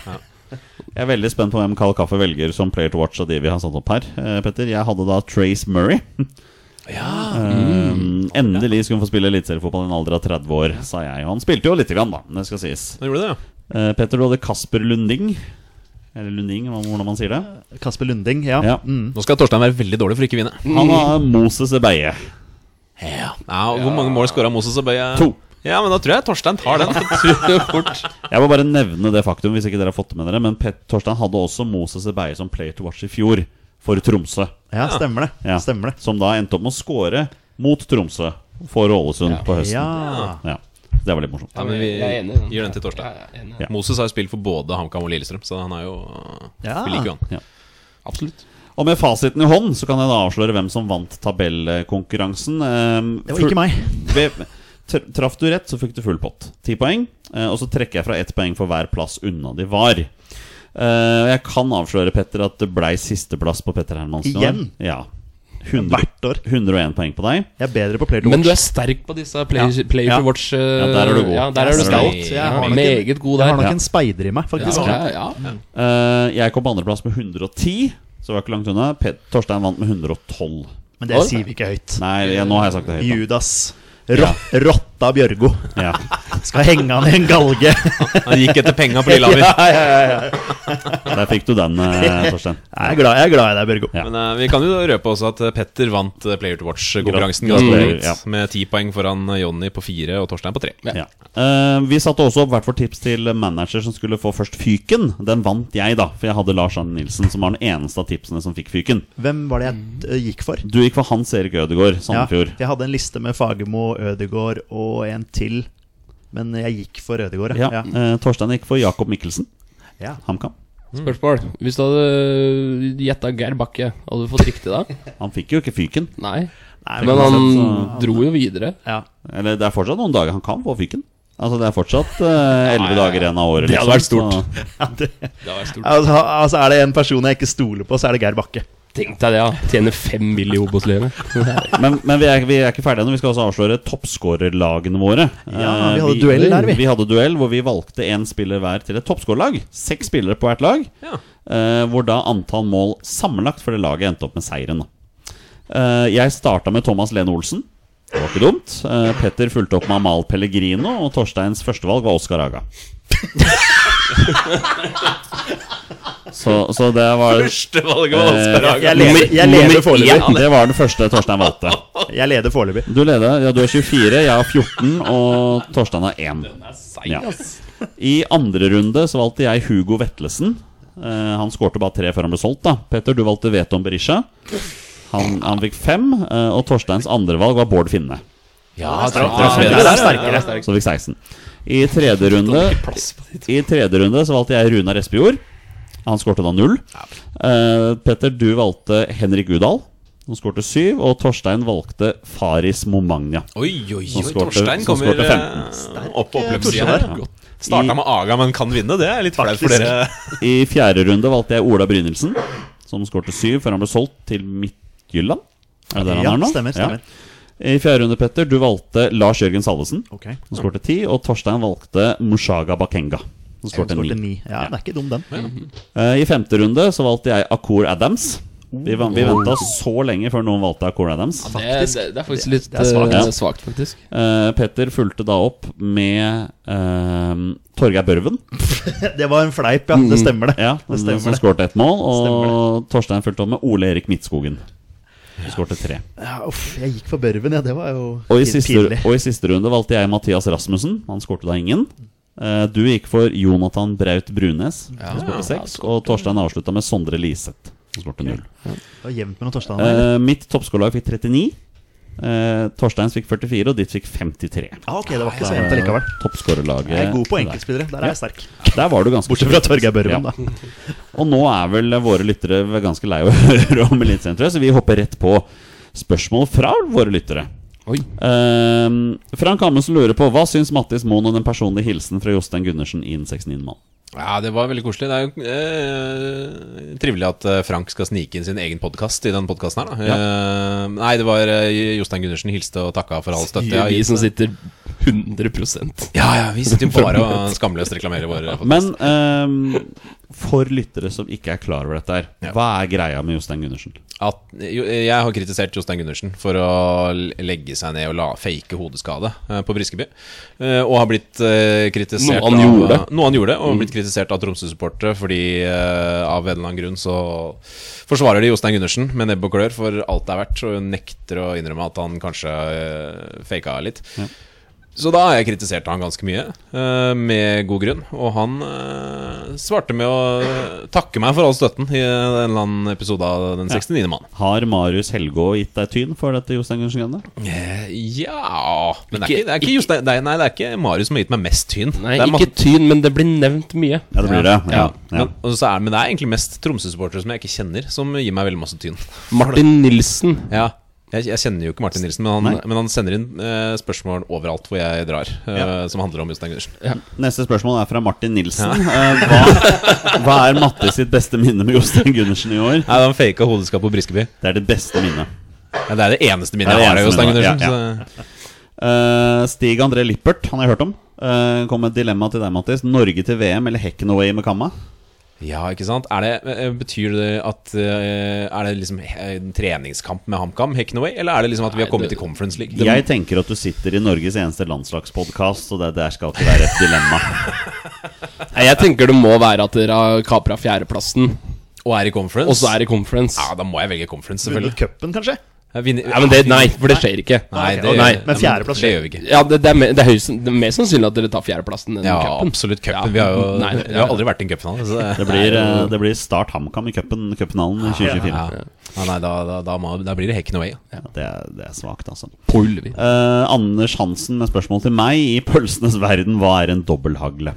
Speaker 1: Jeg er veldig spent på hvem Kald Kaffe velger som player to watch av de vi har satt opp her. Eh, Petter, Jeg hadde da Trace Murray.
Speaker 2: Ja.
Speaker 1: Eh, endelig skulle hun få spille eliteseriefotball i en alder av 30 år, sa jeg. Og han spilte jo lite grann, da. Det skal sies.
Speaker 2: Da gjorde det, ja.
Speaker 1: Eh, Petter, du hadde Kasper Lunding. Eller Lunding, hva- hvordan man sier det.
Speaker 4: Kasper Lunding, ja.
Speaker 1: Ja.
Speaker 2: Nå skal Torstein være veldig dårlig for ikke å vinne.
Speaker 1: Han har Moses Ebeie.
Speaker 2: Ja. og Hvor mange mål skåra Moses og Bøye?
Speaker 1: To.
Speaker 2: Ja, men da tror jeg Torstein tar den.
Speaker 3: Fort.
Speaker 1: Jeg må bare nevne det faktum, hvis ikke dere har fått det med dere, men Pet Torstein hadde også Moses Ebeie som player to watch i fjor, for Tromsø.
Speaker 4: Ja, stemmer det.
Speaker 1: Ja.
Speaker 4: Stemmer det.
Speaker 1: Som da endte opp med å score mot Tromsø for Ålesund på høsten.
Speaker 4: Ja.
Speaker 1: Ja. Det var litt morsomt.
Speaker 2: Ja, men vi
Speaker 3: Jeg er enig i den.
Speaker 2: gir den til Torstein.
Speaker 3: Jeg er enig.
Speaker 1: Ja.
Speaker 2: Moses har jo spilt for både HamKam og Lillestrøm, så han er jo
Speaker 4: Ja.
Speaker 2: Vi liker jo han.
Speaker 3: Absolutt.
Speaker 1: Og med fasiten i hånd så kan jeg da avsløre hvem som vant tabellkonkurransen. Eh,
Speaker 4: Det var ikke meg.
Speaker 1: Ved, tr- traff du rett, så fikk du full pott. Ti poeng. eh, Og så trekker jeg fra ett poeng for hver plass unna de var. Eh, og jeg kan avsløre Petter at det blei sisteplass på Petter Hermansen. i år.
Speaker 4: Igjen?
Speaker 1: Ja. 100,
Speaker 4: Hvert år.
Speaker 1: 101 poeng på deg.
Speaker 4: Jeg er bedre på player to
Speaker 3: Men du
Speaker 4: watch.
Speaker 3: er sterk på disse play,
Speaker 4: Ja.
Speaker 3: play
Speaker 4: Ja.
Speaker 3: for watch. Uh,
Speaker 1: Ja, der er du god.
Speaker 3: Ja, der er
Speaker 4: Jeg
Speaker 3: du
Speaker 4: er
Speaker 3: sterk.
Speaker 4: stolt. Jeg har
Speaker 3: Ja,
Speaker 4: nok en-
Speaker 3: meget god
Speaker 4: Jeg har nok
Speaker 3: der.
Speaker 1: Ja.
Speaker 4: en speider i meg, faktisk.
Speaker 3: Ja, ja, ja.
Speaker 1: Eh, jeg kom på andreplass med 110, så var ikke langt unna. Pet Torstein vant med 112.
Speaker 4: Men det sier vi ikke høyt.
Speaker 1: Nei, jeg, nå har jeg sagt det høyt. da.
Speaker 4: Judas. Rå, Rotta Bjørgo.
Speaker 1: Ja.
Speaker 4: Skal henge han i en galge.
Speaker 2: Han gikk etter penga på Lillehammer.
Speaker 1: Der fikk du den, eh, Torstein.
Speaker 4: Jeg er glad, jeg er glad i deg, Bjørgo.
Speaker 1: Ja.
Speaker 2: Men eh, vi kan jo røpe også at eh, Petter vant eh, Player to Watch-konkurransen.
Speaker 1: Gratulerer,
Speaker 2: Gratulerer,
Speaker 1: ja.
Speaker 2: Med ti poeng foran eh, Jonny på fire og Torstein på tre.
Speaker 1: Ja. Eh, vi satte også opp hvert vårt tips til manager som skulle få først fyken. Den vant jeg, da, for jeg hadde Lars Arne Nilsen, som var den eneste av tipsene som fikk fyken.
Speaker 4: Hvem var det jeg eh, gikk for?
Speaker 1: Du gikk for Hans Erik Ødegaard,
Speaker 4: Ja,
Speaker 1: Sandefjord.
Speaker 4: jeg hadde en liste med Fagermo, Ødegård og en til. Men jeg gikk for Ødegård,
Speaker 1: Ja.
Speaker 4: ja. ja.
Speaker 1: eh, Torstein gikk for Jakob Mikkelsen,
Speaker 4: ja.
Speaker 1: HamKam.
Speaker 3: Spørsmål. Hvis du hadde gjetta Geir Bakke, hadde du fått riktig da?
Speaker 1: Han fikk jo ikke fyken.
Speaker 3: Nei.
Speaker 4: Nei,
Speaker 3: Men han
Speaker 1: uansett,
Speaker 3: dro jo videre.
Speaker 4: ja.
Speaker 1: Eller det er fortsatt noen dager han kan få fyken. Altså Det er fortsatt elleve dager igjen av året.
Speaker 3: Det hadde
Speaker 1: liksom,
Speaker 3: vært
Speaker 1: så-
Speaker 4: Ja, det,
Speaker 3: Det var stort.
Speaker 4: altså, altså, er det en person jeg ikke stoler på, så er det Geir Bakke.
Speaker 3: Tenk deg det, ja. Tjene fem mill. i Obos-livet.
Speaker 1: Men, men vi, er, vi er ikke ferdige ennå. Vi skal også avsløre toppskårerlagene våre.
Speaker 4: Ja, vi
Speaker 1: Eh,
Speaker 4: hadde duell der, vi.
Speaker 1: Vi hadde duell hvor vi valgte én spiller hver til et toppskårerlag. Seks spillere på hvert lag.
Speaker 2: Ja.
Speaker 1: Eh, hvor da antall mål sammenlagt for det laget endte opp med seieren. da. Eh, jeg starta med Thomas Lene Olsen. Det var ikke dumt. Eh, Petter fulgte opp med Amal Pellegrino, og Torsteins førstevalg var Oskar Aga. så, så det var
Speaker 2: Førstevalget var Oskar
Speaker 1: Eh,
Speaker 2: Hagen.
Speaker 4: Jeg leder, jeg
Speaker 1: Nummer
Speaker 4: leder
Speaker 1: én,
Speaker 4: foreløpig.
Speaker 1: Det var den første Torstein valgte.
Speaker 4: Jeg leder foreløpig.
Speaker 1: Du leder. Ja, du er 24, jeg har 14, og Torstein har 1. Ja. I andre runde så valgte jeg Hugo Vetlesen. Eh, han skårte bare tre før han ble solgt. da Petter, du valgte Veton Berisha. Han, han fikk fem. eh, og Torsteins andrevalg var Bård Finne.
Speaker 2: Ja,
Speaker 1: det er
Speaker 2: sterkere.
Speaker 1: Så fikk 16. I tredje runde I tredje runde så valgte jeg Runar Espejord. Han skårte da null. Eh, Petter, du valgte Henrik Udal. Han skårte syv. Og Torstein valgte Faris Momagna.
Speaker 2: Oi, oi,
Speaker 1: Som
Speaker 2: oi.
Speaker 1: skårte-
Speaker 2: Torstein
Speaker 1: som
Speaker 2: kommer
Speaker 1: skårte
Speaker 2: eh,
Speaker 1: 15.
Speaker 2: opp på oppløpssida
Speaker 4: Torstein
Speaker 2: her.
Speaker 1: der. I-
Speaker 2: Starta med Aga, men kan vinne. Det er litt flaut for dere.
Speaker 1: I fjerde runde valgte jeg Ola Brynildsen, som skårte syv før han ble solgt til Midtjylland. Er det der han
Speaker 4: Ja,
Speaker 1: er nå?
Speaker 4: stemmer, stemmer.
Speaker 1: I fjerde runde, Petter, du valgte Lars Jørgen Salvesen,
Speaker 4: Ok.
Speaker 1: som skårte ti, og Torstein valgte Mushaga Bakenga, som skårte
Speaker 4: Skårte
Speaker 1: ni.
Speaker 4: ni. Ja, den er ikke dum, den.
Speaker 1: Eh, I femte runde så valgte jeg Akur Adams. Vi, van- vi venta så lenge før noen valgte Akur Adams.
Speaker 3: Det, det, det er faktisk litt
Speaker 4: Det er svakt.
Speaker 3: eh, svakt, faktisk.
Speaker 1: Eh, Petter fulgte da opp med eh, Torgeir Børven,
Speaker 4: Det var en fleip, ja.
Speaker 1: Mm.
Speaker 4: Det stemmer, det.
Speaker 1: ja,
Speaker 4: det
Speaker 1: som
Speaker 4: stemmer det.
Speaker 1: skårte ett mål. Og Torstein fulgte opp med Ole Erik Midtskogen, som skårte tre.
Speaker 4: Ja, uff, jeg gikk for Børven, ja. Det var jo
Speaker 1: Og i,
Speaker 4: pin-
Speaker 1: siste,
Speaker 4: pinlig.
Speaker 1: og i siste runde valgte jeg Mathias Rasmussen. Han skårte da ingen. Eh, Du gikk for Jonathan Braut Brunes, som skårte seks. Og Torstein avslutta med Sondre Liseth, som skårte null.
Speaker 4: Det var jevnt mellom Torstein og meg.
Speaker 1: Eh, Mitt toppskårerlag fikk 39. Eh, Torsteins fikk 44, og ditt fikk 53.
Speaker 4: Ah, ok, det var ikke så jevnt allikevel.
Speaker 1: Toppskårerlaget
Speaker 4: Jeg er god på
Speaker 1: der.
Speaker 4: enkeltspillere. Der er jeg sterk.
Speaker 1: Der var du ganske
Speaker 4: Bortsett fra Torgeir Børven,
Speaker 1: Ja.
Speaker 4: da.
Speaker 1: Og nå er vel våre lyttere ganske lei av å høre om Eliteserien, tror jeg, så vi hopper rett på spørsmål fra våre lyttere.
Speaker 3: Oi.
Speaker 1: Ehm, Frank Amundsen lurer på hva syns Mattis Moen om den personlige hilsen fra Jostein Gundersen i 69-mann?
Speaker 2: Ja, det var veldig koselig. Det er jo eh, trivelig at eh, Frank skal snike inn sin egen podkast i den podkasten her, da. Eh, nei, det var eh, Jostein Gundersen hilste og takka for all støtte. Ja,
Speaker 3: Vi
Speaker 2: i-
Speaker 3: som sitter 100
Speaker 2: ja, ja, vi sitter jo bare og skamløst reklamerer vår eh, podcast.
Speaker 1: Men ehm, for lyttere som ikke er klar over dette her, hva er greia med Jostein Gundersen?
Speaker 2: at jo, Jeg har kritisert Jostein Gundersen for å l- legge seg ned og la, fake hodeskade eh, på Briskeby. Eh, og har blitt eh, kritisert
Speaker 3: Noe han
Speaker 2: av,
Speaker 3: gjorde. Mm.
Speaker 2: Noe han gjorde, og blitt kritisert av Tromsø-supportere fordi eh, av en eller annen grunn så forsvarer de Jostein Gundersen med nebb og klør for alt det er verdt, og nekter å innrømme at han kanskje eh, faka litt. Så da har jeg kritisert han ganske mye, eh, med god grunn. Og han eh, svarte med å takke meg for all støtten i en eller annen episode av Den 69. mann.
Speaker 1: Har Marius Helgå gitt deg tyn for dette Jostein Gundersen-greiene?
Speaker 2: Eh, Ja Men det er ikke, det er ikke, Jostein- nei, nei, det er ikke Marius som har gitt meg mest tyn.
Speaker 3: Nei,
Speaker 2: det er
Speaker 3: ikke tyn, men det blir nevnt mye.
Speaker 1: Ja, det blir det.
Speaker 2: ja,
Speaker 1: Ja, ja.
Speaker 2: Men, og så er, men det er egentlig mest Tromsø-supportere som jeg ikke kjenner, som gir meg veldig masse tyn.
Speaker 3: Martin Nilsen.
Speaker 2: Ja jeg, jeg kjenner jo ikke Martin Nilsen, men han, men han sender inn eh, spørsmål overalt hvor jeg drar, eh, som handler om Jostein Gundersen.
Speaker 1: Neste spørsmål er fra Martin Nilsen. Eh, hva, hva er Mattis sitt beste minne med Jostein Gundersen i år?
Speaker 2: Nei, Han faka hodeskap på Briskeby.
Speaker 1: Det er det beste minnet.
Speaker 2: Ja, det er det eneste minnet
Speaker 1: Det er det
Speaker 2: jeg har av
Speaker 1: eneste
Speaker 2: Jostein
Speaker 1: minnet,
Speaker 2: Gundersen.
Speaker 1: ja,
Speaker 2: så-
Speaker 1: Eh, Stig André Lippert, han har jeg hørt om. Eh, kom med et dilemma til deg, Mattis. Norge til VM eller Heckenaway med Kamma?
Speaker 2: Ja, ikke sant? Er det, eh, betyr det at eh, Er det liksom eh, en treningskamp med HamKam, Heknaway, eller er det liksom at vi har
Speaker 3: Nei,
Speaker 2: kommet
Speaker 3: det-
Speaker 2: til Conference League?
Speaker 1: Jeg tenker at du sitter i Norges eneste landslagspodkast, så det der skal ikke være et dilemma.
Speaker 3: Nei, jeg tenker det må være at dere har kapra fjerdeplassen,
Speaker 2: Og er i Conference?
Speaker 3: og så er det conference.
Speaker 2: Ja, da må jeg velge Conference,
Speaker 4: Vunnet
Speaker 2: selvfølgelig.
Speaker 4: cupen, kanskje?
Speaker 2: Jeg vinner-
Speaker 3: Nei, men det, nei, for det skjer ikke.
Speaker 2: Nei, det,
Speaker 3: Og
Speaker 2: nei,
Speaker 3: nei.
Speaker 2: men
Speaker 4: fjerdeplass
Speaker 2: Det
Speaker 4: skjer.
Speaker 2: gjør vi ikke.
Speaker 3: Ja, det, det, er mer, det, er høyst, det er mer sannsynlig at dere tar fjerdeplassen enn
Speaker 2: Ja,
Speaker 3: cupen.
Speaker 2: absolutt
Speaker 3: Ja.
Speaker 2: cupen. Vi har jo
Speaker 3: Nei, det-
Speaker 2: vi har aldri vært i en cupfinale. så
Speaker 1: Det blir, eh, det blir Start HamKam i cupen- cupfinalen i 2024.
Speaker 2: Ja. Ja, nei, da, da, da, må, da blir det Heknaway. Ja.
Speaker 1: Det er, det er svakt, altså.
Speaker 3: På Ullevi.
Speaker 1: Eh, Anders Hansen med spørsmål til meg. I pølsenes verden, hva er en dobbelthagle?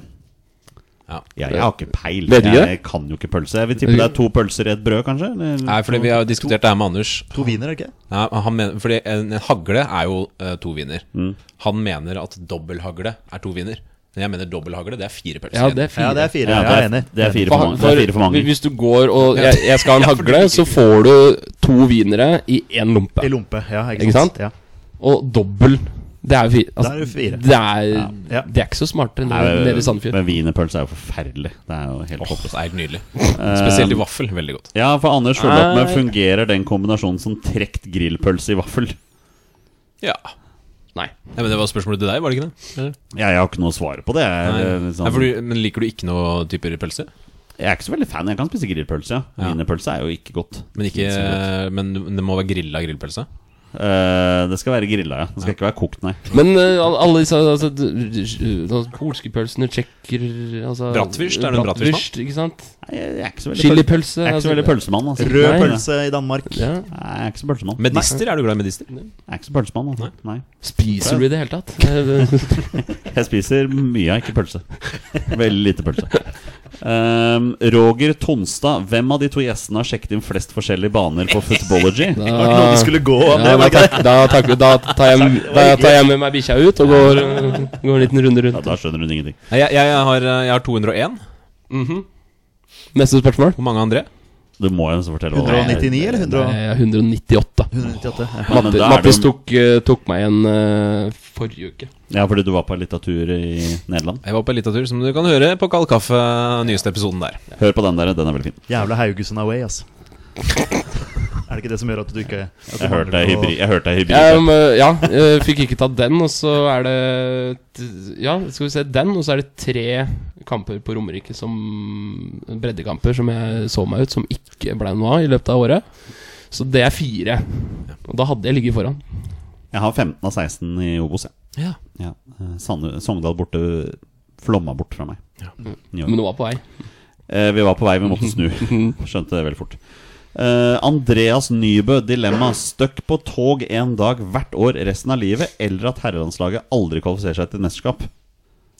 Speaker 2: Ja.
Speaker 1: Jeg, jeg har ikke peil.
Speaker 3: Vet du ikke
Speaker 1: Jeg kan jo ikke pølse. Jeg vil tippe det er to pølser i et brød, kanskje? Eller-
Speaker 2: Nei, fordi vi har jo diskutert det her med Anders.
Speaker 4: To wiener, ikke?
Speaker 2: Nei, han mener, fordi en, en hagle er jo eh, to viner. Han mener at dobbelthagle er to viner. Men jeg mener dobbelthagle, det er fire pølser.
Speaker 3: Ja, det er fire.
Speaker 4: Ja, det er fire.
Speaker 1: Ja,
Speaker 4: jeg er
Speaker 1: det,
Speaker 4: enig.
Speaker 1: er, det er fire for
Speaker 3: For,
Speaker 1: mange. Det
Speaker 3: for,
Speaker 1: er fire for mange.
Speaker 3: Hvis du går og jeg, jeg skal ha en hagle, så får du to wienere i én lompe.
Speaker 4: I lompe, ja. Ikke,
Speaker 3: Ikke sant?
Speaker 4: Ja.
Speaker 3: og dobbel Det er jo fire.
Speaker 4: Da er det fire.
Speaker 3: Det er,
Speaker 4: Ja.
Speaker 3: det er ikke så smart enn det
Speaker 1: Nei,
Speaker 3: nede i Sandefjord.
Speaker 1: Eh, Men wienerpølse er jo forferdelig. Det er jo helt
Speaker 2: Åh,
Speaker 1: håpløst.
Speaker 2: det er helt nydelig. Spesielt i vaffel. Veldig godt.
Speaker 1: Ja, for Anders følger opp med
Speaker 3: Nei.
Speaker 1: Fungerer den kombinasjonen som trekt grillpølse i vaffel?
Speaker 2: Ja.
Speaker 3: Nei.
Speaker 2: Nei, men Det var spørsmålet til deg, var det ikke det? Eller?
Speaker 1: Ja, jeg har ikke noe svar på det. Jeg er, eh,
Speaker 2: Nei.
Speaker 1: litt sånn-
Speaker 2: Nei, for du, men liker du ikke noe typer pølse?
Speaker 1: jeg er ikke så veldig fan. Jeg kan spise grillpølse. ja.
Speaker 2: Ja.
Speaker 1: Wienerpølse er jo ikke godt.
Speaker 2: Men,
Speaker 1: Ikke
Speaker 2: ikke,
Speaker 1: så godt.
Speaker 2: men det må være grilla grillpølse?
Speaker 1: Eh, det skal være grilla, ja. Det skal ikke være kokt, nei.
Speaker 3: Men eh, al- alle disse altså, d- d- d- polske pølsene, tsjekker altså,
Speaker 2: Bratwurst, er det en bratwurst,
Speaker 3: bratwurst, Ikke sant?
Speaker 1: Nei, Jeg er ikke så veldig
Speaker 3: Chilipølse.
Speaker 1: Jeg er ikke så
Speaker 3: altså,
Speaker 1: veldig pølsemann. Altså.
Speaker 4: Rød
Speaker 3: Nei.
Speaker 4: pølse i Danmark.
Speaker 3: Ja.
Speaker 1: Nei, jeg er ikke så pølsemann.
Speaker 2: Medister, er du glad i medister?
Speaker 1: Jeg er ikke så pølsemann altså. nei.
Speaker 3: Spiser du i det hele tatt? Eh,
Speaker 1: Jeg spiser mye, ikke pølse. Veldig lite pølse. Um, Roger Tonstad, hvem av de to gjestene har sjekket inn flest forskjellige baner på Footballogy?
Speaker 4: Det var ikke noe vi skulle gå av, det
Speaker 3: ja, da,
Speaker 4: var ikke det?
Speaker 3: tak, da, tak, da, tar jeg, da tar jeg med meg bikkja ut og går, eh, går en liten runde
Speaker 1: Ja,
Speaker 3: rundt.
Speaker 1: da skjønner hun ingenting.
Speaker 2: Nei, Jeg, jeg, har, jeg har 201.
Speaker 3: Mhm. Neste spørsmål?
Speaker 2: Hvor mange, André?
Speaker 1: Du må jo nesten fortelle hva det er.
Speaker 4: 199 eller 100?
Speaker 3: Eh, 198.
Speaker 4: 198? Ja.
Speaker 1: Men
Speaker 3: Matte-
Speaker 1: da er det
Speaker 3: Mattis
Speaker 1: jo-
Speaker 3: tok, eh, tok meg igjen eh, forrige uke.
Speaker 1: Ja, fordi du var på en liten tur i Nederland.
Speaker 2: Jeg var på en liten tur, som du kan høre på Kald kaffe, nyeste episoden der.
Speaker 1: Hør på den der, den er veldig fin.
Speaker 4: Jævla Haugesund away, altså. Er det ikke det som gjør at du ikke at du
Speaker 1: Jeg hørte deg
Speaker 4: mangler på-
Speaker 1: hybrid. Jeg hørte deg
Speaker 3: Ja,
Speaker 1: hybrid.
Speaker 3: men, ja, eh, fikk ikke tatt den, og så er det t- Ja, skal vi se, den, og så er det tre kamper på Romerike som breddekamper som jeg så meg ut, som ikke ble noe av i løpet av året. Så det er fire. Og da hadde jeg ligget foran.
Speaker 1: Jeg har 15 av 16 i Obos, jeg.
Speaker 2: Ja.
Speaker 1: Ja. eh, Sande- Sogndal borte flomma bort fra meg. I år.
Speaker 3: Mm. Men Mm. det var på vei.
Speaker 1: Eh, Vi var på vei, vi måtte snu. Skjønte det veldig fort. Eh, Andreas Nybø, dilemma. Støkk på tog en dag hvert år resten av livet, eller at herrelandslaget aldri kvalifiserer seg til mesterskap?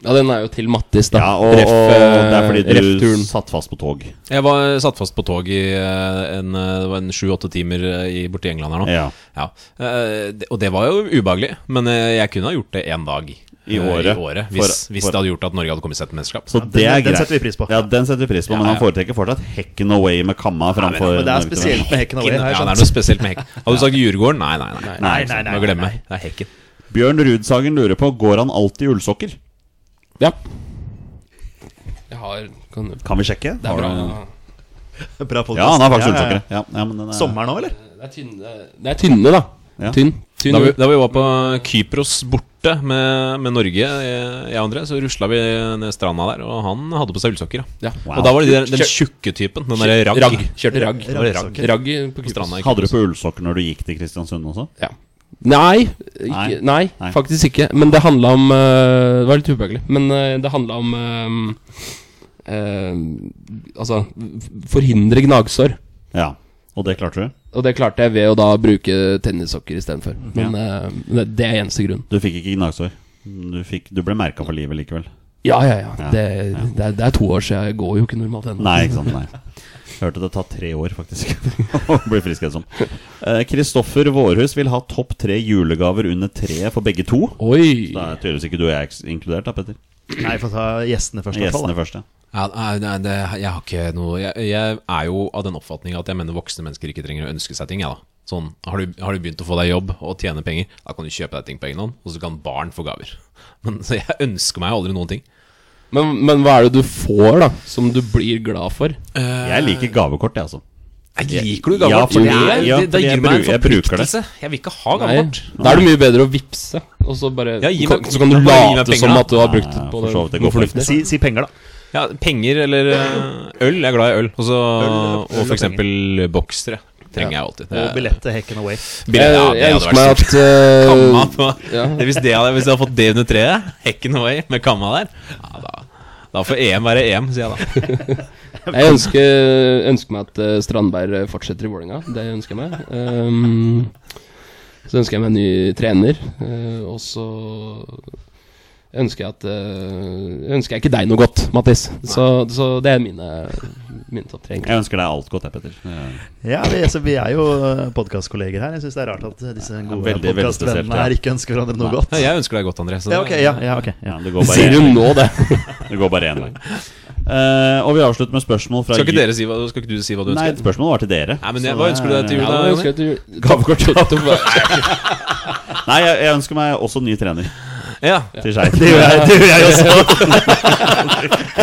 Speaker 3: Ja, den er jo til Mattis, da.
Speaker 1: Ja, og, og
Speaker 3: Ref, eh,
Speaker 1: det er fordi du
Speaker 3: ref-turen.
Speaker 1: satt fast på tog.
Speaker 2: Jeg var satt fast på tog i eh, en, eh, det var en sju-åtte timer eh, i, borti England her nå.
Speaker 1: Ja.
Speaker 2: Ja. Eh, det- Og det var jo ubehagelig, men eh, jeg kunne ha gjort det én dag
Speaker 1: I
Speaker 2: eh,
Speaker 1: året.
Speaker 2: I året hvis,
Speaker 1: For-
Speaker 2: hvis
Speaker 1: for-
Speaker 2: det hadde gjort at Norge hadde kommet seg til mesterskap.
Speaker 1: Så
Speaker 4: den-
Speaker 1: det er greit.
Speaker 4: den setter vi pris på.
Speaker 1: Ja, den setter vi pris på, men
Speaker 2: Ja,
Speaker 1: han
Speaker 2: ja.
Speaker 1: foretrekker fortsatt Hecken Away med Kamma framfor
Speaker 4: Men det er
Speaker 1: Norge til
Speaker 4: spesielt med Hekken away
Speaker 2: ja,
Speaker 4: her.
Speaker 2: det er
Speaker 4: sant?
Speaker 2: noe spesielt med hekken. Hadde du sagt Djurgården? Nei, nei, nei.
Speaker 4: Nei, nei, nei,
Speaker 2: Må
Speaker 4: nei,
Speaker 2: glemme.
Speaker 4: nei.
Speaker 2: Det er hekken.
Speaker 1: VM. Bjørn Rudsagen lurer på Går han alltid i ullsokker.
Speaker 3: Ja. Jeg har kan, Det
Speaker 1: Kan vi sjekke?
Speaker 3: er
Speaker 1: Har
Speaker 3: bra.
Speaker 1: du-
Speaker 4: Bra podcast.
Speaker 1: Ja, han har
Speaker 4: Ja,
Speaker 1: faktisk
Speaker 4: ja, ja.
Speaker 1: ullsokker. Ja, ja, men den er...
Speaker 4: Sommeren òg, eller?
Speaker 3: Det er tynne, det er tynne da.
Speaker 1: Ja.
Speaker 3: Tynn. tynn
Speaker 2: Da vi, da vi var på Kypros borte med, med Norge, eh, jeg og André, så rusla vi ned stranda der, og han hadde på seg ullsokker. da.
Speaker 3: ja.
Speaker 1: Wow.
Speaker 2: Og da var det de der, den
Speaker 3: Kjør-
Speaker 2: tjukke typen. Den derre ragg.
Speaker 3: Ragg. Kjørte ragg.
Speaker 2: Det var ragg.
Speaker 4: Raggsokker.
Speaker 3: Ragg på
Speaker 2: På
Speaker 3: Kypros.
Speaker 2: stranda. ikke
Speaker 1: Hadde du
Speaker 2: sant?
Speaker 1: på ullsokker når du gikk til Kristiansund også?
Speaker 3: Ja. Nei, ikke,
Speaker 1: Nei.
Speaker 3: nei,
Speaker 1: Nei.
Speaker 3: faktisk ikke. Men det handla om eh, Det var litt ubehagelig, men eh, det handla om eh, eh, Altså f- forhindre gnagsår.
Speaker 1: Ja. Og det klarte du?
Speaker 3: Og det klarte jeg ved å da bruke tennissokker istedenfor. Men eh, det, det er eneste grunn.
Speaker 1: Du fikk ikke gnagsår. Du, fikk, du ble merka for livet likevel.
Speaker 3: Ja, ja, ja.
Speaker 1: Ja,
Speaker 3: Det, det, er, det er to år siden. Jeg går jo ikke normalt ennå.
Speaker 1: Nei, ikke sant. Nei. Hørte det tar tre år, faktisk, å bli frisk igjen som. Eh, Kristoffer Vårhus vil ha topp tre julegaver under treet for begge to.
Speaker 3: Oi!
Speaker 1: Da er tydeligvis ikke du og jeg eks- inkludert, da, Petter.
Speaker 4: Nei, vi får ta gjestene først. i hvert fall,
Speaker 1: Gjestene
Speaker 4: da.
Speaker 1: først, ja.
Speaker 2: Ja, nei, nei, det, jeg har ikke noe jeg, jeg er jo av den oppfatning at jeg mener voksne mennesker ikke trenger å ønske seg ting. Jeg, da. Sånn, har du, har du begynt å få deg jobb og tjene penger, da kan du kjøpe deg ting på egen hånd, og så kan barn få gaver. Men så jeg ønsker meg aldri noen ting.
Speaker 3: Men, men hva er det du får, da, som du blir glad for?
Speaker 1: Jeg liker gavekort, jeg, altså.
Speaker 2: Jeg liker du
Speaker 1: Ja,
Speaker 2: gavekort?
Speaker 1: fordi-
Speaker 2: det, er,
Speaker 1: ja,
Speaker 2: det, det
Speaker 1: fordi
Speaker 2: gir
Speaker 1: jeg
Speaker 2: meg en
Speaker 1: bru- jeg bruker det.
Speaker 2: forpliktelse. Jeg vil ikke ha
Speaker 3: Nei,
Speaker 2: gavekort.
Speaker 3: da er det mye bedre å vippse, og så bare
Speaker 2: Ja, gi
Speaker 3: kan-
Speaker 2: meg-
Speaker 3: Så kan du
Speaker 2: da må du gi meg
Speaker 3: late
Speaker 2: penger,
Speaker 3: som
Speaker 2: da.
Speaker 3: at du har brukt det
Speaker 1: Ja,
Speaker 3: på
Speaker 1: for så vidt, det
Speaker 3: noe
Speaker 1: går for
Speaker 3: fornuftig.
Speaker 4: Si, si penger, da.
Speaker 2: Ja, penger eller eh, øl. Jeg er glad i øl. Også, og for eksempel boksere trenger jeg alltid.
Speaker 4: Og billett til Hecken Away.
Speaker 2: Billett, ja,
Speaker 3: jeg
Speaker 2: det
Speaker 3: jeg
Speaker 2: hadde
Speaker 3: ønsker
Speaker 2: vært
Speaker 3: meg
Speaker 2: stort.
Speaker 3: at eh,
Speaker 2: Kamma på
Speaker 3: ja.
Speaker 2: Det- hvis, det hadde, hvis jeg hadde fått det under treet, hekken away med kamma der, ja, da, da får EM være EM, sier jeg da.
Speaker 3: Jeg ønsker, ønsker meg at eh, Strandberg fortsetter i Vålinga Det ønsker jeg meg. Ehm, så ønsker jeg meg en ny trener. eh, og så ønsker jeg at eh, Ønsker jeg ikke deg noe godt, Mattis. Så, så det er mine, mine topp tre. egentlig.
Speaker 1: Jeg ønsker deg alt godt, jeg, Petter. Eh,
Speaker 4: Ja, vi, altså, vi er jo podkastkolleger her. Jeg syns det er rart at disse gode
Speaker 1: veldig, veldig spesielt,
Speaker 4: podkastvennene
Speaker 1: ja.
Speaker 4: her ikke ønsker hverandre noe godt.
Speaker 2: Ja, Jeg ønsker deg godt, André. Så
Speaker 4: Ja,
Speaker 2: det-
Speaker 4: ok, ja, ja, ok ja.
Speaker 1: Ja, det går
Speaker 3: Sier
Speaker 1: bare
Speaker 3: hun nå det?
Speaker 1: Det går bare én vei. Eh, og vi avslutter med spørsmål fra
Speaker 2: Skal ikke,
Speaker 1: Ju-
Speaker 2: dere si hva, skal Ah. ikke du si hva du
Speaker 1: Nei,
Speaker 2: ønsker?
Speaker 1: spørsmålet var til dere.
Speaker 2: Nei, men jeg,
Speaker 1: Så
Speaker 2: Hva
Speaker 1: det-
Speaker 2: ønsker du deg til jul,
Speaker 3: Ja,
Speaker 2: da?
Speaker 3: nå
Speaker 2: Jonny?
Speaker 3: ønsker jeg at du- Gavekort.
Speaker 1: Nei, jeg, jeg ønsker meg også ny trener
Speaker 2: Ja,
Speaker 1: til Skeid.
Speaker 4: Det gjør jeg, det gjør jeg også.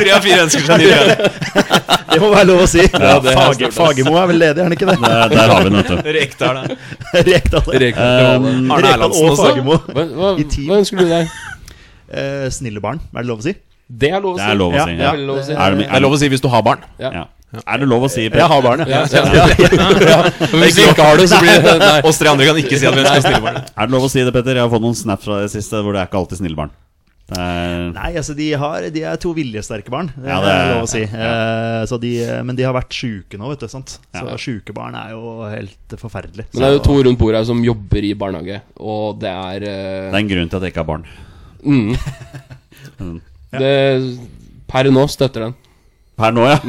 Speaker 2: Tre av fire ønsker seg ny trener.
Speaker 4: Det må være lov å si.
Speaker 1: Ja, det er altså.
Speaker 4: Fage, Fagermo er vel ledig, er han ikke det?
Speaker 1: Der, der har vi den, vet du.
Speaker 2: Rekdal, da.
Speaker 4: Rekdal
Speaker 1: Um,
Speaker 2: Arne
Speaker 4: Rekdal
Speaker 2: Erlandsen
Speaker 4: og
Speaker 2: også.
Speaker 4: Fagermo.
Speaker 3: Hva, hva,
Speaker 4: I team.
Speaker 3: hva ønsker du deg?
Speaker 4: Eh, snille barn, er det lov å si?
Speaker 3: Det er lov å
Speaker 1: Det
Speaker 3: si.
Speaker 1: er lov å
Speaker 4: Ja,
Speaker 1: si.
Speaker 4: ja.
Speaker 1: Ja.
Speaker 3: Veldig lov å si.
Speaker 1: Er det,
Speaker 2: Det er lov å si hvis du har barn.
Speaker 1: ja. Er det lov å si,
Speaker 4: Jeg
Speaker 1: Per?
Speaker 4: har barn, ja.
Speaker 3: Hvis du ikke har det, så blir det Nei.
Speaker 2: Oss tre andre kan ikke si at vi ønsker oss snille barn.
Speaker 1: Er det lov å si det, Petter? Jeg har fått noen snaps fra det siste hvor det er ikke alltid snille barn. Det er,
Speaker 4: Nei, altså de, har, de er to viljesterke barn, det
Speaker 1: Ja,
Speaker 4: er
Speaker 1: det er-
Speaker 4: lov å si. Eh, så de, men de har vært sjuke nå, vet du. sant? Så sjuke barn er jo helt forferdelig.
Speaker 3: Men det er jo
Speaker 4: Så-
Speaker 3: to rundt bordet her som jobber i barnehage, og det er eh,
Speaker 1: det er en grunn til at jeg ikke har barn.
Speaker 3: Mm. Det, per nå støtter den.
Speaker 1: Per nå, ja.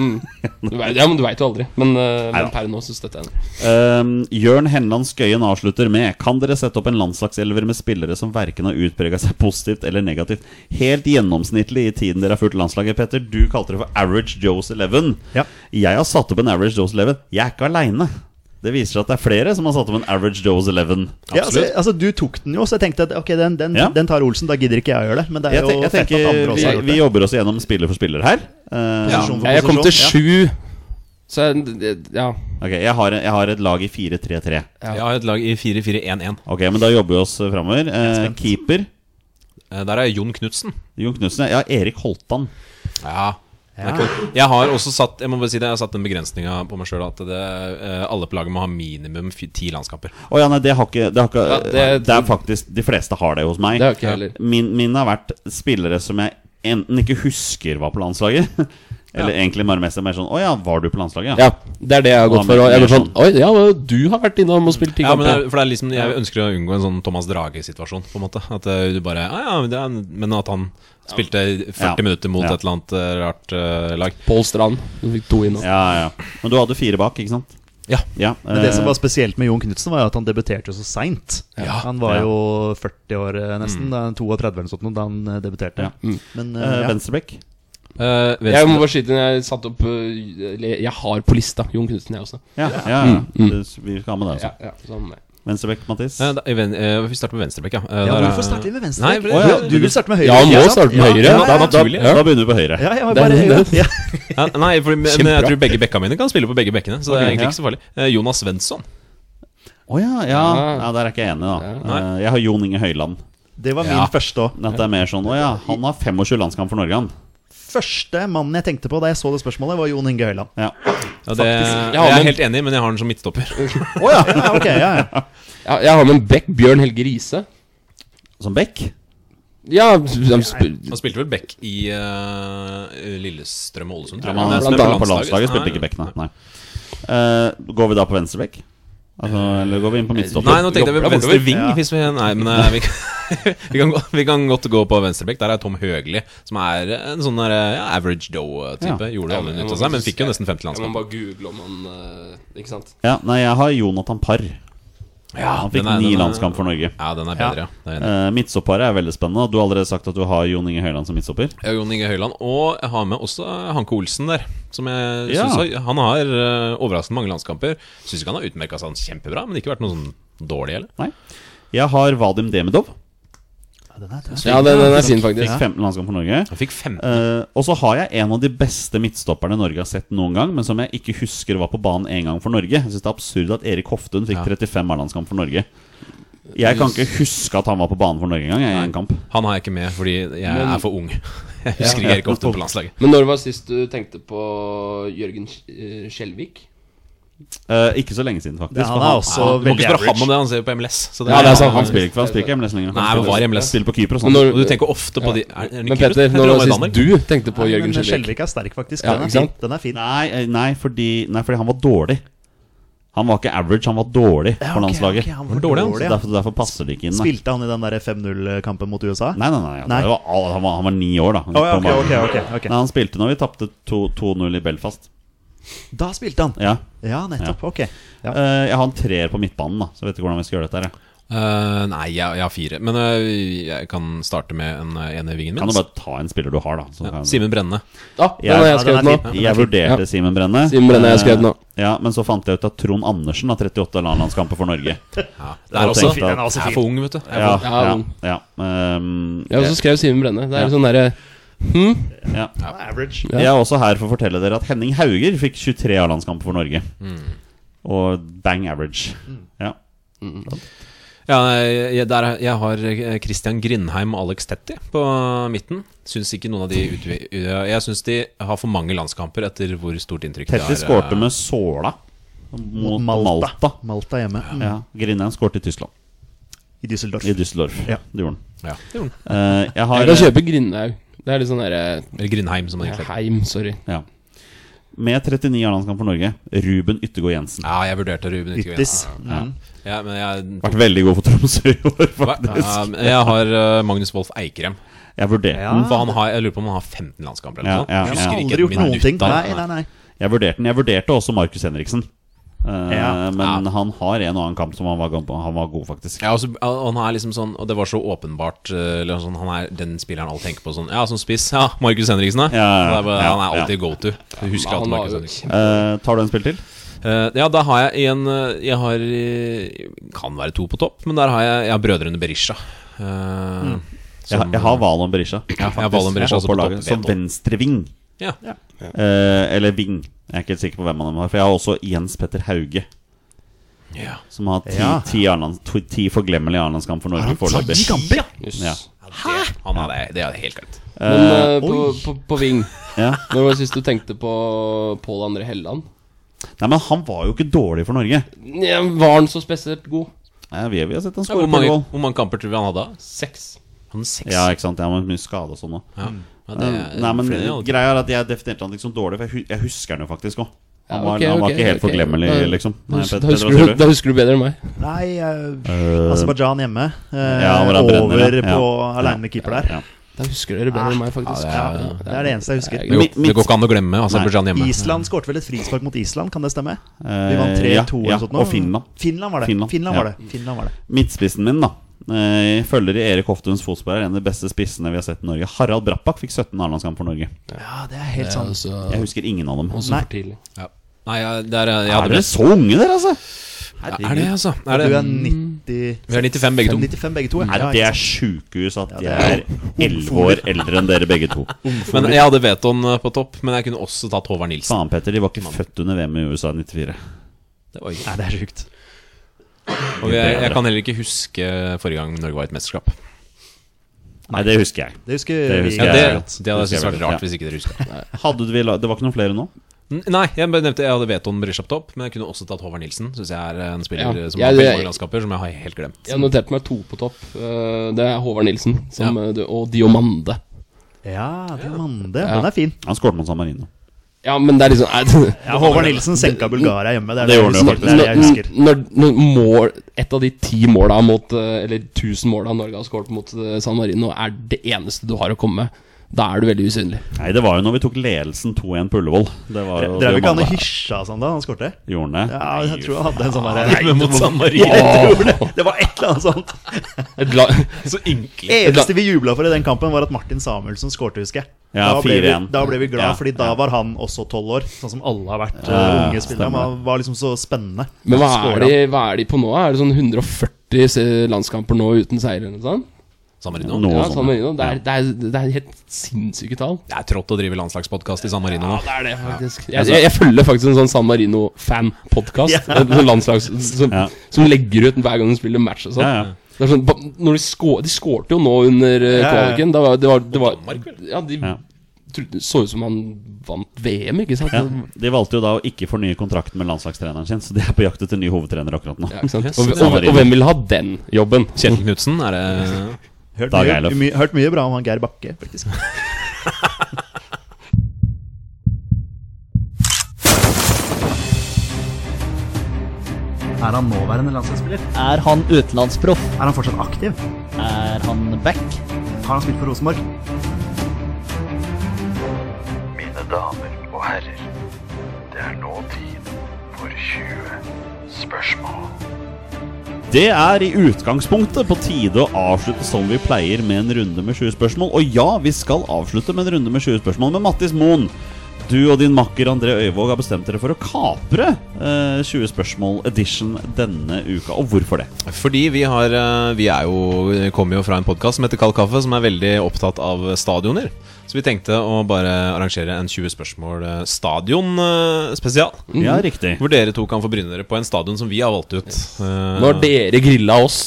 Speaker 3: Du vet, ja, men du veit jo aldri. Men, eh,
Speaker 1: Neida.
Speaker 3: men per nå så støtter jeg den.
Speaker 1: Um, Jørn Henland Skøyen avslutter med Kan dere sette opp en landslagselver med spillere som verken har utprega seg positivt eller negativt? Helt gjennomsnittlig i tiden dere har fulgt landslaget, Petter. Du kalte det for Average Joes 11.
Speaker 4: Ja.
Speaker 1: Jeg har satt opp en Average Joes 11. Jeg er ikke aleine. Det viser seg at det er flere som har satt opp en Average Joes 11.
Speaker 4: Ja, altså, altså, du tok den jo, så jeg tenkte at ok, den, den,
Speaker 1: Ja.
Speaker 4: den tar Olsen. Da gidder ikke jeg å gjøre det. Men det er
Speaker 1: Jeg,
Speaker 4: jo
Speaker 1: te jeg
Speaker 4: fett at
Speaker 1: tenker
Speaker 4: andre også
Speaker 1: vi,
Speaker 4: har gjort
Speaker 1: vi
Speaker 4: det.
Speaker 1: jobber oss gjennom spiller for spiller her. Uh,
Speaker 4: Posisjon for
Speaker 3: Jeg, jeg kom til
Speaker 4: posisjon,
Speaker 3: sju, så jeg, det- ja.
Speaker 1: ok, jeg, har, jeg har et lag i 4-3-3.
Speaker 2: Jeg har et lag i 4-4-1-1.
Speaker 1: Ok, men da jobber vi oss framover. Uh, keeper
Speaker 2: Eh, Der er Jon Knutsen.
Speaker 1: Jon Knutsen. Ja, Erik Holtan.
Speaker 2: Ja. det er ikke- Jeg har også satt Jeg må bare si det Jeg har satt den begrensninga på meg sjøl at det, eh, alle på laget må ha minimum fi- ti landskamper.
Speaker 1: Å ja, nei, det har ikke, det, har ikke
Speaker 3: Ja,
Speaker 1: det,
Speaker 3: det-
Speaker 1: er faktisk De fleste har det hos meg.
Speaker 3: Det har ikke jeg heller.
Speaker 1: Min, min har vært spillere som jeg enten ikke husker var på landslaget, eller egentlig bare mest er mer sånn Å ja, var du på landslaget?
Speaker 3: ja. Det er det jeg har gått for. Og jeg går sånn Oi, ja, du har vært innom og spilt ti
Speaker 2: Ja, men
Speaker 3: kamper.
Speaker 2: det, er- for det er liksom Jeg ønsker å unngå en sånn Thomas Drage-situasjon, på en måte. At eh, du bare ah, ja, men det er, Men at han spilte 40
Speaker 1: Ja.
Speaker 2: minutter mot
Speaker 1: Ja.
Speaker 2: et eller annet eh, rart eh, lag.
Speaker 3: Pål Strand. Du fikk to innom.
Speaker 1: ja, ja. Men du hadde fire bak, ikke sant?
Speaker 2: Ja.
Speaker 1: Ja,
Speaker 4: Men det som
Speaker 1: eh,
Speaker 4: var spesielt med Jon Knutsen, var jo at han debuterte jo så seint. Han var
Speaker 1: Ja.
Speaker 4: jo 40 år eh, nesten, da han 32 eller noe sånt, da han eh, debuterte.
Speaker 1: Ja.
Speaker 4: Men
Speaker 1: eh,
Speaker 4: eh, ja.
Speaker 1: Venstrebekk.
Speaker 2: Eh, venstre-
Speaker 3: Jeg må bare skyte inn, jeg satte opp eh, eller Jeg har på lista Jon Knutsen, jeg også.
Speaker 1: Ja, ja, ja. Det- Vi skal ha med det altså. også.
Speaker 3: Ja, sånn ja, sammen med.
Speaker 1: Venstrebekk, Mathis.
Speaker 2: Eh, da, i ven, eh, vi starter med venstrebekk, ja. Eh,
Speaker 4: ja,
Speaker 2: der er-
Speaker 4: hvorfor starter vi med venstre?
Speaker 2: Nei,
Speaker 4: Å,
Speaker 2: for-
Speaker 4: ja, du vil starte med høyre?
Speaker 3: Ja, nå
Speaker 4: ikke sant?
Speaker 3: starter med høyre.
Speaker 4: Ja,
Speaker 2: det er
Speaker 1: da,
Speaker 2: naturlig, ja.
Speaker 1: da begynner vi på høyre.
Speaker 4: ja, ja,
Speaker 3: Det er
Speaker 4: bare,
Speaker 3: det.
Speaker 4: ja.
Speaker 2: Ja, nei, fordi, men
Speaker 3: Kjempebra.
Speaker 2: jeg tror begge bekka mine kan spille på begge bekkene. Så det er
Speaker 1: Ok,
Speaker 2: egentlig
Speaker 1: ja.
Speaker 2: ikke så farlig Eh, Jonas Svensson.
Speaker 1: Å ja, ja.
Speaker 3: Ja.
Speaker 1: ja, der er ikke jeg enig, da.
Speaker 2: Nei.
Speaker 1: Eh, Jeg har Jon Inge Høyland.
Speaker 4: Det var min
Speaker 2: Ja.
Speaker 4: første òg.
Speaker 1: Dette er mer sånn Å ja, han har 25 landskamp for Norge, han.
Speaker 4: Første mannen jeg tenkte på da jeg så det spørsmålet, var Jon Inge Høiland.
Speaker 1: Ja.
Speaker 2: Ja, det,
Speaker 3: Jeg har
Speaker 2: jeg er
Speaker 3: den.
Speaker 2: helt enig, men jeg har den som midtstopper.
Speaker 4: Oh, ja. ja, ok, ja, ja.
Speaker 3: Ja, jeg har med en Beck Bjørn Helge Riise.
Speaker 1: Som Beck.
Speaker 3: Ja, han spil-
Speaker 2: Han spilte vel back i eh, Lillestrøm og Ålesund,
Speaker 1: Ja,
Speaker 2: tror jeg.
Speaker 1: men
Speaker 2: Han
Speaker 1: han
Speaker 2: spilte
Speaker 1: spilte på landslaget,
Speaker 2: Nei,
Speaker 1: spilte ikke bekk, nei. nei. Eh, går vi da på venstrebekk? Altså, eller går vi inn på midtstopper?
Speaker 2: Nei, nå tenkte jeg
Speaker 3: Jobber
Speaker 2: på
Speaker 3: deg
Speaker 2: venstre
Speaker 3: bortover.
Speaker 2: ving.
Speaker 4: Ja.
Speaker 2: Hvis vi, nei, men eh, vi, kan- vi, kan, gå- vi kan godt gå på venstrebekk. Der er Tom Høgli, som er en sånn der, eh, ja, average Joe-type. Gjorde aldri nytt av seg, men fikk jo nesten 50
Speaker 3: Jeg må
Speaker 2: landskamper.
Speaker 3: bare google om han eh, Ikke sant?
Speaker 1: Ja, nei, jeg har Jonathan Parr. han fikk
Speaker 2: den er-
Speaker 1: ni
Speaker 2: den er-
Speaker 1: landskamp for Norge.
Speaker 2: Ja, den er bedre, ja. Det er jeg enig i.
Speaker 1: Uh, Midtstopparet er veldig spennende. Du har allerede sagt at du har Jon Inge Høiland som midtstopper.
Speaker 2: Jeg har Jon Inge Høiland. Og jeg har med også eh, Hanke Olsen der. Som jeg
Speaker 1: Ja.
Speaker 2: synes har, Han har eh, overraskende mange landskamper. Syns ikke han har utmerka seg sånn kjempebra, men ikke vært noe sånn dårlig heller.
Speaker 1: Nei. Jeg har Vadim Demidov.
Speaker 4: den er tøff.
Speaker 3: Ja, den, den er fin,
Speaker 1: Fikk
Speaker 3: faktisk.
Speaker 1: 15 landskamp for Norge.
Speaker 2: Han fikk 15.
Speaker 1: Eh, og så har jeg en av de beste midtstopperne Norge har sett noen gang, men som jeg ikke husker var på banen en gang for Norge. Jeg synes det er absurd at Erik Hoftun fikk
Speaker 2: Ja.
Speaker 1: 35 A-landskamp for Norge. Jeg kan ikke huske at han var på banen for Norge engang. Jeg, i en kamp.
Speaker 2: Han har jeg ikke med fordi jeg er for ung. Jeg husker ikke Erik Hoften på landslaget.
Speaker 3: Men når var sist du tenkte på Jørgen eh, Skjelvik?
Speaker 1: Eh, ikke så lenge siden, faktisk.
Speaker 4: Ja, han
Speaker 1: for
Speaker 4: er også
Speaker 2: Du må
Speaker 4: veldig
Speaker 2: ikke spørre ham om
Speaker 4: average.
Speaker 2: det, han ser jo på MLS. Så
Speaker 3: Ja, det er sant.
Speaker 1: han spiller ikke, for han spiller ikke MLS lenger. Han
Speaker 2: Nei, men
Speaker 1: spiller-
Speaker 2: var i MLS.
Speaker 1: Spiller på sånn. Kypros.
Speaker 3: Men
Speaker 1: han.
Speaker 3: når-
Speaker 2: Og du tenker ofte på de er, er det
Speaker 3: Men
Speaker 2: Kypros?
Speaker 3: Petter,
Speaker 2: Jeg tror
Speaker 3: når
Speaker 2: det var
Speaker 3: var
Speaker 2: i
Speaker 3: sist
Speaker 2: Danmark.
Speaker 3: du tenkte på
Speaker 4: Nei,
Speaker 3: Jørgen
Speaker 4: men
Speaker 3: Skjelvik?
Speaker 4: Skjelvik er sterk, faktisk.
Speaker 3: Ja,
Speaker 4: Den
Speaker 3: ikke
Speaker 4: er fin.
Speaker 3: sant?
Speaker 4: Den er fin.
Speaker 1: Nei, eh, nei, fordi, nei, fordi han var dårlig. Han var ikke average, han var dårlig
Speaker 4: Ja,
Speaker 1: på
Speaker 4: ok,
Speaker 1: landslaget.
Speaker 4: ok, han var
Speaker 2: Var dårlig, han.
Speaker 1: Så
Speaker 4: dårlig, ja.
Speaker 1: derfor, derfor passer det ikke inn. Da.
Speaker 4: Spilte han i den der 5-0-kampen mot USA?
Speaker 1: Nei, nei, nei. altså,
Speaker 4: Nei.
Speaker 1: Det var, all- han, var, han var ni år, da. Han
Speaker 4: Å,
Speaker 1: gikk
Speaker 4: ja,
Speaker 1: på
Speaker 4: ok,
Speaker 1: banen.
Speaker 4: ok, ok, ok.
Speaker 1: Nei, han spilte når vi tapte 2 2-0 i Belfast.
Speaker 4: Da spilte han!
Speaker 1: Ja.
Speaker 4: Ja, nettopp. Ok. Ja.
Speaker 1: Eh, jeg har en treer på midtbanen, da, så jeg vet ikke hvordan vi skal gjøre dette. her jeg.
Speaker 2: Eh, nei, jeg, jeg har fire. Men eh, jeg kan starte med en eh, ene i vingen
Speaker 1: Kan du
Speaker 2: min.
Speaker 1: bare ta en spiller du har, da? så
Speaker 2: Ja,
Speaker 1: kan-
Speaker 2: Simen Brenne.
Speaker 3: Ja, Ah, den
Speaker 1: Ja,
Speaker 3: har jeg
Speaker 4: ja, den
Speaker 3: skrevet
Speaker 4: er
Speaker 3: nå.
Speaker 4: fin.
Speaker 1: Jeg vurderte Simen Brenne.
Speaker 3: Simen Brenne har jeg skrevet nå.
Speaker 1: Eh, Ja, Men så fant jeg ut at Trond Andersen har 38 A-landskamper for Norge.
Speaker 2: Ja, det er
Speaker 1: Og
Speaker 2: også
Speaker 1: tenkte
Speaker 2: Jeg
Speaker 1: at-
Speaker 4: også
Speaker 2: er for ung, vet du. Jeg er
Speaker 1: Ja,
Speaker 2: for-
Speaker 1: ja, ja. Ehm,
Speaker 3: Jeg også skrev Simen Brenne. Det er sånn derre hm?
Speaker 1: ja.
Speaker 4: Han er Average.
Speaker 3: Ja.
Speaker 1: Jeg er også her for å fortelle dere at Henning Hauger fikk 23 A-landskamper for Norge. Og bang average. Ja.
Speaker 2: Ja, jeg, der, er- jeg har eh, Christian Grindheim og Alex Tetti på midten. Syns ikke noen av de utvi... Jeg syns de har for mange landskamper etter hvor stort inntrykk
Speaker 1: Tetti
Speaker 2: det er. eh,
Speaker 1: skårte med såla mot Malta.
Speaker 4: Malta. Malta hjemme. Mm.
Speaker 1: Ja. Grindheim skårte i Tyskland.
Speaker 4: I Düsseldorf.
Speaker 1: I Düsseldorf.
Speaker 4: Ja.
Speaker 1: Det gjorde han.
Speaker 2: Ja, det gjorde han.
Speaker 1: Eh, jeg
Speaker 3: Jeg
Speaker 1: har
Speaker 3: kan kjøpe Grindhaug. Det er litt sånn derre
Speaker 2: Eller Grindheim, som han egentlig heter.
Speaker 3: Heim, sorry.
Speaker 1: ja. Med 39 A-landskamp for Norge, Ruben Yttergård Jensen.
Speaker 2: Ja, jeg vurderte Ruben Yttergård.
Speaker 4: Yttis.
Speaker 2: Ja, men jeg
Speaker 1: Vært veldig god for Tromsø i år, faktisk.
Speaker 2: Ja, men jeg har eh, Magnus Wolff Eikrem.
Speaker 1: Jeg vurderte
Speaker 4: Ja.
Speaker 1: den.
Speaker 2: For han har, jeg lurer på om han har 15 landskamper eller
Speaker 1: Ja,
Speaker 2: noe
Speaker 1: ja,
Speaker 2: sånt. Jeg
Speaker 1: ja.
Speaker 2: husker
Speaker 4: Han har
Speaker 2: ikke
Speaker 4: aldri
Speaker 2: et
Speaker 4: gjort noen
Speaker 2: minutt
Speaker 4: ting.
Speaker 2: av
Speaker 4: Nei,
Speaker 2: det.
Speaker 4: nei, nei.
Speaker 1: Jeg vurderte den. Jeg vurderte også Markus Henriksen. Eh,
Speaker 4: Ja.
Speaker 1: Men han har en og annen kamp som han var, god på. han var god, faktisk.
Speaker 2: Ja, og så- og han er liksom sånn Og det var så åpenbart eh, eller sånn, Han er den spilleren alle tenker på sånn Ja, som spiss. Ja, Markus Henriksen, da.
Speaker 1: Ja,
Speaker 2: Det er bare-
Speaker 1: ja,
Speaker 2: han er alltid
Speaker 1: ja.
Speaker 2: go to. Du husker alltid
Speaker 3: Han var
Speaker 2: Markus
Speaker 3: jo
Speaker 2: Henriksen.
Speaker 1: Eh, tar du en spill til?
Speaker 2: Eh, ja, da har jeg en eh, Jeg har eh, Kan være to på topp, men der har jeg, jeg har brødrene Berisha. Eh,
Speaker 1: Mm. Jeg,
Speaker 2: som-
Speaker 1: jeg har Valon Berisha.
Speaker 2: Ja, jeg har Valon Berisha også
Speaker 1: på
Speaker 2: på
Speaker 1: laget. Som
Speaker 2: topp.
Speaker 1: venstreving.
Speaker 2: ja.
Speaker 1: Eh, eller ving. Jeg er ikke helt sikker på hvem han har. For jeg har også Jens Petter Hauge.
Speaker 2: Ja.
Speaker 1: Som har ti,
Speaker 4: Ja.
Speaker 1: ti, Arlands, to, ti forglemmelige Arendalskamp for Norge foreløpig.
Speaker 4: Ti kamper, ja!
Speaker 3: Jøss.
Speaker 1: Ja.
Speaker 2: Hæ?! Han er det, det er helt greit.
Speaker 3: Men eh, på, på, på Ving
Speaker 1: Ja.
Speaker 3: Når var det sist du tenkte på Pål André Helland?
Speaker 1: Nei, men han var jo ikke dårlig for Norge.
Speaker 3: Ja, Var han så spesielt god?
Speaker 1: Nei, vi, vi har sett han
Speaker 2: Hvor
Speaker 1: skåre på
Speaker 2: mange,
Speaker 1: mål.
Speaker 2: hvor mange kamper tror vi han hadde?
Speaker 3: Seks.
Speaker 2: Han hadde seks.
Speaker 1: Ja, ikke sant. Jeg har mye skade og sånn òg.
Speaker 2: Ja. Mm. Ja, det er-
Speaker 1: Nei, men
Speaker 2: flere, altså. ja.
Speaker 1: greia er at jeg definerte han liksom dårlig, for jeg, hu jeg husker han jo faktisk òg.
Speaker 3: Ja,
Speaker 1: Han var,
Speaker 3: ok,
Speaker 1: han var
Speaker 3: ok,
Speaker 1: ikke helt
Speaker 3: ok.
Speaker 1: forglemmelig,
Speaker 3: Da-
Speaker 1: liksom.
Speaker 3: Da
Speaker 1: Nei,
Speaker 3: husker,
Speaker 1: Petter,
Speaker 3: da,
Speaker 1: hva
Speaker 3: husker
Speaker 1: sier
Speaker 3: du, da husker du bedre enn meg.
Speaker 4: Nei, uh, Aserbajdsjan hjemme. eh,
Speaker 1: Ja, han var
Speaker 4: over
Speaker 1: brenner, ja.
Speaker 4: på
Speaker 1: Ja.
Speaker 4: aleine med keeper der.
Speaker 1: Ja.
Speaker 3: Da husker dere bedre enn meg, faktisk.
Speaker 2: ja, det er-
Speaker 4: det er det eneste jeg husker.
Speaker 3: det er
Speaker 2: Det
Speaker 3: greit.
Speaker 2: går, det går ikke an å glemme Aserbajdsjan hjemme.
Speaker 4: Island skårte vel et frispark mot Island, kan det stemme? Vi
Speaker 1: Eh,
Speaker 4: vant 3-2
Speaker 1: ja,
Speaker 4: eller
Speaker 1: ja,
Speaker 4: sånt nå.
Speaker 1: og Finland.
Speaker 4: Finland var det.
Speaker 1: Finland,
Speaker 4: Finland, var
Speaker 1: ja.
Speaker 4: det. Finland var det.
Speaker 1: Midtspissen min, da. Eh, følger i Erik Hoftuns fotspor er en av de beste spissene vi har sett i Norge. Harald Brappak fikk 17 A-landskamp for Norge.
Speaker 4: Ja, det er helt sånn.
Speaker 3: Ja,
Speaker 4: sant.
Speaker 3: altså,
Speaker 1: Jeg husker ingen av dem.
Speaker 3: også
Speaker 4: Nei.
Speaker 3: for tidlig.
Speaker 2: Ja. Nei, jeg, der, er- jeg
Speaker 1: Er
Speaker 2: hadde
Speaker 1: dere
Speaker 2: best.
Speaker 1: så unge, dere, altså?
Speaker 2: Er det, altså? Er
Speaker 4: Du
Speaker 2: det?
Speaker 4: er 90
Speaker 2: Vi er 95 begge to.
Speaker 4: 95 begge to. ja.
Speaker 1: Nei,
Speaker 4: Ja,
Speaker 1: det
Speaker 4: ikke
Speaker 1: Mm. er sjukehus at jeg er elleve år eldre enn dere begge to.
Speaker 2: Men jeg hadde Veton eh, på topp, men jeg kunne også tatt Håvard Nilsen.
Speaker 1: Faen, Petter, de var ikke født under VM i USA i 94.
Speaker 2: Det var
Speaker 4: sant? Nei, det er sjukt.
Speaker 2: Og jeg, jeg kan heller ikke huske forrige gang Norge var i et mesterskap.
Speaker 1: Nei, det husker jeg.
Speaker 4: Det husker
Speaker 1: Det
Speaker 4: vi.
Speaker 1: husker
Speaker 2: Ja,
Speaker 1: Ja,
Speaker 2: det,
Speaker 1: ja.
Speaker 2: det hadde jeg syntes vært
Speaker 1: Ja.
Speaker 2: rart hvis ikke dere huska.
Speaker 1: Hadde vi la det var ikke noen flere nå?
Speaker 2: N- Nei, jeg bare nevnte jeg hadde Veton Berisha på topp, men jeg kunne også tatt Håvard Nilsen. Syns jeg er en spiller
Speaker 3: Ja.
Speaker 2: som
Speaker 3: Jeg-
Speaker 2: har veldig
Speaker 3: jeg-
Speaker 2: mange landskaper, som jeg har helt glemt.
Speaker 3: Jeg noterte meg to på topp. Eh, Det er Håvard Nilsen som, eh, du- og Diomande.
Speaker 4: Ja, Diamande. Den er fin.
Speaker 1: Han skåret mot San Marino.
Speaker 3: Ja, men det er liksom er,
Speaker 4: Ja, Håvard Nilsen senka Bulgaria hjemme. Det er
Speaker 1: Det
Speaker 4: det,
Speaker 1: gjorde han jo
Speaker 4: jeg husker. Det er det jeg husker.
Speaker 3: Når, når mål, et av de ti måla mot eh, Eller tusen måla Norge har skåret mot eh, San Marino, er det eneste du har å komme med, da er du veldig usynlig.
Speaker 1: Nei, det var jo når vi tok ledelsen 2-1 på Ullevål. Det var jo
Speaker 4: Drev ikke han og
Speaker 1: Diomande.
Speaker 4: hysja og sånn da han skårte?
Speaker 1: Gjorde han det?
Speaker 4: Ja, jeg tror han hadde en sånn derre
Speaker 2: Men mot San Marino
Speaker 4: Det var et eller annet sånt.
Speaker 3: Et la-
Speaker 2: Så ynkelig.
Speaker 3: Eh.
Speaker 4: Eneste vi jubla for i den kampen, var at Martin Samuelsen skårte, husker jeg.
Speaker 1: Ja,
Speaker 4: da, ble vi,
Speaker 1: 4-1.
Speaker 4: da ble vi glad,
Speaker 1: Ja,
Speaker 4: fordi da var han også tolv år. Sånn som alle har vært
Speaker 1: Ja,
Speaker 4: eh, unge spillere.
Speaker 1: stemmer.
Speaker 4: Han var liksom så spennende.
Speaker 3: Men hva
Speaker 4: Skåret
Speaker 3: er, de, hva er de på nå? Er det sånn 140 se- landskamper nå uten seier eller noe sånt?
Speaker 2: San Marino.
Speaker 1: Noe
Speaker 3: Ja,
Speaker 1: sånt.
Speaker 3: San Marino. Det er, det er, det er helt sinnssyke tall.
Speaker 2: Det er trått å drive landslagspodkast i San Marino nå.
Speaker 3: Det er det, faktisk. Jeg, jeg, jeg følger faktisk en sånn San Marino-fan-podkast. Landslags som,
Speaker 1: Ja.
Speaker 3: som legger ut hver gang de spiller match og sånn.
Speaker 1: Ja, ja.
Speaker 3: Det er sånn, ba- når de, skå, de skårte jo nå under eh,
Speaker 4: Ja, ja.
Speaker 3: kvaliken. Da var, det var, det var,
Speaker 2: Danmark, vel?
Speaker 3: ja, de
Speaker 1: Ja.
Speaker 3: trodde, så ut som han vant VM, ikke sant?
Speaker 1: Ja, de valgte jo da å ikke fornye kontrakten med landslagstreneren sin, så de er på jakt etter ny hovedtrener akkurat nå.
Speaker 3: Ja, ikke sant?
Speaker 2: Yes,
Speaker 3: Og,
Speaker 2: det
Speaker 3: og,
Speaker 1: var
Speaker 3: og hvem vil ha den jobben?
Speaker 2: Kjetil Knutsen, er det
Speaker 4: Hørt
Speaker 1: Dag
Speaker 4: mye,
Speaker 1: Eilef.
Speaker 4: my, hørt mye bra om han Geir Bakke, faktisk.
Speaker 5: Er han nåværende landslagsspiller?
Speaker 6: Er han utenlandsproff?
Speaker 5: Er han fortsatt aktiv?
Speaker 6: Er han back?
Speaker 5: Har han spilt for Rosenborg?
Speaker 7: Mine damer og herrer, det er nå tid for 20 spørsmål.
Speaker 1: Det er i utgangspunktet på tide å avslutte som vi pleier med en runde med 20 spørsmål. Og ja, vi skal avslutte med en runde med 20 spørsmål med Mattis Moen. Du og din makker André Øyvåg har bestemt dere for å kapre eh, 20 spørsmål edition denne uka. Og hvorfor det?
Speaker 2: Fordi vi har eh, Vi er jo, kommer jo fra en podkast som heter Kald kaffe, som er veldig opptatt av stadioner. Så vi tenkte å bare arrangere en 20 spørsmål eh, stadion eh, spesial.
Speaker 1: Ja, riktig.
Speaker 2: Hvor dere to kan få bryne dere på en stadion som vi har valgt ut. Eh,
Speaker 3: Nå har dere grilla oss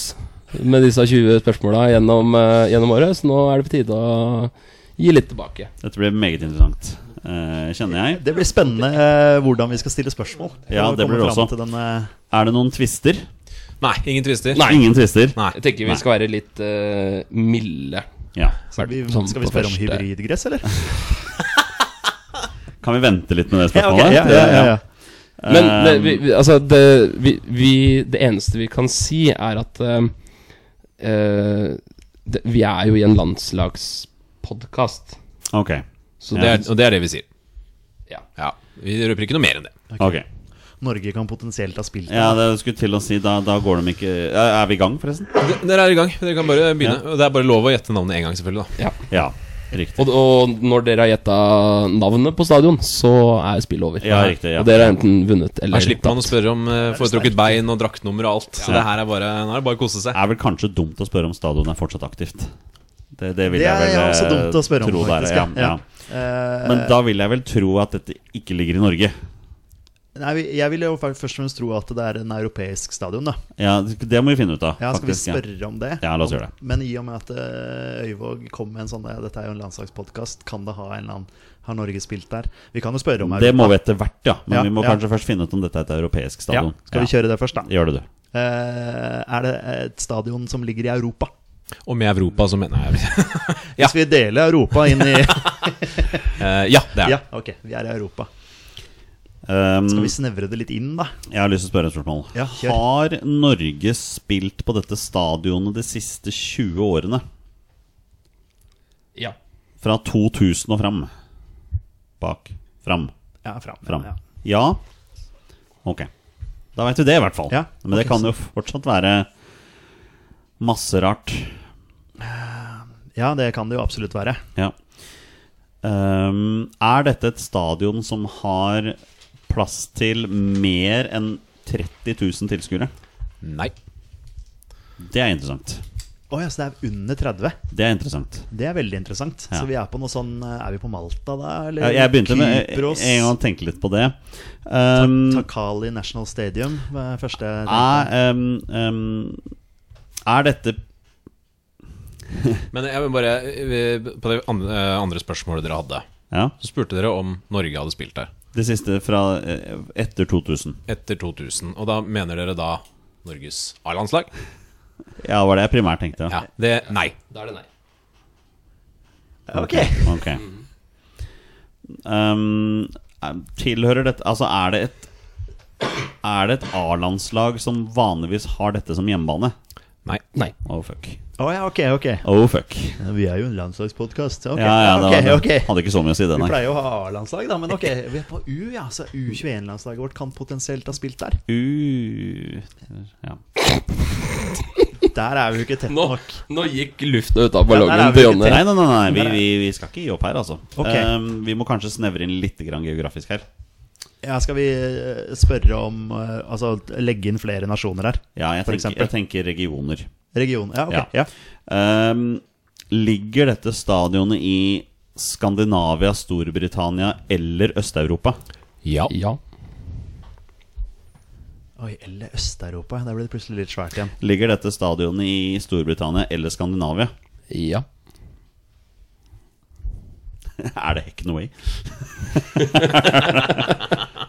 Speaker 3: med disse 20 spørsmåla gjennom, eh, gjennom året, så nå er det på tide å gi litt tilbake.
Speaker 1: Dette blir meget interessant, eh, kjenner jeg.
Speaker 4: Det blir spennende eh, hvordan vi skal stille spørsmål.
Speaker 1: Ja,
Speaker 4: Når vi
Speaker 1: det
Speaker 4: kommer
Speaker 1: blir det
Speaker 4: fram
Speaker 1: også.
Speaker 4: Til den, eh,
Speaker 1: Er det noen twister?
Speaker 2: Nei, ingen tvister.
Speaker 3: Nei.
Speaker 1: Ingen twister?
Speaker 2: Nei.
Speaker 3: Jeg tenker vi skal være litt eh, milde.
Speaker 1: Ja.
Speaker 4: skal, vi,
Speaker 3: Sånn
Speaker 4: skal vi
Speaker 3: på
Speaker 4: spørre om
Speaker 3: første-
Speaker 4: hybridgress, eller?
Speaker 1: Kan vi vente litt med det
Speaker 4: Ja, ok,
Speaker 1: spørsmålet?
Speaker 4: ja, ja, ja, ja.
Speaker 3: Men
Speaker 1: Um,
Speaker 3: det, vi, vi- altså det, vi, vi, det eneste vi kan si, er at eh, eh, det, Vi er jo i en landslagspodkast.
Speaker 1: Ok.
Speaker 2: Så det er, og det er det vi sier.
Speaker 3: Ja.
Speaker 2: Ja, Vi røper ikke noe mer enn det.
Speaker 1: ok.
Speaker 4: Norge kan potensielt ha spilt
Speaker 1: Ja, det jeg skulle til å si, da, da går de ikke Er vi i gang, forresten?
Speaker 2: D- Dere er i gang. Dere kan bare begynne. Og Det er bare lov å gjette navnet én gang, selvfølgelig. da
Speaker 1: Ja, riktig.
Speaker 3: Og, og når dere har gjetta navnet på stadion, så er spillet over.
Speaker 1: Ja, riktig, ja.
Speaker 3: Og dere har enten vunnet eller
Speaker 2: Her slipper man å spørre om eh, foretrukket bein og draktnummer og alt. Så det her er bare, nå er det bare å kose seg.
Speaker 1: Det er vel kanskje dumt å spørre om stadionet er fortsatt aktivt. Det, det vil
Speaker 4: Det
Speaker 1: jeg
Speaker 4: er
Speaker 1: vel
Speaker 4: ja,
Speaker 1: eh,
Speaker 4: også dumt å spørre om,
Speaker 1: tro det er,
Speaker 4: faktisk,
Speaker 1: ja,
Speaker 4: ja.
Speaker 1: ja.
Speaker 4: Eh,
Speaker 1: Men da vil jeg vel tro at dette ikke ligger i Norge.
Speaker 4: Nei, vi- jeg vil jo fa- først og fremst tro at det er en europeisk stadion, da.
Speaker 1: Ja, Det må vi finne ut av.
Speaker 4: Ja, skal vi
Speaker 1: faktisk, ja.
Speaker 4: spørre om det?
Speaker 1: Ja, la oss gjøre det.
Speaker 4: Men i og med at eh, Øyvåg kom med en sånn der, Dette er jo en landslagspodkast, kan det ha en eller annen Har Norge spilt der? Vi kan jo spørre om
Speaker 1: Det
Speaker 4: Europa.
Speaker 1: må vi etter hvert, ja. Men
Speaker 4: Ja,
Speaker 1: vi må
Speaker 4: ja.
Speaker 1: kanskje først finne ut om dette er et europeisk stadion.
Speaker 4: Ja, skal vi kjøre det først, da?
Speaker 1: Gjør det, du.
Speaker 4: Eh, er det et stadion som ligger i Europa?
Speaker 2: Og med Europa så mener jeg
Speaker 4: Hvis vi deler Europa inn i
Speaker 2: Eh, Ja, det er
Speaker 4: Ja, ok, vi er i Europa.
Speaker 1: Um,
Speaker 4: Skal vi snevre det litt inn, da?
Speaker 1: Jeg har lyst til å spørre et spørsmål.
Speaker 4: Ja, kjør.
Speaker 1: har Norge spilt på dette stadionet de siste 20 årene?
Speaker 3: Ja.
Speaker 1: Fra 2000 og fram? Bak. Fram.
Speaker 4: Ja, fram.
Speaker 1: fram.
Speaker 4: Ja.
Speaker 1: Ja. Ok. Da veit du det, i hvert fall.
Speaker 4: Ja,
Speaker 1: Men det
Speaker 4: ok,
Speaker 1: kan jo fortsatt være masse rart.
Speaker 4: ja, det kan det jo absolutt være.
Speaker 1: Ja. Ehm, er dette et stadion som har plass til mer enn 30 000 tilskuere?
Speaker 2: Nei.
Speaker 1: Det er interessant.
Speaker 4: Å ja, så det er under 30.
Speaker 1: Det er interessant.
Speaker 4: Det er veldig interessant.
Speaker 1: Ja.
Speaker 4: Så vi er på noe sånn Er vi på Malta da, eller?
Speaker 1: Eh, Jeg, jeg begynte med jeg-
Speaker 4: Eh, Kypros?
Speaker 1: en gang å tenke litt på det. Ehm,
Speaker 4: Takali National Stadium var første jeg tenkte.
Speaker 1: er, ehm, ehm, er dette
Speaker 2: Men jeg vil bare eh, På det andre, eh, andre spørsmålet dere hadde,
Speaker 1: Ja,
Speaker 2: så spurte dere om Norge hadde spilt der
Speaker 1: det siste fra eh, etter 2000.
Speaker 2: etter 2000. Og da mener dere da Norges A-landslag?
Speaker 1: Ja, det var det jeg primært tenkte.
Speaker 2: Ja. Det Nei.
Speaker 3: Da er det nei.
Speaker 4: Ok.
Speaker 1: Ok um, er- Tilhører dette Altså er det et Er det et A-landslag som vanligvis har dette som hjemmebane?
Speaker 2: Nei.
Speaker 3: nei.
Speaker 1: Oh fuck
Speaker 4: Å ja, ok, ok.
Speaker 1: Oh fuck
Speaker 4: Vi er jo en landslagspodkast. Ok,
Speaker 1: Ja, ja, det
Speaker 4: ok,
Speaker 1: var,
Speaker 4: ok.
Speaker 1: hadde ikke så mye å si det
Speaker 4: Vi
Speaker 1: nei
Speaker 4: pleier jo å ha A-landslag, da, men ok. Vi er på U, ja. Så U21-landslaget vårt kan potensielt ha spilt der.
Speaker 1: Uh, ja.
Speaker 4: Der er vi jo ikke tett
Speaker 3: Nå,
Speaker 4: nok.
Speaker 3: nå gikk lufta ut
Speaker 4: Ja, der
Speaker 3: av
Speaker 4: er
Speaker 3: ballongen
Speaker 4: vi
Speaker 3: til
Speaker 4: ikke
Speaker 1: Nei,
Speaker 3: Jonny.
Speaker 1: nei, nei, nei vi, vi, vi skal ikke gi opp her altså
Speaker 4: Ok.
Speaker 1: um, Vi må kanskje snevre inn litt grann geografisk her
Speaker 4: Ja, skal vi eh, spørre om eh, Altså legge inn flere nasjoner her?
Speaker 1: Ja, jeg
Speaker 4: For
Speaker 1: tenker,
Speaker 4: eksempel.
Speaker 1: jeg tenker regioner
Speaker 4: Region. Ja, ok. Ja.
Speaker 1: Ja. Ehm, ligger dette stadionet i Skandinavia, Storbritannia eller Øst-Europa?
Speaker 2: Ja.
Speaker 3: Ja.
Speaker 4: Oi, eller Øst-Europa. Der ble det plutselig litt svært igjen.
Speaker 1: Ligger dette stadionet i Storbritannia eller Skandinavia?
Speaker 3: Ja.
Speaker 1: er det Heck No Way?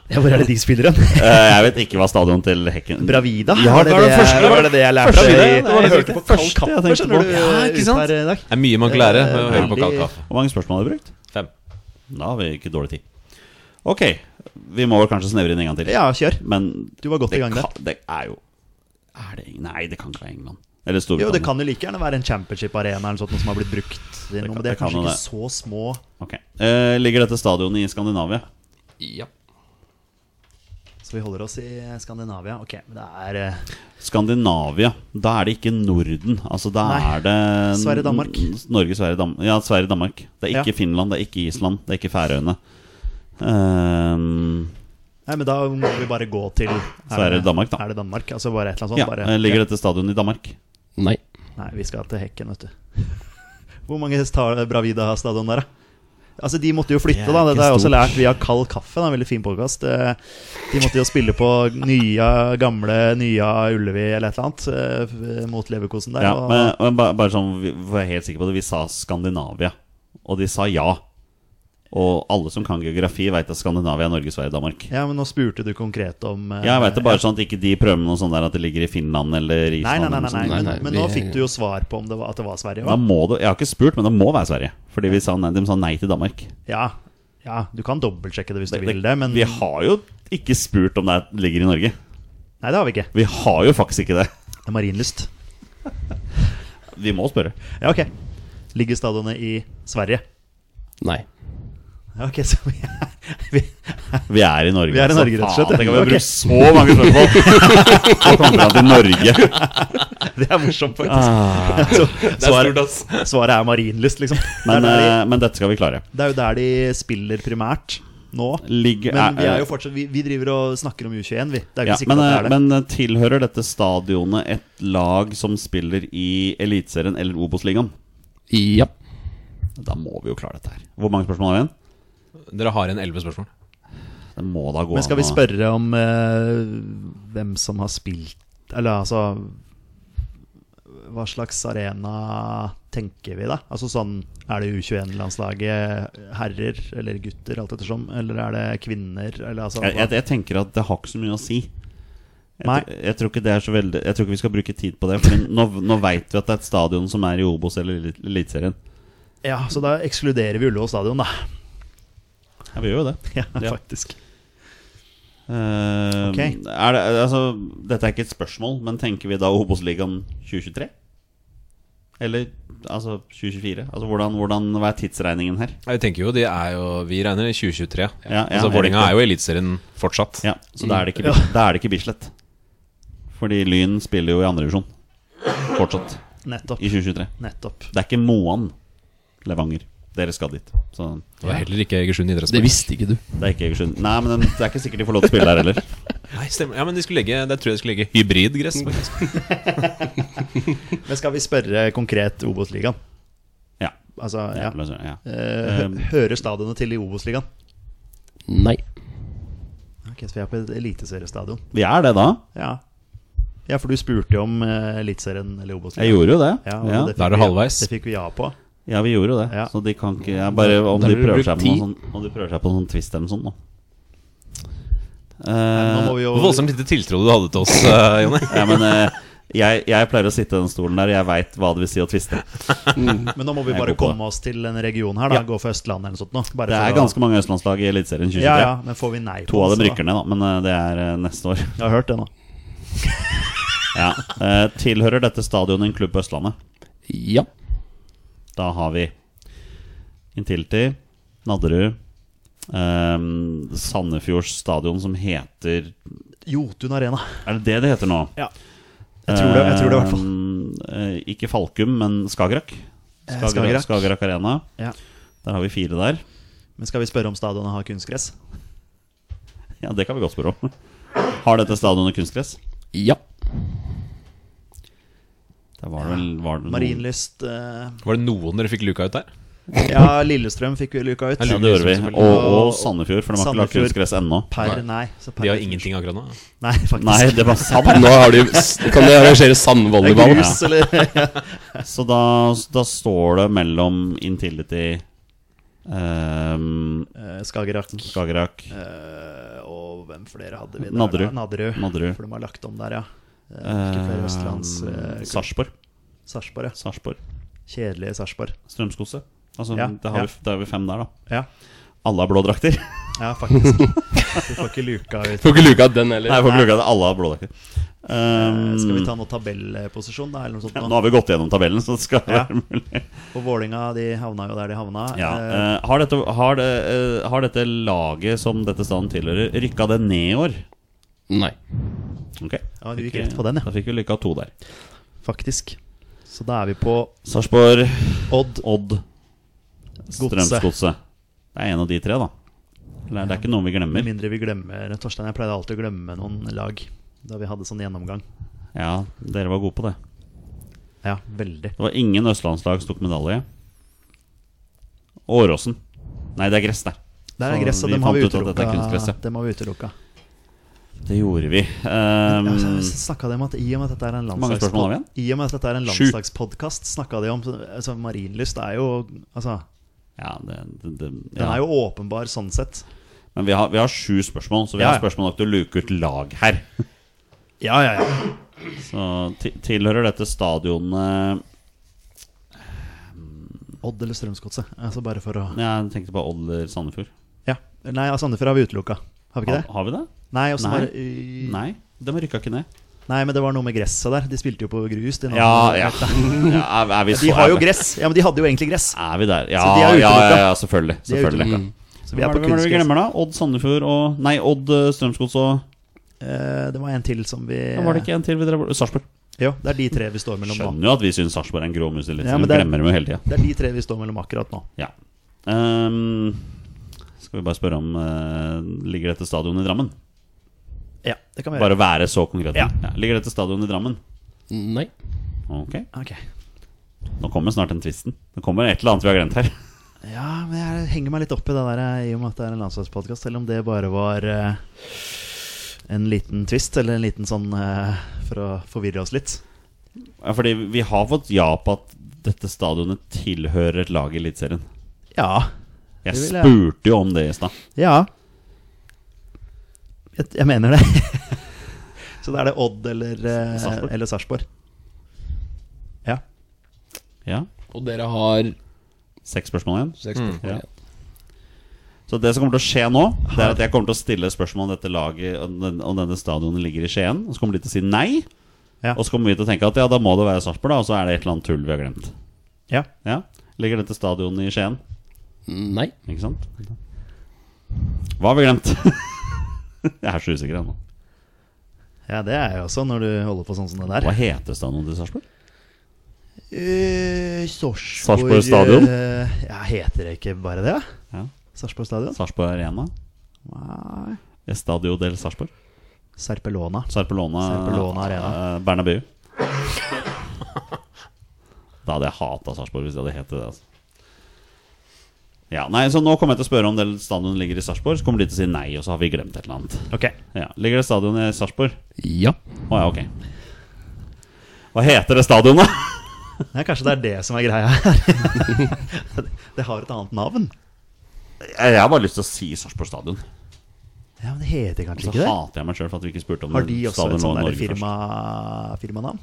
Speaker 4: Ja, Hvor er det de spiller hen?
Speaker 1: Eh, jeg vet ikke hva stadionen til Hecken
Speaker 4: Bravida?
Speaker 1: Ja,
Speaker 4: var det,
Speaker 1: det var det
Speaker 4: jeg-
Speaker 1: første-
Speaker 4: var det det jeg lærte
Speaker 1: første-
Speaker 4: i-
Speaker 1: det var det jeg hørte på
Speaker 4: Første
Speaker 1: kaldt kaffe,
Speaker 4: jeg tenkte
Speaker 1: skjønner
Speaker 4: på.
Speaker 1: du.
Speaker 4: Ja,
Speaker 1: Ja, ikke
Speaker 4: ut
Speaker 1: sant?
Speaker 4: her i dag.
Speaker 2: Det er mye man kan lære med å
Speaker 4: Eh,
Speaker 2: høre på
Speaker 4: veldig-
Speaker 2: kald kaffe.
Speaker 1: Hvor mange spørsmål har du brukt?
Speaker 2: Fem.
Speaker 1: Da har vi ikke dårlig tid. Ok, vi må vel kanskje snevre inn en gang til.
Speaker 4: Ja, kjør.
Speaker 1: Men
Speaker 4: Du var godt i
Speaker 1: det,
Speaker 4: gang der.
Speaker 1: kan, det er jo er det, Eng- Nei, det kan ikke være England. Eller
Speaker 4: Jo, det
Speaker 1: Storbritannia.
Speaker 4: kan jo like gjerne være en championship-arena eller sånt noe som har blitt brukt. Det,
Speaker 1: kan-
Speaker 4: men det er
Speaker 1: det kan
Speaker 4: kanskje
Speaker 1: jo
Speaker 4: ikke så små
Speaker 1: Ok. Eh, ligger dette stadionet i Skandinavia?
Speaker 3: Ja.
Speaker 4: Så vi holder oss i Skandinavia. Ok, men det er eh,
Speaker 1: Skandinavia. Da er det ikke Norden. Altså, da
Speaker 4: Nei.
Speaker 1: er det
Speaker 4: Sverige, Danmark.
Speaker 1: Norge, Sverige, Danmark. Ja, Sverige, Danmark. Det er
Speaker 4: Ja.
Speaker 1: ikke Finland, det er ikke Island, det er ikke Færøyene.
Speaker 4: Sånn
Speaker 1: Ehm,
Speaker 4: Nei, men da må vi bare gå til
Speaker 1: Så er det Danmark, da.
Speaker 4: Er det Danmark? Altså bare et eller annet sånt?
Speaker 1: ja,
Speaker 4: bare,
Speaker 1: eh, Ligger dette stadionet i Danmark?
Speaker 3: Nei.
Speaker 4: Nei, vi skal til Hekken, vet du. Hvor mange tar Bravida stadion der, da? Altså, De måtte jo flytte,
Speaker 1: Det er
Speaker 4: da. Dette har jeg
Speaker 1: ikke
Speaker 4: også
Speaker 1: stort.
Speaker 4: lært via Kald kaffe. Da. Veldig fin podkast. De måtte jo spille på nya, gamle, nya Ullevi eller et eller annet eh, mot Leverkosen der.
Speaker 1: Ja,
Speaker 4: og-
Speaker 1: men, men ba- bare sånn, vi var helt sikre på det. Vi sa Skandinavia, og de sa ja. Og alle som kan geografi, veit at Skandinavia er Norge, Sverige, Danmark.
Speaker 4: ja, men nå spurte du konkret om eh,
Speaker 1: Ja, jeg vet det bare sånn at ikke de prøver med noe sånt der at det ligger i Finland eller
Speaker 4: Nei,
Speaker 1: Island.
Speaker 4: nei, nei.
Speaker 1: eller noe
Speaker 4: nei,
Speaker 1: sånt.
Speaker 4: nei.
Speaker 3: Nei,
Speaker 4: Men,
Speaker 3: nei,
Speaker 4: men nå
Speaker 3: vi-
Speaker 4: fikk du jo svar på om det var, at det var Sverige
Speaker 1: Da
Speaker 4: òg.
Speaker 1: må du, jeg har ikke spurt, men det må være Sverige. Fordi vi sa nei, de sa nei til Danmark.
Speaker 4: Ja, ja, du kan dobbeltsjekke det hvis du vil det, men
Speaker 1: Vi har jo ikke spurt om det er- ligger i Norge.
Speaker 4: Nei, det har vi ikke.
Speaker 1: Vi har jo faktisk ikke det.
Speaker 4: Det er Marienlyst.
Speaker 1: Vi må spørre.
Speaker 4: Ja, ok. Ligger stadionet i Sverige?
Speaker 3: Nei.
Speaker 4: Ja, ok, så vi er, vi,
Speaker 1: Vi er i Norge.
Speaker 4: Vi er i
Speaker 1: altså.
Speaker 4: Norge, rett og slett,
Speaker 1: Faen,
Speaker 4: ja.
Speaker 1: Tenk om vi har
Speaker 4: Ok.
Speaker 1: brukt så mange spørsmål og kommet fram til Norge.
Speaker 4: det er morsomt, faktisk. Så, svaret, svaret er Marienlyst, liksom.
Speaker 1: Ah. Men,
Speaker 4: det, er der
Speaker 1: eh, men dette skal vi klare.
Speaker 4: de, det er jo der de spiller primært nå.
Speaker 1: Ligger,
Speaker 4: Men vi
Speaker 1: eh,
Speaker 4: er jo fortsatt Vi, vi driver og snakker om U21, vi. Det er jo ikke
Speaker 1: ja,
Speaker 4: sikkert
Speaker 1: men,
Speaker 4: at det er det.
Speaker 1: eh, men tilhører dette stadionet et lag som spiller i Eliteserien eller Obos-ligaen?
Speaker 3: Ja.
Speaker 1: Da må vi jo klare dette her. Hvor mange spørsmål har vi igjen?
Speaker 2: Dere har igjen elleve spørsmål.
Speaker 1: Det må da gå
Speaker 4: Men skal
Speaker 1: an
Speaker 4: vi
Speaker 1: å-
Speaker 4: spørre om eh, hvem som har spilt Eller altså Hva slags arena tenker vi, da? Altså sånn Er det U21-landslaget herrer eller gutter, alt ettersom? Eller er det kvinner, eller altså
Speaker 1: jeg, jeg,
Speaker 4: hva-
Speaker 1: jeg tenker at det har ikke så mye å si. Jeg,
Speaker 4: Nei.
Speaker 1: tr- jeg tror ikke det er så veldig Jeg tror ikke vi skal bruke tid på det. For nå, nå veit vi at det er et stadion som er i Obos eller Elit- Eliteserien.
Speaker 4: Ja, så da ekskluderer vi Ullevål stadion, da.
Speaker 1: Ja, vi gjør jo det.
Speaker 4: Ja,
Speaker 1: Ja.
Speaker 4: faktisk.
Speaker 1: Eh,
Speaker 4: Ok.
Speaker 1: er det altså, dette er ikke et spørsmål, men tenker vi da Obos-ligaen 2023? Eller altså 2024? Altså hvordan, hvordan, Hva er tidsregningen her?
Speaker 2: Jeg tenker jo, de er jo Vi regner i 2023.
Speaker 1: Ja, ja,
Speaker 2: altså, Vålerenga
Speaker 1: riktig.
Speaker 2: er jo i Eliteserien fortsatt.
Speaker 1: Ja, Så da er det ikke, Bis- da er det ikke Bislett. Fordi Lyn spiller jo i andredivisjon fortsatt
Speaker 4: Nettopp.
Speaker 1: i 2023.
Speaker 4: Nettopp.
Speaker 1: Det er ikke Moan Levanger. Dere skal dit. Så
Speaker 2: Det var heller ikke Egersund
Speaker 3: Det
Speaker 2: idrettspark.
Speaker 3: visste ikke du.
Speaker 1: det er ikke Egersund. Nei, men det er ikke sikkert de får lov til å spille der heller.
Speaker 2: Nei, stemmer. Ja, men de skulle legge, der tror jeg de skulle legge Mm. hybridgress. faktisk.
Speaker 4: Men skal vi spørre konkret Obos-ligaen?
Speaker 1: Ja. ehm,
Speaker 4: Altså, ja.
Speaker 1: Jævla søren, ja.
Speaker 4: Eh, hø- hører stadionet til i Obos-ligaen?
Speaker 3: Nei.
Speaker 4: Ok, så vi er på et eliteseriestadion.
Speaker 1: Vi er det, da.
Speaker 4: Ja. ja, for du spurte jo om eh, Eliteserien eller Obos.
Speaker 1: Jeg gjorde jo det. Eh,
Speaker 4: Ja, og
Speaker 1: Ja,
Speaker 4: det fikk
Speaker 2: Da er det
Speaker 4: vi-
Speaker 2: halvveis.
Speaker 4: Det fikk vi ja på.
Speaker 1: ja vi gjorde jo det.
Speaker 4: Ja.
Speaker 1: Så de kan ikke jeg Bare om
Speaker 3: Da
Speaker 1: de
Speaker 3: blir det
Speaker 1: prøver seg
Speaker 3: brukt
Speaker 1: på noe
Speaker 3: tid.
Speaker 1: sånn Om de prøver seg på noen twist eller noe sånt, da.
Speaker 4: Nå må
Speaker 1: Eh,
Speaker 4: vi jo
Speaker 2: Hvor Voldsomt lite tiltro du hadde til oss, eh, Jonny.
Speaker 1: ja, men eh, jeg, jeg pleier å sitte i den stolen der, og jeg veit hva det vil si å tviste.
Speaker 4: Men nå må vi
Speaker 1: Jeg
Speaker 4: bare
Speaker 1: går på det.
Speaker 4: komme oss til en region her, da.
Speaker 1: Ja.
Speaker 4: Gå for Østlandet eller noe sånt nå. Bare
Speaker 1: Det
Speaker 4: for
Speaker 1: er
Speaker 4: å-
Speaker 1: ganske mange Østlandslag i Eliteserien 2023.
Speaker 4: Ja, ja, men får vi nei på
Speaker 1: To av
Speaker 4: den,
Speaker 1: dem
Speaker 4: så da-
Speaker 1: rykker ned, da, men eh, det er eh, neste år.
Speaker 4: Jeg har hørt det nå.
Speaker 1: Ja. Eh, tilhører dette stadionet en klubb på Østlandet?
Speaker 3: Ja.
Speaker 1: Da har vi Intility, Nadderud ehm, Sandefjords stadion som heter
Speaker 4: Jotun Arena.
Speaker 1: Er det det det heter nå?
Speaker 4: Ja. Jeg tror det, jeg tror det i hvert fall.
Speaker 1: Ehm, eh, ikke Falkum, men Skagerrak.
Speaker 4: Eh,
Speaker 1: Skagerrak,
Speaker 4: Skagerrak.
Speaker 1: Skagerrak Arena.
Speaker 4: Ja.
Speaker 1: Der har vi fire der.
Speaker 4: Men skal vi spørre om stadionet har kunstgress?
Speaker 1: Ja, det kan vi godt spørre om. Har dette stadionet kunstgress?
Speaker 3: Ja.
Speaker 1: Der var det vel var det noen-
Speaker 4: Marienlyst eh,
Speaker 2: Var det noen dere fikk luka ut der?
Speaker 4: Ja, Lillestrøm fikk vi luka ut.
Speaker 2: Ja,
Speaker 1: Ja, det gjorde vi.
Speaker 2: selvfølgelig.
Speaker 1: Og, og Sandefjord, for de har ikke lagt
Speaker 4: Sandefjord.
Speaker 1: kunstgress ennå.
Speaker 4: Per nei. Så per
Speaker 2: De har ingenting akkurat nå.
Speaker 4: Nei, faktisk.
Speaker 1: Nei, det var sand.
Speaker 3: Nå har de, s- kan de arrangere
Speaker 4: det
Speaker 3: sandvolleyball.
Speaker 4: er grus, eller
Speaker 1: Så da, da står det mellom Intility ehm,
Speaker 4: Eh, Skagerrak.
Speaker 1: Skagerrak
Speaker 4: Eh, og hvem flere hadde vi der?
Speaker 1: Nadderud.
Speaker 4: da? Nadderud.
Speaker 1: Nadderud.
Speaker 4: For de har lagt om der, ja. Eh, Ikke flere Østlands
Speaker 1: eh,
Speaker 4: eh,
Speaker 1: Sarpsborg.
Speaker 4: Sarpsborg, ja.
Speaker 1: Sarpsborg.
Speaker 4: Kjedelige Sarpsborg.
Speaker 1: Strømskose. Altså,
Speaker 4: Ja,
Speaker 1: det har
Speaker 4: ja.
Speaker 1: vi, da er vi fem der, da.
Speaker 4: Ja.
Speaker 1: Alle har blå drakter.
Speaker 4: ja, faktisk. Vi får ikke luka ut.
Speaker 3: Får ikke luka ut den
Speaker 1: Nei,
Speaker 3: heller.
Speaker 1: jeg får ikke lukke det. Alle har blå drakter. Ehm,
Speaker 4: Eh, Skal vi ta noe tabellposisjon, da? Eller noe sånt
Speaker 1: ja,
Speaker 4: nå?
Speaker 1: nå har vi gått gjennom tabellen, så det skal
Speaker 4: Ja.
Speaker 1: være mulig.
Speaker 4: Og Vålinga, de havna jo der de havna.
Speaker 1: Ja,
Speaker 4: Eh,
Speaker 1: eh, har, dette, har, det, eh, har dette laget som dette staden tilhører, rykka det ned i år?
Speaker 3: Nei.
Speaker 1: Ok.
Speaker 4: Ja, du gikk rett på den, ja.
Speaker 1: Da fikk vi lykka to der.
Speaker 4: faktisk. Så da er vi på
Speaker 1: Sarpsborg,
Speaker 4: Odd.
Speaker 1: Odd,
Speaker 4: Godset.
Speaker 1: Strømsgodset. Det er en av de tre, da. Eller, det er ikke noen vi
Speaker 4: Med
Speaker 1: glemmer.
Speaker 4: mindre vi glemmer Torstein, jeg pleide alltid å glemme noen lag da vi hadde sånn gjennomgang.
Speaker 1: Ja, dere var gode på det.
Speaker 4: Ja, veldig.
Speaker 1: Det var ingen østlandslag som tok medalje. Åråsen. Nei, det er gress, det.
Speaker 4: Der
Speaker 1: Så
Speaker 4: er gresset,
Speaker 1: vi
Speaker 4: dem har vi
Speaker 1: fant ut at dette er
Speaker 4: utelukka.
Speaker 1: kunstgresset.
Speaker 4: Dem har vi utelukka.
Speaker 1: Det gjorde vi. Ehm,
Speaker 4: Ja, så snakket de om at i og med at dette er en
Speaker 1: mange
Speaker 4: landslags-
Speaker 1: spørsmål har vi igjen?
Speaker 4: I og med at dette er en
Speaker 1: Sju.
Speaker 4: landslagspodkast, snakka de om altså, Marienlyst er jo Altså,
Speaker 1: ja, det, det, det,
Speaker 4: den
Speaker 1: ja.
Speaker 4: er jo åpenbar sånn sett.
Speaker 1: Men vi har, vi har sju spørsmål, så vi
Speaker 4: Ja,
Speaker 1: har
Speaker 4: ja.
Speaker 1: spørsmål nok til å luke ut lag her.
Speaker 4: Ja, ja, ja.
Speaker 1: Så ti- tilhører dette stadionet
Speaker 4: Odd eller Strømsgodset. Altså bare for å
Speaker 1: Jeg tenkte på Odd eller Sandefjord.
Speaker 4: Ja. Nei, ja, Sandefjord har vi utelukka. Har vi ikke
Speaker 1: Har,
Speaker 4: det?
Speaker 1: har vi det?
Speaker 4: Nei, og så
Speaker 1: Ah, Nei.
Speaker 4: bare øh,
Speaker 1: Nei, de rykka ikke ned.
Speaker 4: Nei, men det var noe med gresset der. De spilte jo på grus. De, nå.
Speaker 1: Ja, ja. ja er, er vi så,
Speaker 4: de har jo
Speaker 1: er vi-
Speaker 4: gress. Ja, men de hadde jo egentlig gress.
Speaker 1: Er vi der? Ja,
Speaker 4: Så de er
Speaker 1: ja,
Speaker 4: utelukka.
Speaker 1: ja, ja selvfølgelig.
Speaker 4: De er
Speaker 1: selvfølgelig.
Speaker 4: utelukka. Så vi er på
Speaker 1: Hvem er det vi
Speaker 4: kunstgress.
Speaker 1: glemmer, da? Odd Sandefjord og Nei, Odd eh, Strømsgods og
Speaker 4: Eh, det var en til som vi
Speaker 1: Ja, Var det ikke en til vi drev bort? Sarpsborg.
Speaker 4: Jo, det er de tre vi står mellom nå.
Speaker 1: Skjønner jo at vi syns Sarpsborg er en grå mus i litt,
Speaker 4: Ja,
Speaker 1: vi
Speaker 4: men det er-
Speaker 1: glemmer dem jo hele tida.
Speaker 4: Det er de tre vi står mellom akkurat nå.
Speaker 1: Ja. Ehm, skal vi bare spørre om eh, Ligger dette stadionet i Drammen?
Speaker 4: Ja, det kan vi
Speaker 1: Bare
Speaker 4: gjøre.
Speaker 1: å være så konkret.
Speaker 4: Ja.
Speaker 1: Ligger dette stadionet i Drammen?
Speaker 3: Mm, Nei.
Speaker 1: Ok,
Speaker 4: Ok.
Speaker 1: Nå kommer snart den tvisten. Det kommer et eller annet vi har glemt her.
Speaker 4: Ja, men jeg henger meg litt opp i det der eh, i og med at det er en landslagspodkast, selv om det bare var eh, en liten twist, eller en liten sånn eh, for å forvirre oss litt.
Speaker 1: Ja, Fordi vi har fått ja på at dette stadionet tilhører et lag i Eliteserien.
Speaker 4: Ja.
Speaker 1: Jeg
Speaker 4: Det vil jeg.
Speaker 1: spurte jo om det i stad.
Speaker 4: Ja. Jeg, jeg mener det. Så da er det Odd eller, eh,
Speaker 1: Sarpsborg.
Speaker 4: eller Sarpsborg. Ja.
Speaker 1: Ja.
Speaker 3: Og dere har Mm,
Speaker 1: Seks spørsmål igjen.
Speaker 3: seks spørsmål
Speaker 1: Ja.
Speaker 3: igjen.
Speaker 1: Så det som kommer til å skje nå, Det er at jeg kommer til å stille spørsmål om dette laget om den- om denne stadionet ligger i Skien. Og så kommer de til å si nei.
Speaker 4: Ja.
Speaker 1: Og så kommer vi til å tenke at ja, da må det være Sarpsborg, da. Og så er det et eller annet tull vi har glemt.
Speaker 4: Ja.
Speaker 1: Ja. Ligger dette stadionet i Skien?
Speaker 3: Nei.
Speaker 1: Ikke sant? Hva har vi glemt? jeg er så usikker ennå.
Speaker 4: ja, det er jeg også, når du holder på sånn som det der.
Speaker 1: Hva heter stadionet til Sarpsborg?
Speaker 4: Eh, Sarpsborg
Speaker 1: Sarpsborg stadion?
Speaker 4: eh, ja, heter det ikke bare det?
Speaker 1: Ja.
Speaker 4: Sarpsborg stadion?
Speaker 1: Sarpsborg Arena?
Speaker 4: Nei.
Speaker 1: Estadio del Sarpsborg?
Speaker 4: Serpelona.
Speaker 1: Sarpelona,
Speaker 4: Sarpelona Arena.
Speaker 1: eh, Bernabeu. Da hadde jeg hata Sarpsborg hvis det hadde hett det. Altså. Ja, nei, så Nå kommer jeg til å spørre om det stadionet ligger i Sarpsborg. Så kommer de til å si nei, og så har vi glemt et eller annet.
Speaker 4: Ok.
Speaker 1: Ja, ligger det stadionet i Sarpsborg?
Speaker 3: Ja.
Speaker 1: Å ja, ok. Hva heter det stadionet?
Speaker 4: Ja, kanskje det er det som er greia her. det har et annet navn.
Speaker 1: Jeg har bare lyst til å si Sarpsborg stadion.
Speaker 4: Ja, men Det heter kanskje
Speaker 1: Så
Speaker 4: ikke det?
Speaker 1: hater jeg meg sjøl for at vi ikke spurte om
Speaker 4: Har de også
Speaker 1: Altså,
Speaker 4: et
Speaker 1: stadion lå i
Speaker 4: sånt der
Speaker 1: Norge
Speaker 4: firma, firmanavn?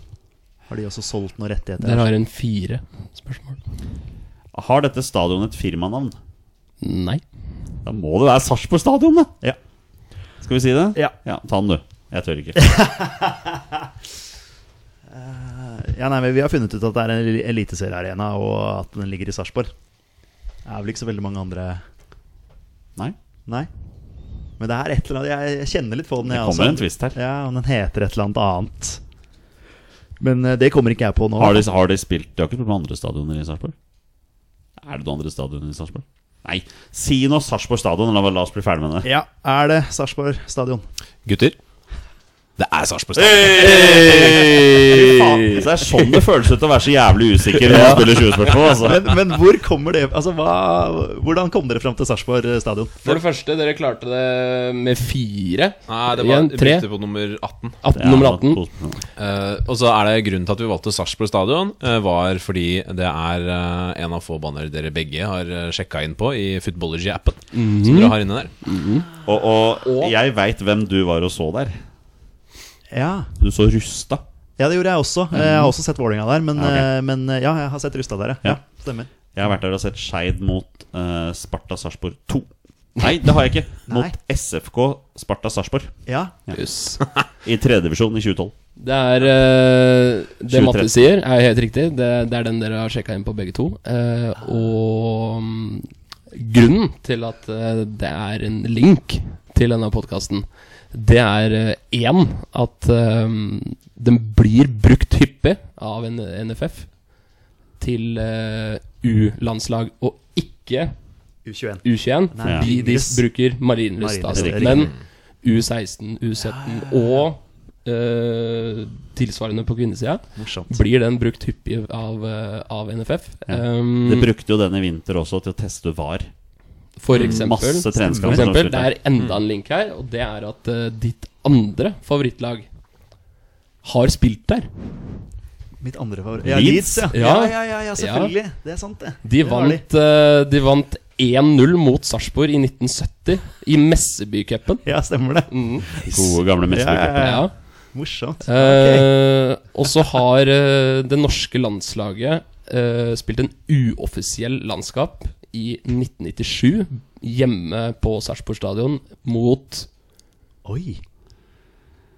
Speaker 4: Har de også solgt noen rettigheter?
Speaker 3: Dere har en fire spørsmål.
Speaker 1: først. Har dette stadionet et firmanavn?
Speaker 3: Nei.
Speaker 1: Da må det være Sarpsborg stadion, da!
Speaker 4: Ja.
Speaker 1: Skal vi si det?
Speaker 4: Ja.
Speaker 1: Ta den, du. Jeg tør ikke.
Speaker 4: Ja, nei, men Vi har funnet ut at det er en eliteseriearena, og at den ligger i Sarpsborg. Det er vel ikke så veldig mange andre
Speaker 1: Nei.
Speaker 4: Nei. Men det er et eller annet Jeg kjenner litt på den.
Speaker 1: Det
Speaker 4: jeg
Speaker 1: kommer
Speaker 4: også.
Speaker 1: en twist her.
Speaker 4: Sånn. Ja, og den heter et eller annet annet. Men eh, det kommer ikke jeg på nå.
Speaker 1: Har de, har de spilt De har ikke spilt på andre stadioner i Sarpsborg? Er det noen andre stadioner i Sarpsborg? Nei, si nå Sarpsborg stadion, la, la oss bli ferdig med det.
Speaker 4: Ja, er det Sarpsborg stadion?
Speaker 2: Gutter, Det er Sarpsborg Stavanger.
Speaker 1: Fy faen, Så det er sånn det føles ut å være så jævlig usikker når man spiller 20 spørsmål. Altså.
Speaker 4: Men, men hvor kommer det Altså, hva, Hvordan kom dere fram til Sarpsborg eh, stadion?
Speaker 3: For det første, dere klarte det med fire.
Speaker 2: Nei, det var
Speaker 3: Igjen, tre.
Speaker 2: begynte på nummer 18.
Speaker 3: 18, nummer 18.
Speaker 1: altså.
Speaker 2: Eh, og så er det grunnen til at vi valgte Sarpsborg stadion, eh, var fordi det er eh, en av få banner dere begge har uh, sjekka inn på i Footballogy-appen. Som dere har inne der.
Speaker 1: Og, og jeg veit hvem du var og så der.
Speaker 4: Ja,
Speaker 1: Du så rusta.
Speaker 4: ja det gjorde jeg også. Eh, Jeg har også sett Vålerenga der. Men,
Speaker 1: Ja, ok.
Speaker 4: eh, men eh, ja, jeg har sett Rustad der, ja.
Speaker 1: Ja.
Speaker 4: ja. Stemmer.
Speaker 1: Jeg har vært der og sett Skeid mot eh, Sparta Sarpsborg 2. Nei, det har jeg ikke.
Speaker 4: Nei.
Speaker 1: Mot SFK Sparta Sarpsborg
Speaker 4: Ja,
Speaker 3: Jøss.
Speaker 1: i tredjedivisjon i 2012.
Speaker 3: Det er eh,
Speaker 1: 23.
Speaker 3: Det Matte sier, er helt riktig. Det, det er den dere har sjekka inn på begge to. Eh, og mm, grunnen til at eh, det er en link til denne podkasten, det er én at eh, den blir brukt hyppig av en NFF til eh, U-landslag og ikke
Speaker 4: U21.
Speaker 3: U21.
Speaker 4: Nei,
Speaker 3: De, de
Speaker 4: Marienlyst.
Speaker 3: bruker Marienlyst.
Speaker 4: Marienlyst,
Speaker 3: da, altså.
Speaker 4: riktig.
Speaker 3: Men U16, U17 og eh, tilsvarende på kvinnesida
Speaker 4: Morsomt.
Speaker 3: blir den brukt hyppig av, eh, av NFF.
Speaker 4: Mm.
Speaker 3: Um,
Speaker 1: Det brukte jo denne vinter også til å teste VAR.
Speaker 3: for eksempel,
Speaker 1: Masse
Speaker 3: for
Speaker 1: treningskamper. som
Speaker 3: eksempel, det
Speaker 1: slutter.
Speaker 3: er enda en link her, og det er at eh, ditt andre favorittlag har spilt der.
Speaker 4: Mitt andre favoritt. Ja,
Speaker 1: Leeds?
Speaker 4: Leeds, ja. Ja,
Speaker 3: Ja.
Speaker 4: ja, ja, ja selvfølgelig. Det er sant, det.
Speaker 3: De
Speaker 4: Det var
Speaker 3: vant, eh, de vant 1-0 mot Sarpsborg i 1970 i Messebycupen.
Speaker 4: Ja, stemmer det.
Speaker 1: Gode, gamle
Speaker 4: Ja,
Speaker 1: mesterbrukere.
Speaker 4: ja, ja.
Speaker 3: Ja.
Speaker 4: Morsomt.
Speaker 3: Eh, og så har eh, det norske landslaget eh, spilt en uoffisiell landskap i 1997 hjemme på Sarpsborg stadion mot
Speaker 4: Oi.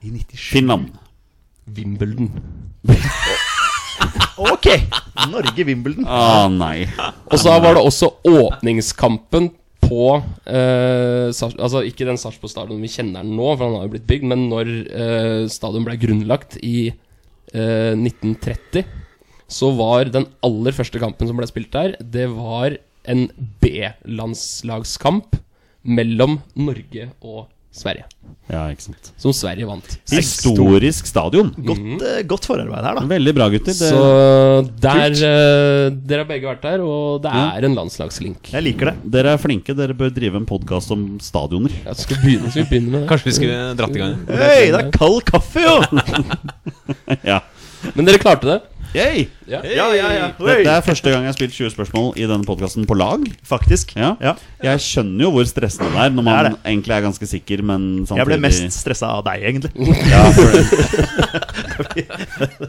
Speaker 4: I 97
Speaker 1: Finland.
Speaker 3: Wimbledon.
Speaker 4: Ok! Norge-Wimbledon.
Speaker 1: Å Ah, nei.
Speaker 3: Og så var det også åpningskampen på eh, Sars- Altså ikke den Sarpsborg stadion vi kjenner den nå, for han har jo blitt bygd, men når eh, stadion ble grunnlagt i eh, 1930, så var den aller første kampen som ble spilt der, det var en B-landslagskamp mellom Norge og Sverige.
Speaker 1: Ja, ikke sant.
Speaker 3: Som Sverige vant.
Speaker 1: Historisk stadion.
Speaker 4: Godt, eh, godt forarbeid her, da.
Speaker 1: Veldig bra, gutter. Det,
Speaker 3: Så der eh, Dere har begge vært der, og det er en landslagslink.
Speaker 4: Jeg liker det.
Speaker 1: Dere er flinke. Dere bør drive en podkast om stadioner.
Speaker 3: Ja, skal vi begynne, skal vi begynne med det?
Speaker 2: Kanskje vi skulle dratt i gang?
Speaker 4: Hei, det er kald kaffe, jo!
Speaker 1: Ja.
Speaker 3: Men dere klarte det.
Speaker 1: Yay!
Speaker 3: Ja.
Speaker 4: Ja, ja, ja. Oi.
Speaker 1: Dette er første gang jeg har spilt 20 spørsmål i denne podkasten på lag.
Speaker 4: Faktisk.
Speaker 1: Ja.
Speaker 4: Ja.
Speaker 1: Jeg skjønner jo hvor stressende det er når man
Speaker 4: Det er det.
Speaker 1: egentlig er ganske sikker, men samtidig
Speaker 4: Jeg ble mest stressa av deg, egentlig.
Speaker 1: ja, for det.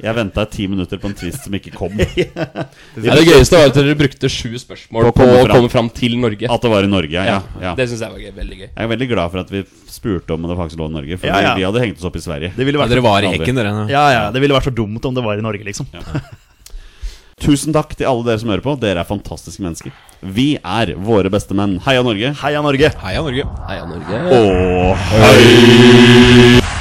Speaker 1: Jeg venta ti minutter på en twist som ikke kom.
Speaker 3: Ja, det gøyeste var at dere brukte sju spørsmål
Speaker 1: På å
Speaker 3: på
Speaker 1: komme
Speaker 3: å
Speaker 1: fram.
Speaker 3: komme fram til Norge.
Speaker 1: At det var i Norge, ja. ja.
Speaker 3: Det syns jeg var gøy, veldig gøy.
Speaker 1: Jeg er veldig glad for at vi spurte om det faktisk lå i Norge, for
Speaker 4: Ja, ja.
Speaker 1: vi hadde hengt oss opp i Sverige.
Speaker 4: Det ville
Speaker 2: Ja,
Speaker 4: vært,
Speaker 2: dere var i
Speaker 1: Aldri.
Speaker 2: hekken, dere.
Speaker 4: ja, ja, det ville vært så dumt om det var i Norge, liksom.
Speaker 1: Tusen takk til alle dere som hører på. Dere er fantastiske mennesker. Vi er våre beste menn. Heia Norge.
Speaker 4: Heia Norge!
Speaker 2: Heia Norge.
Speaker 3: Heia Norge.
Speaker 1: Og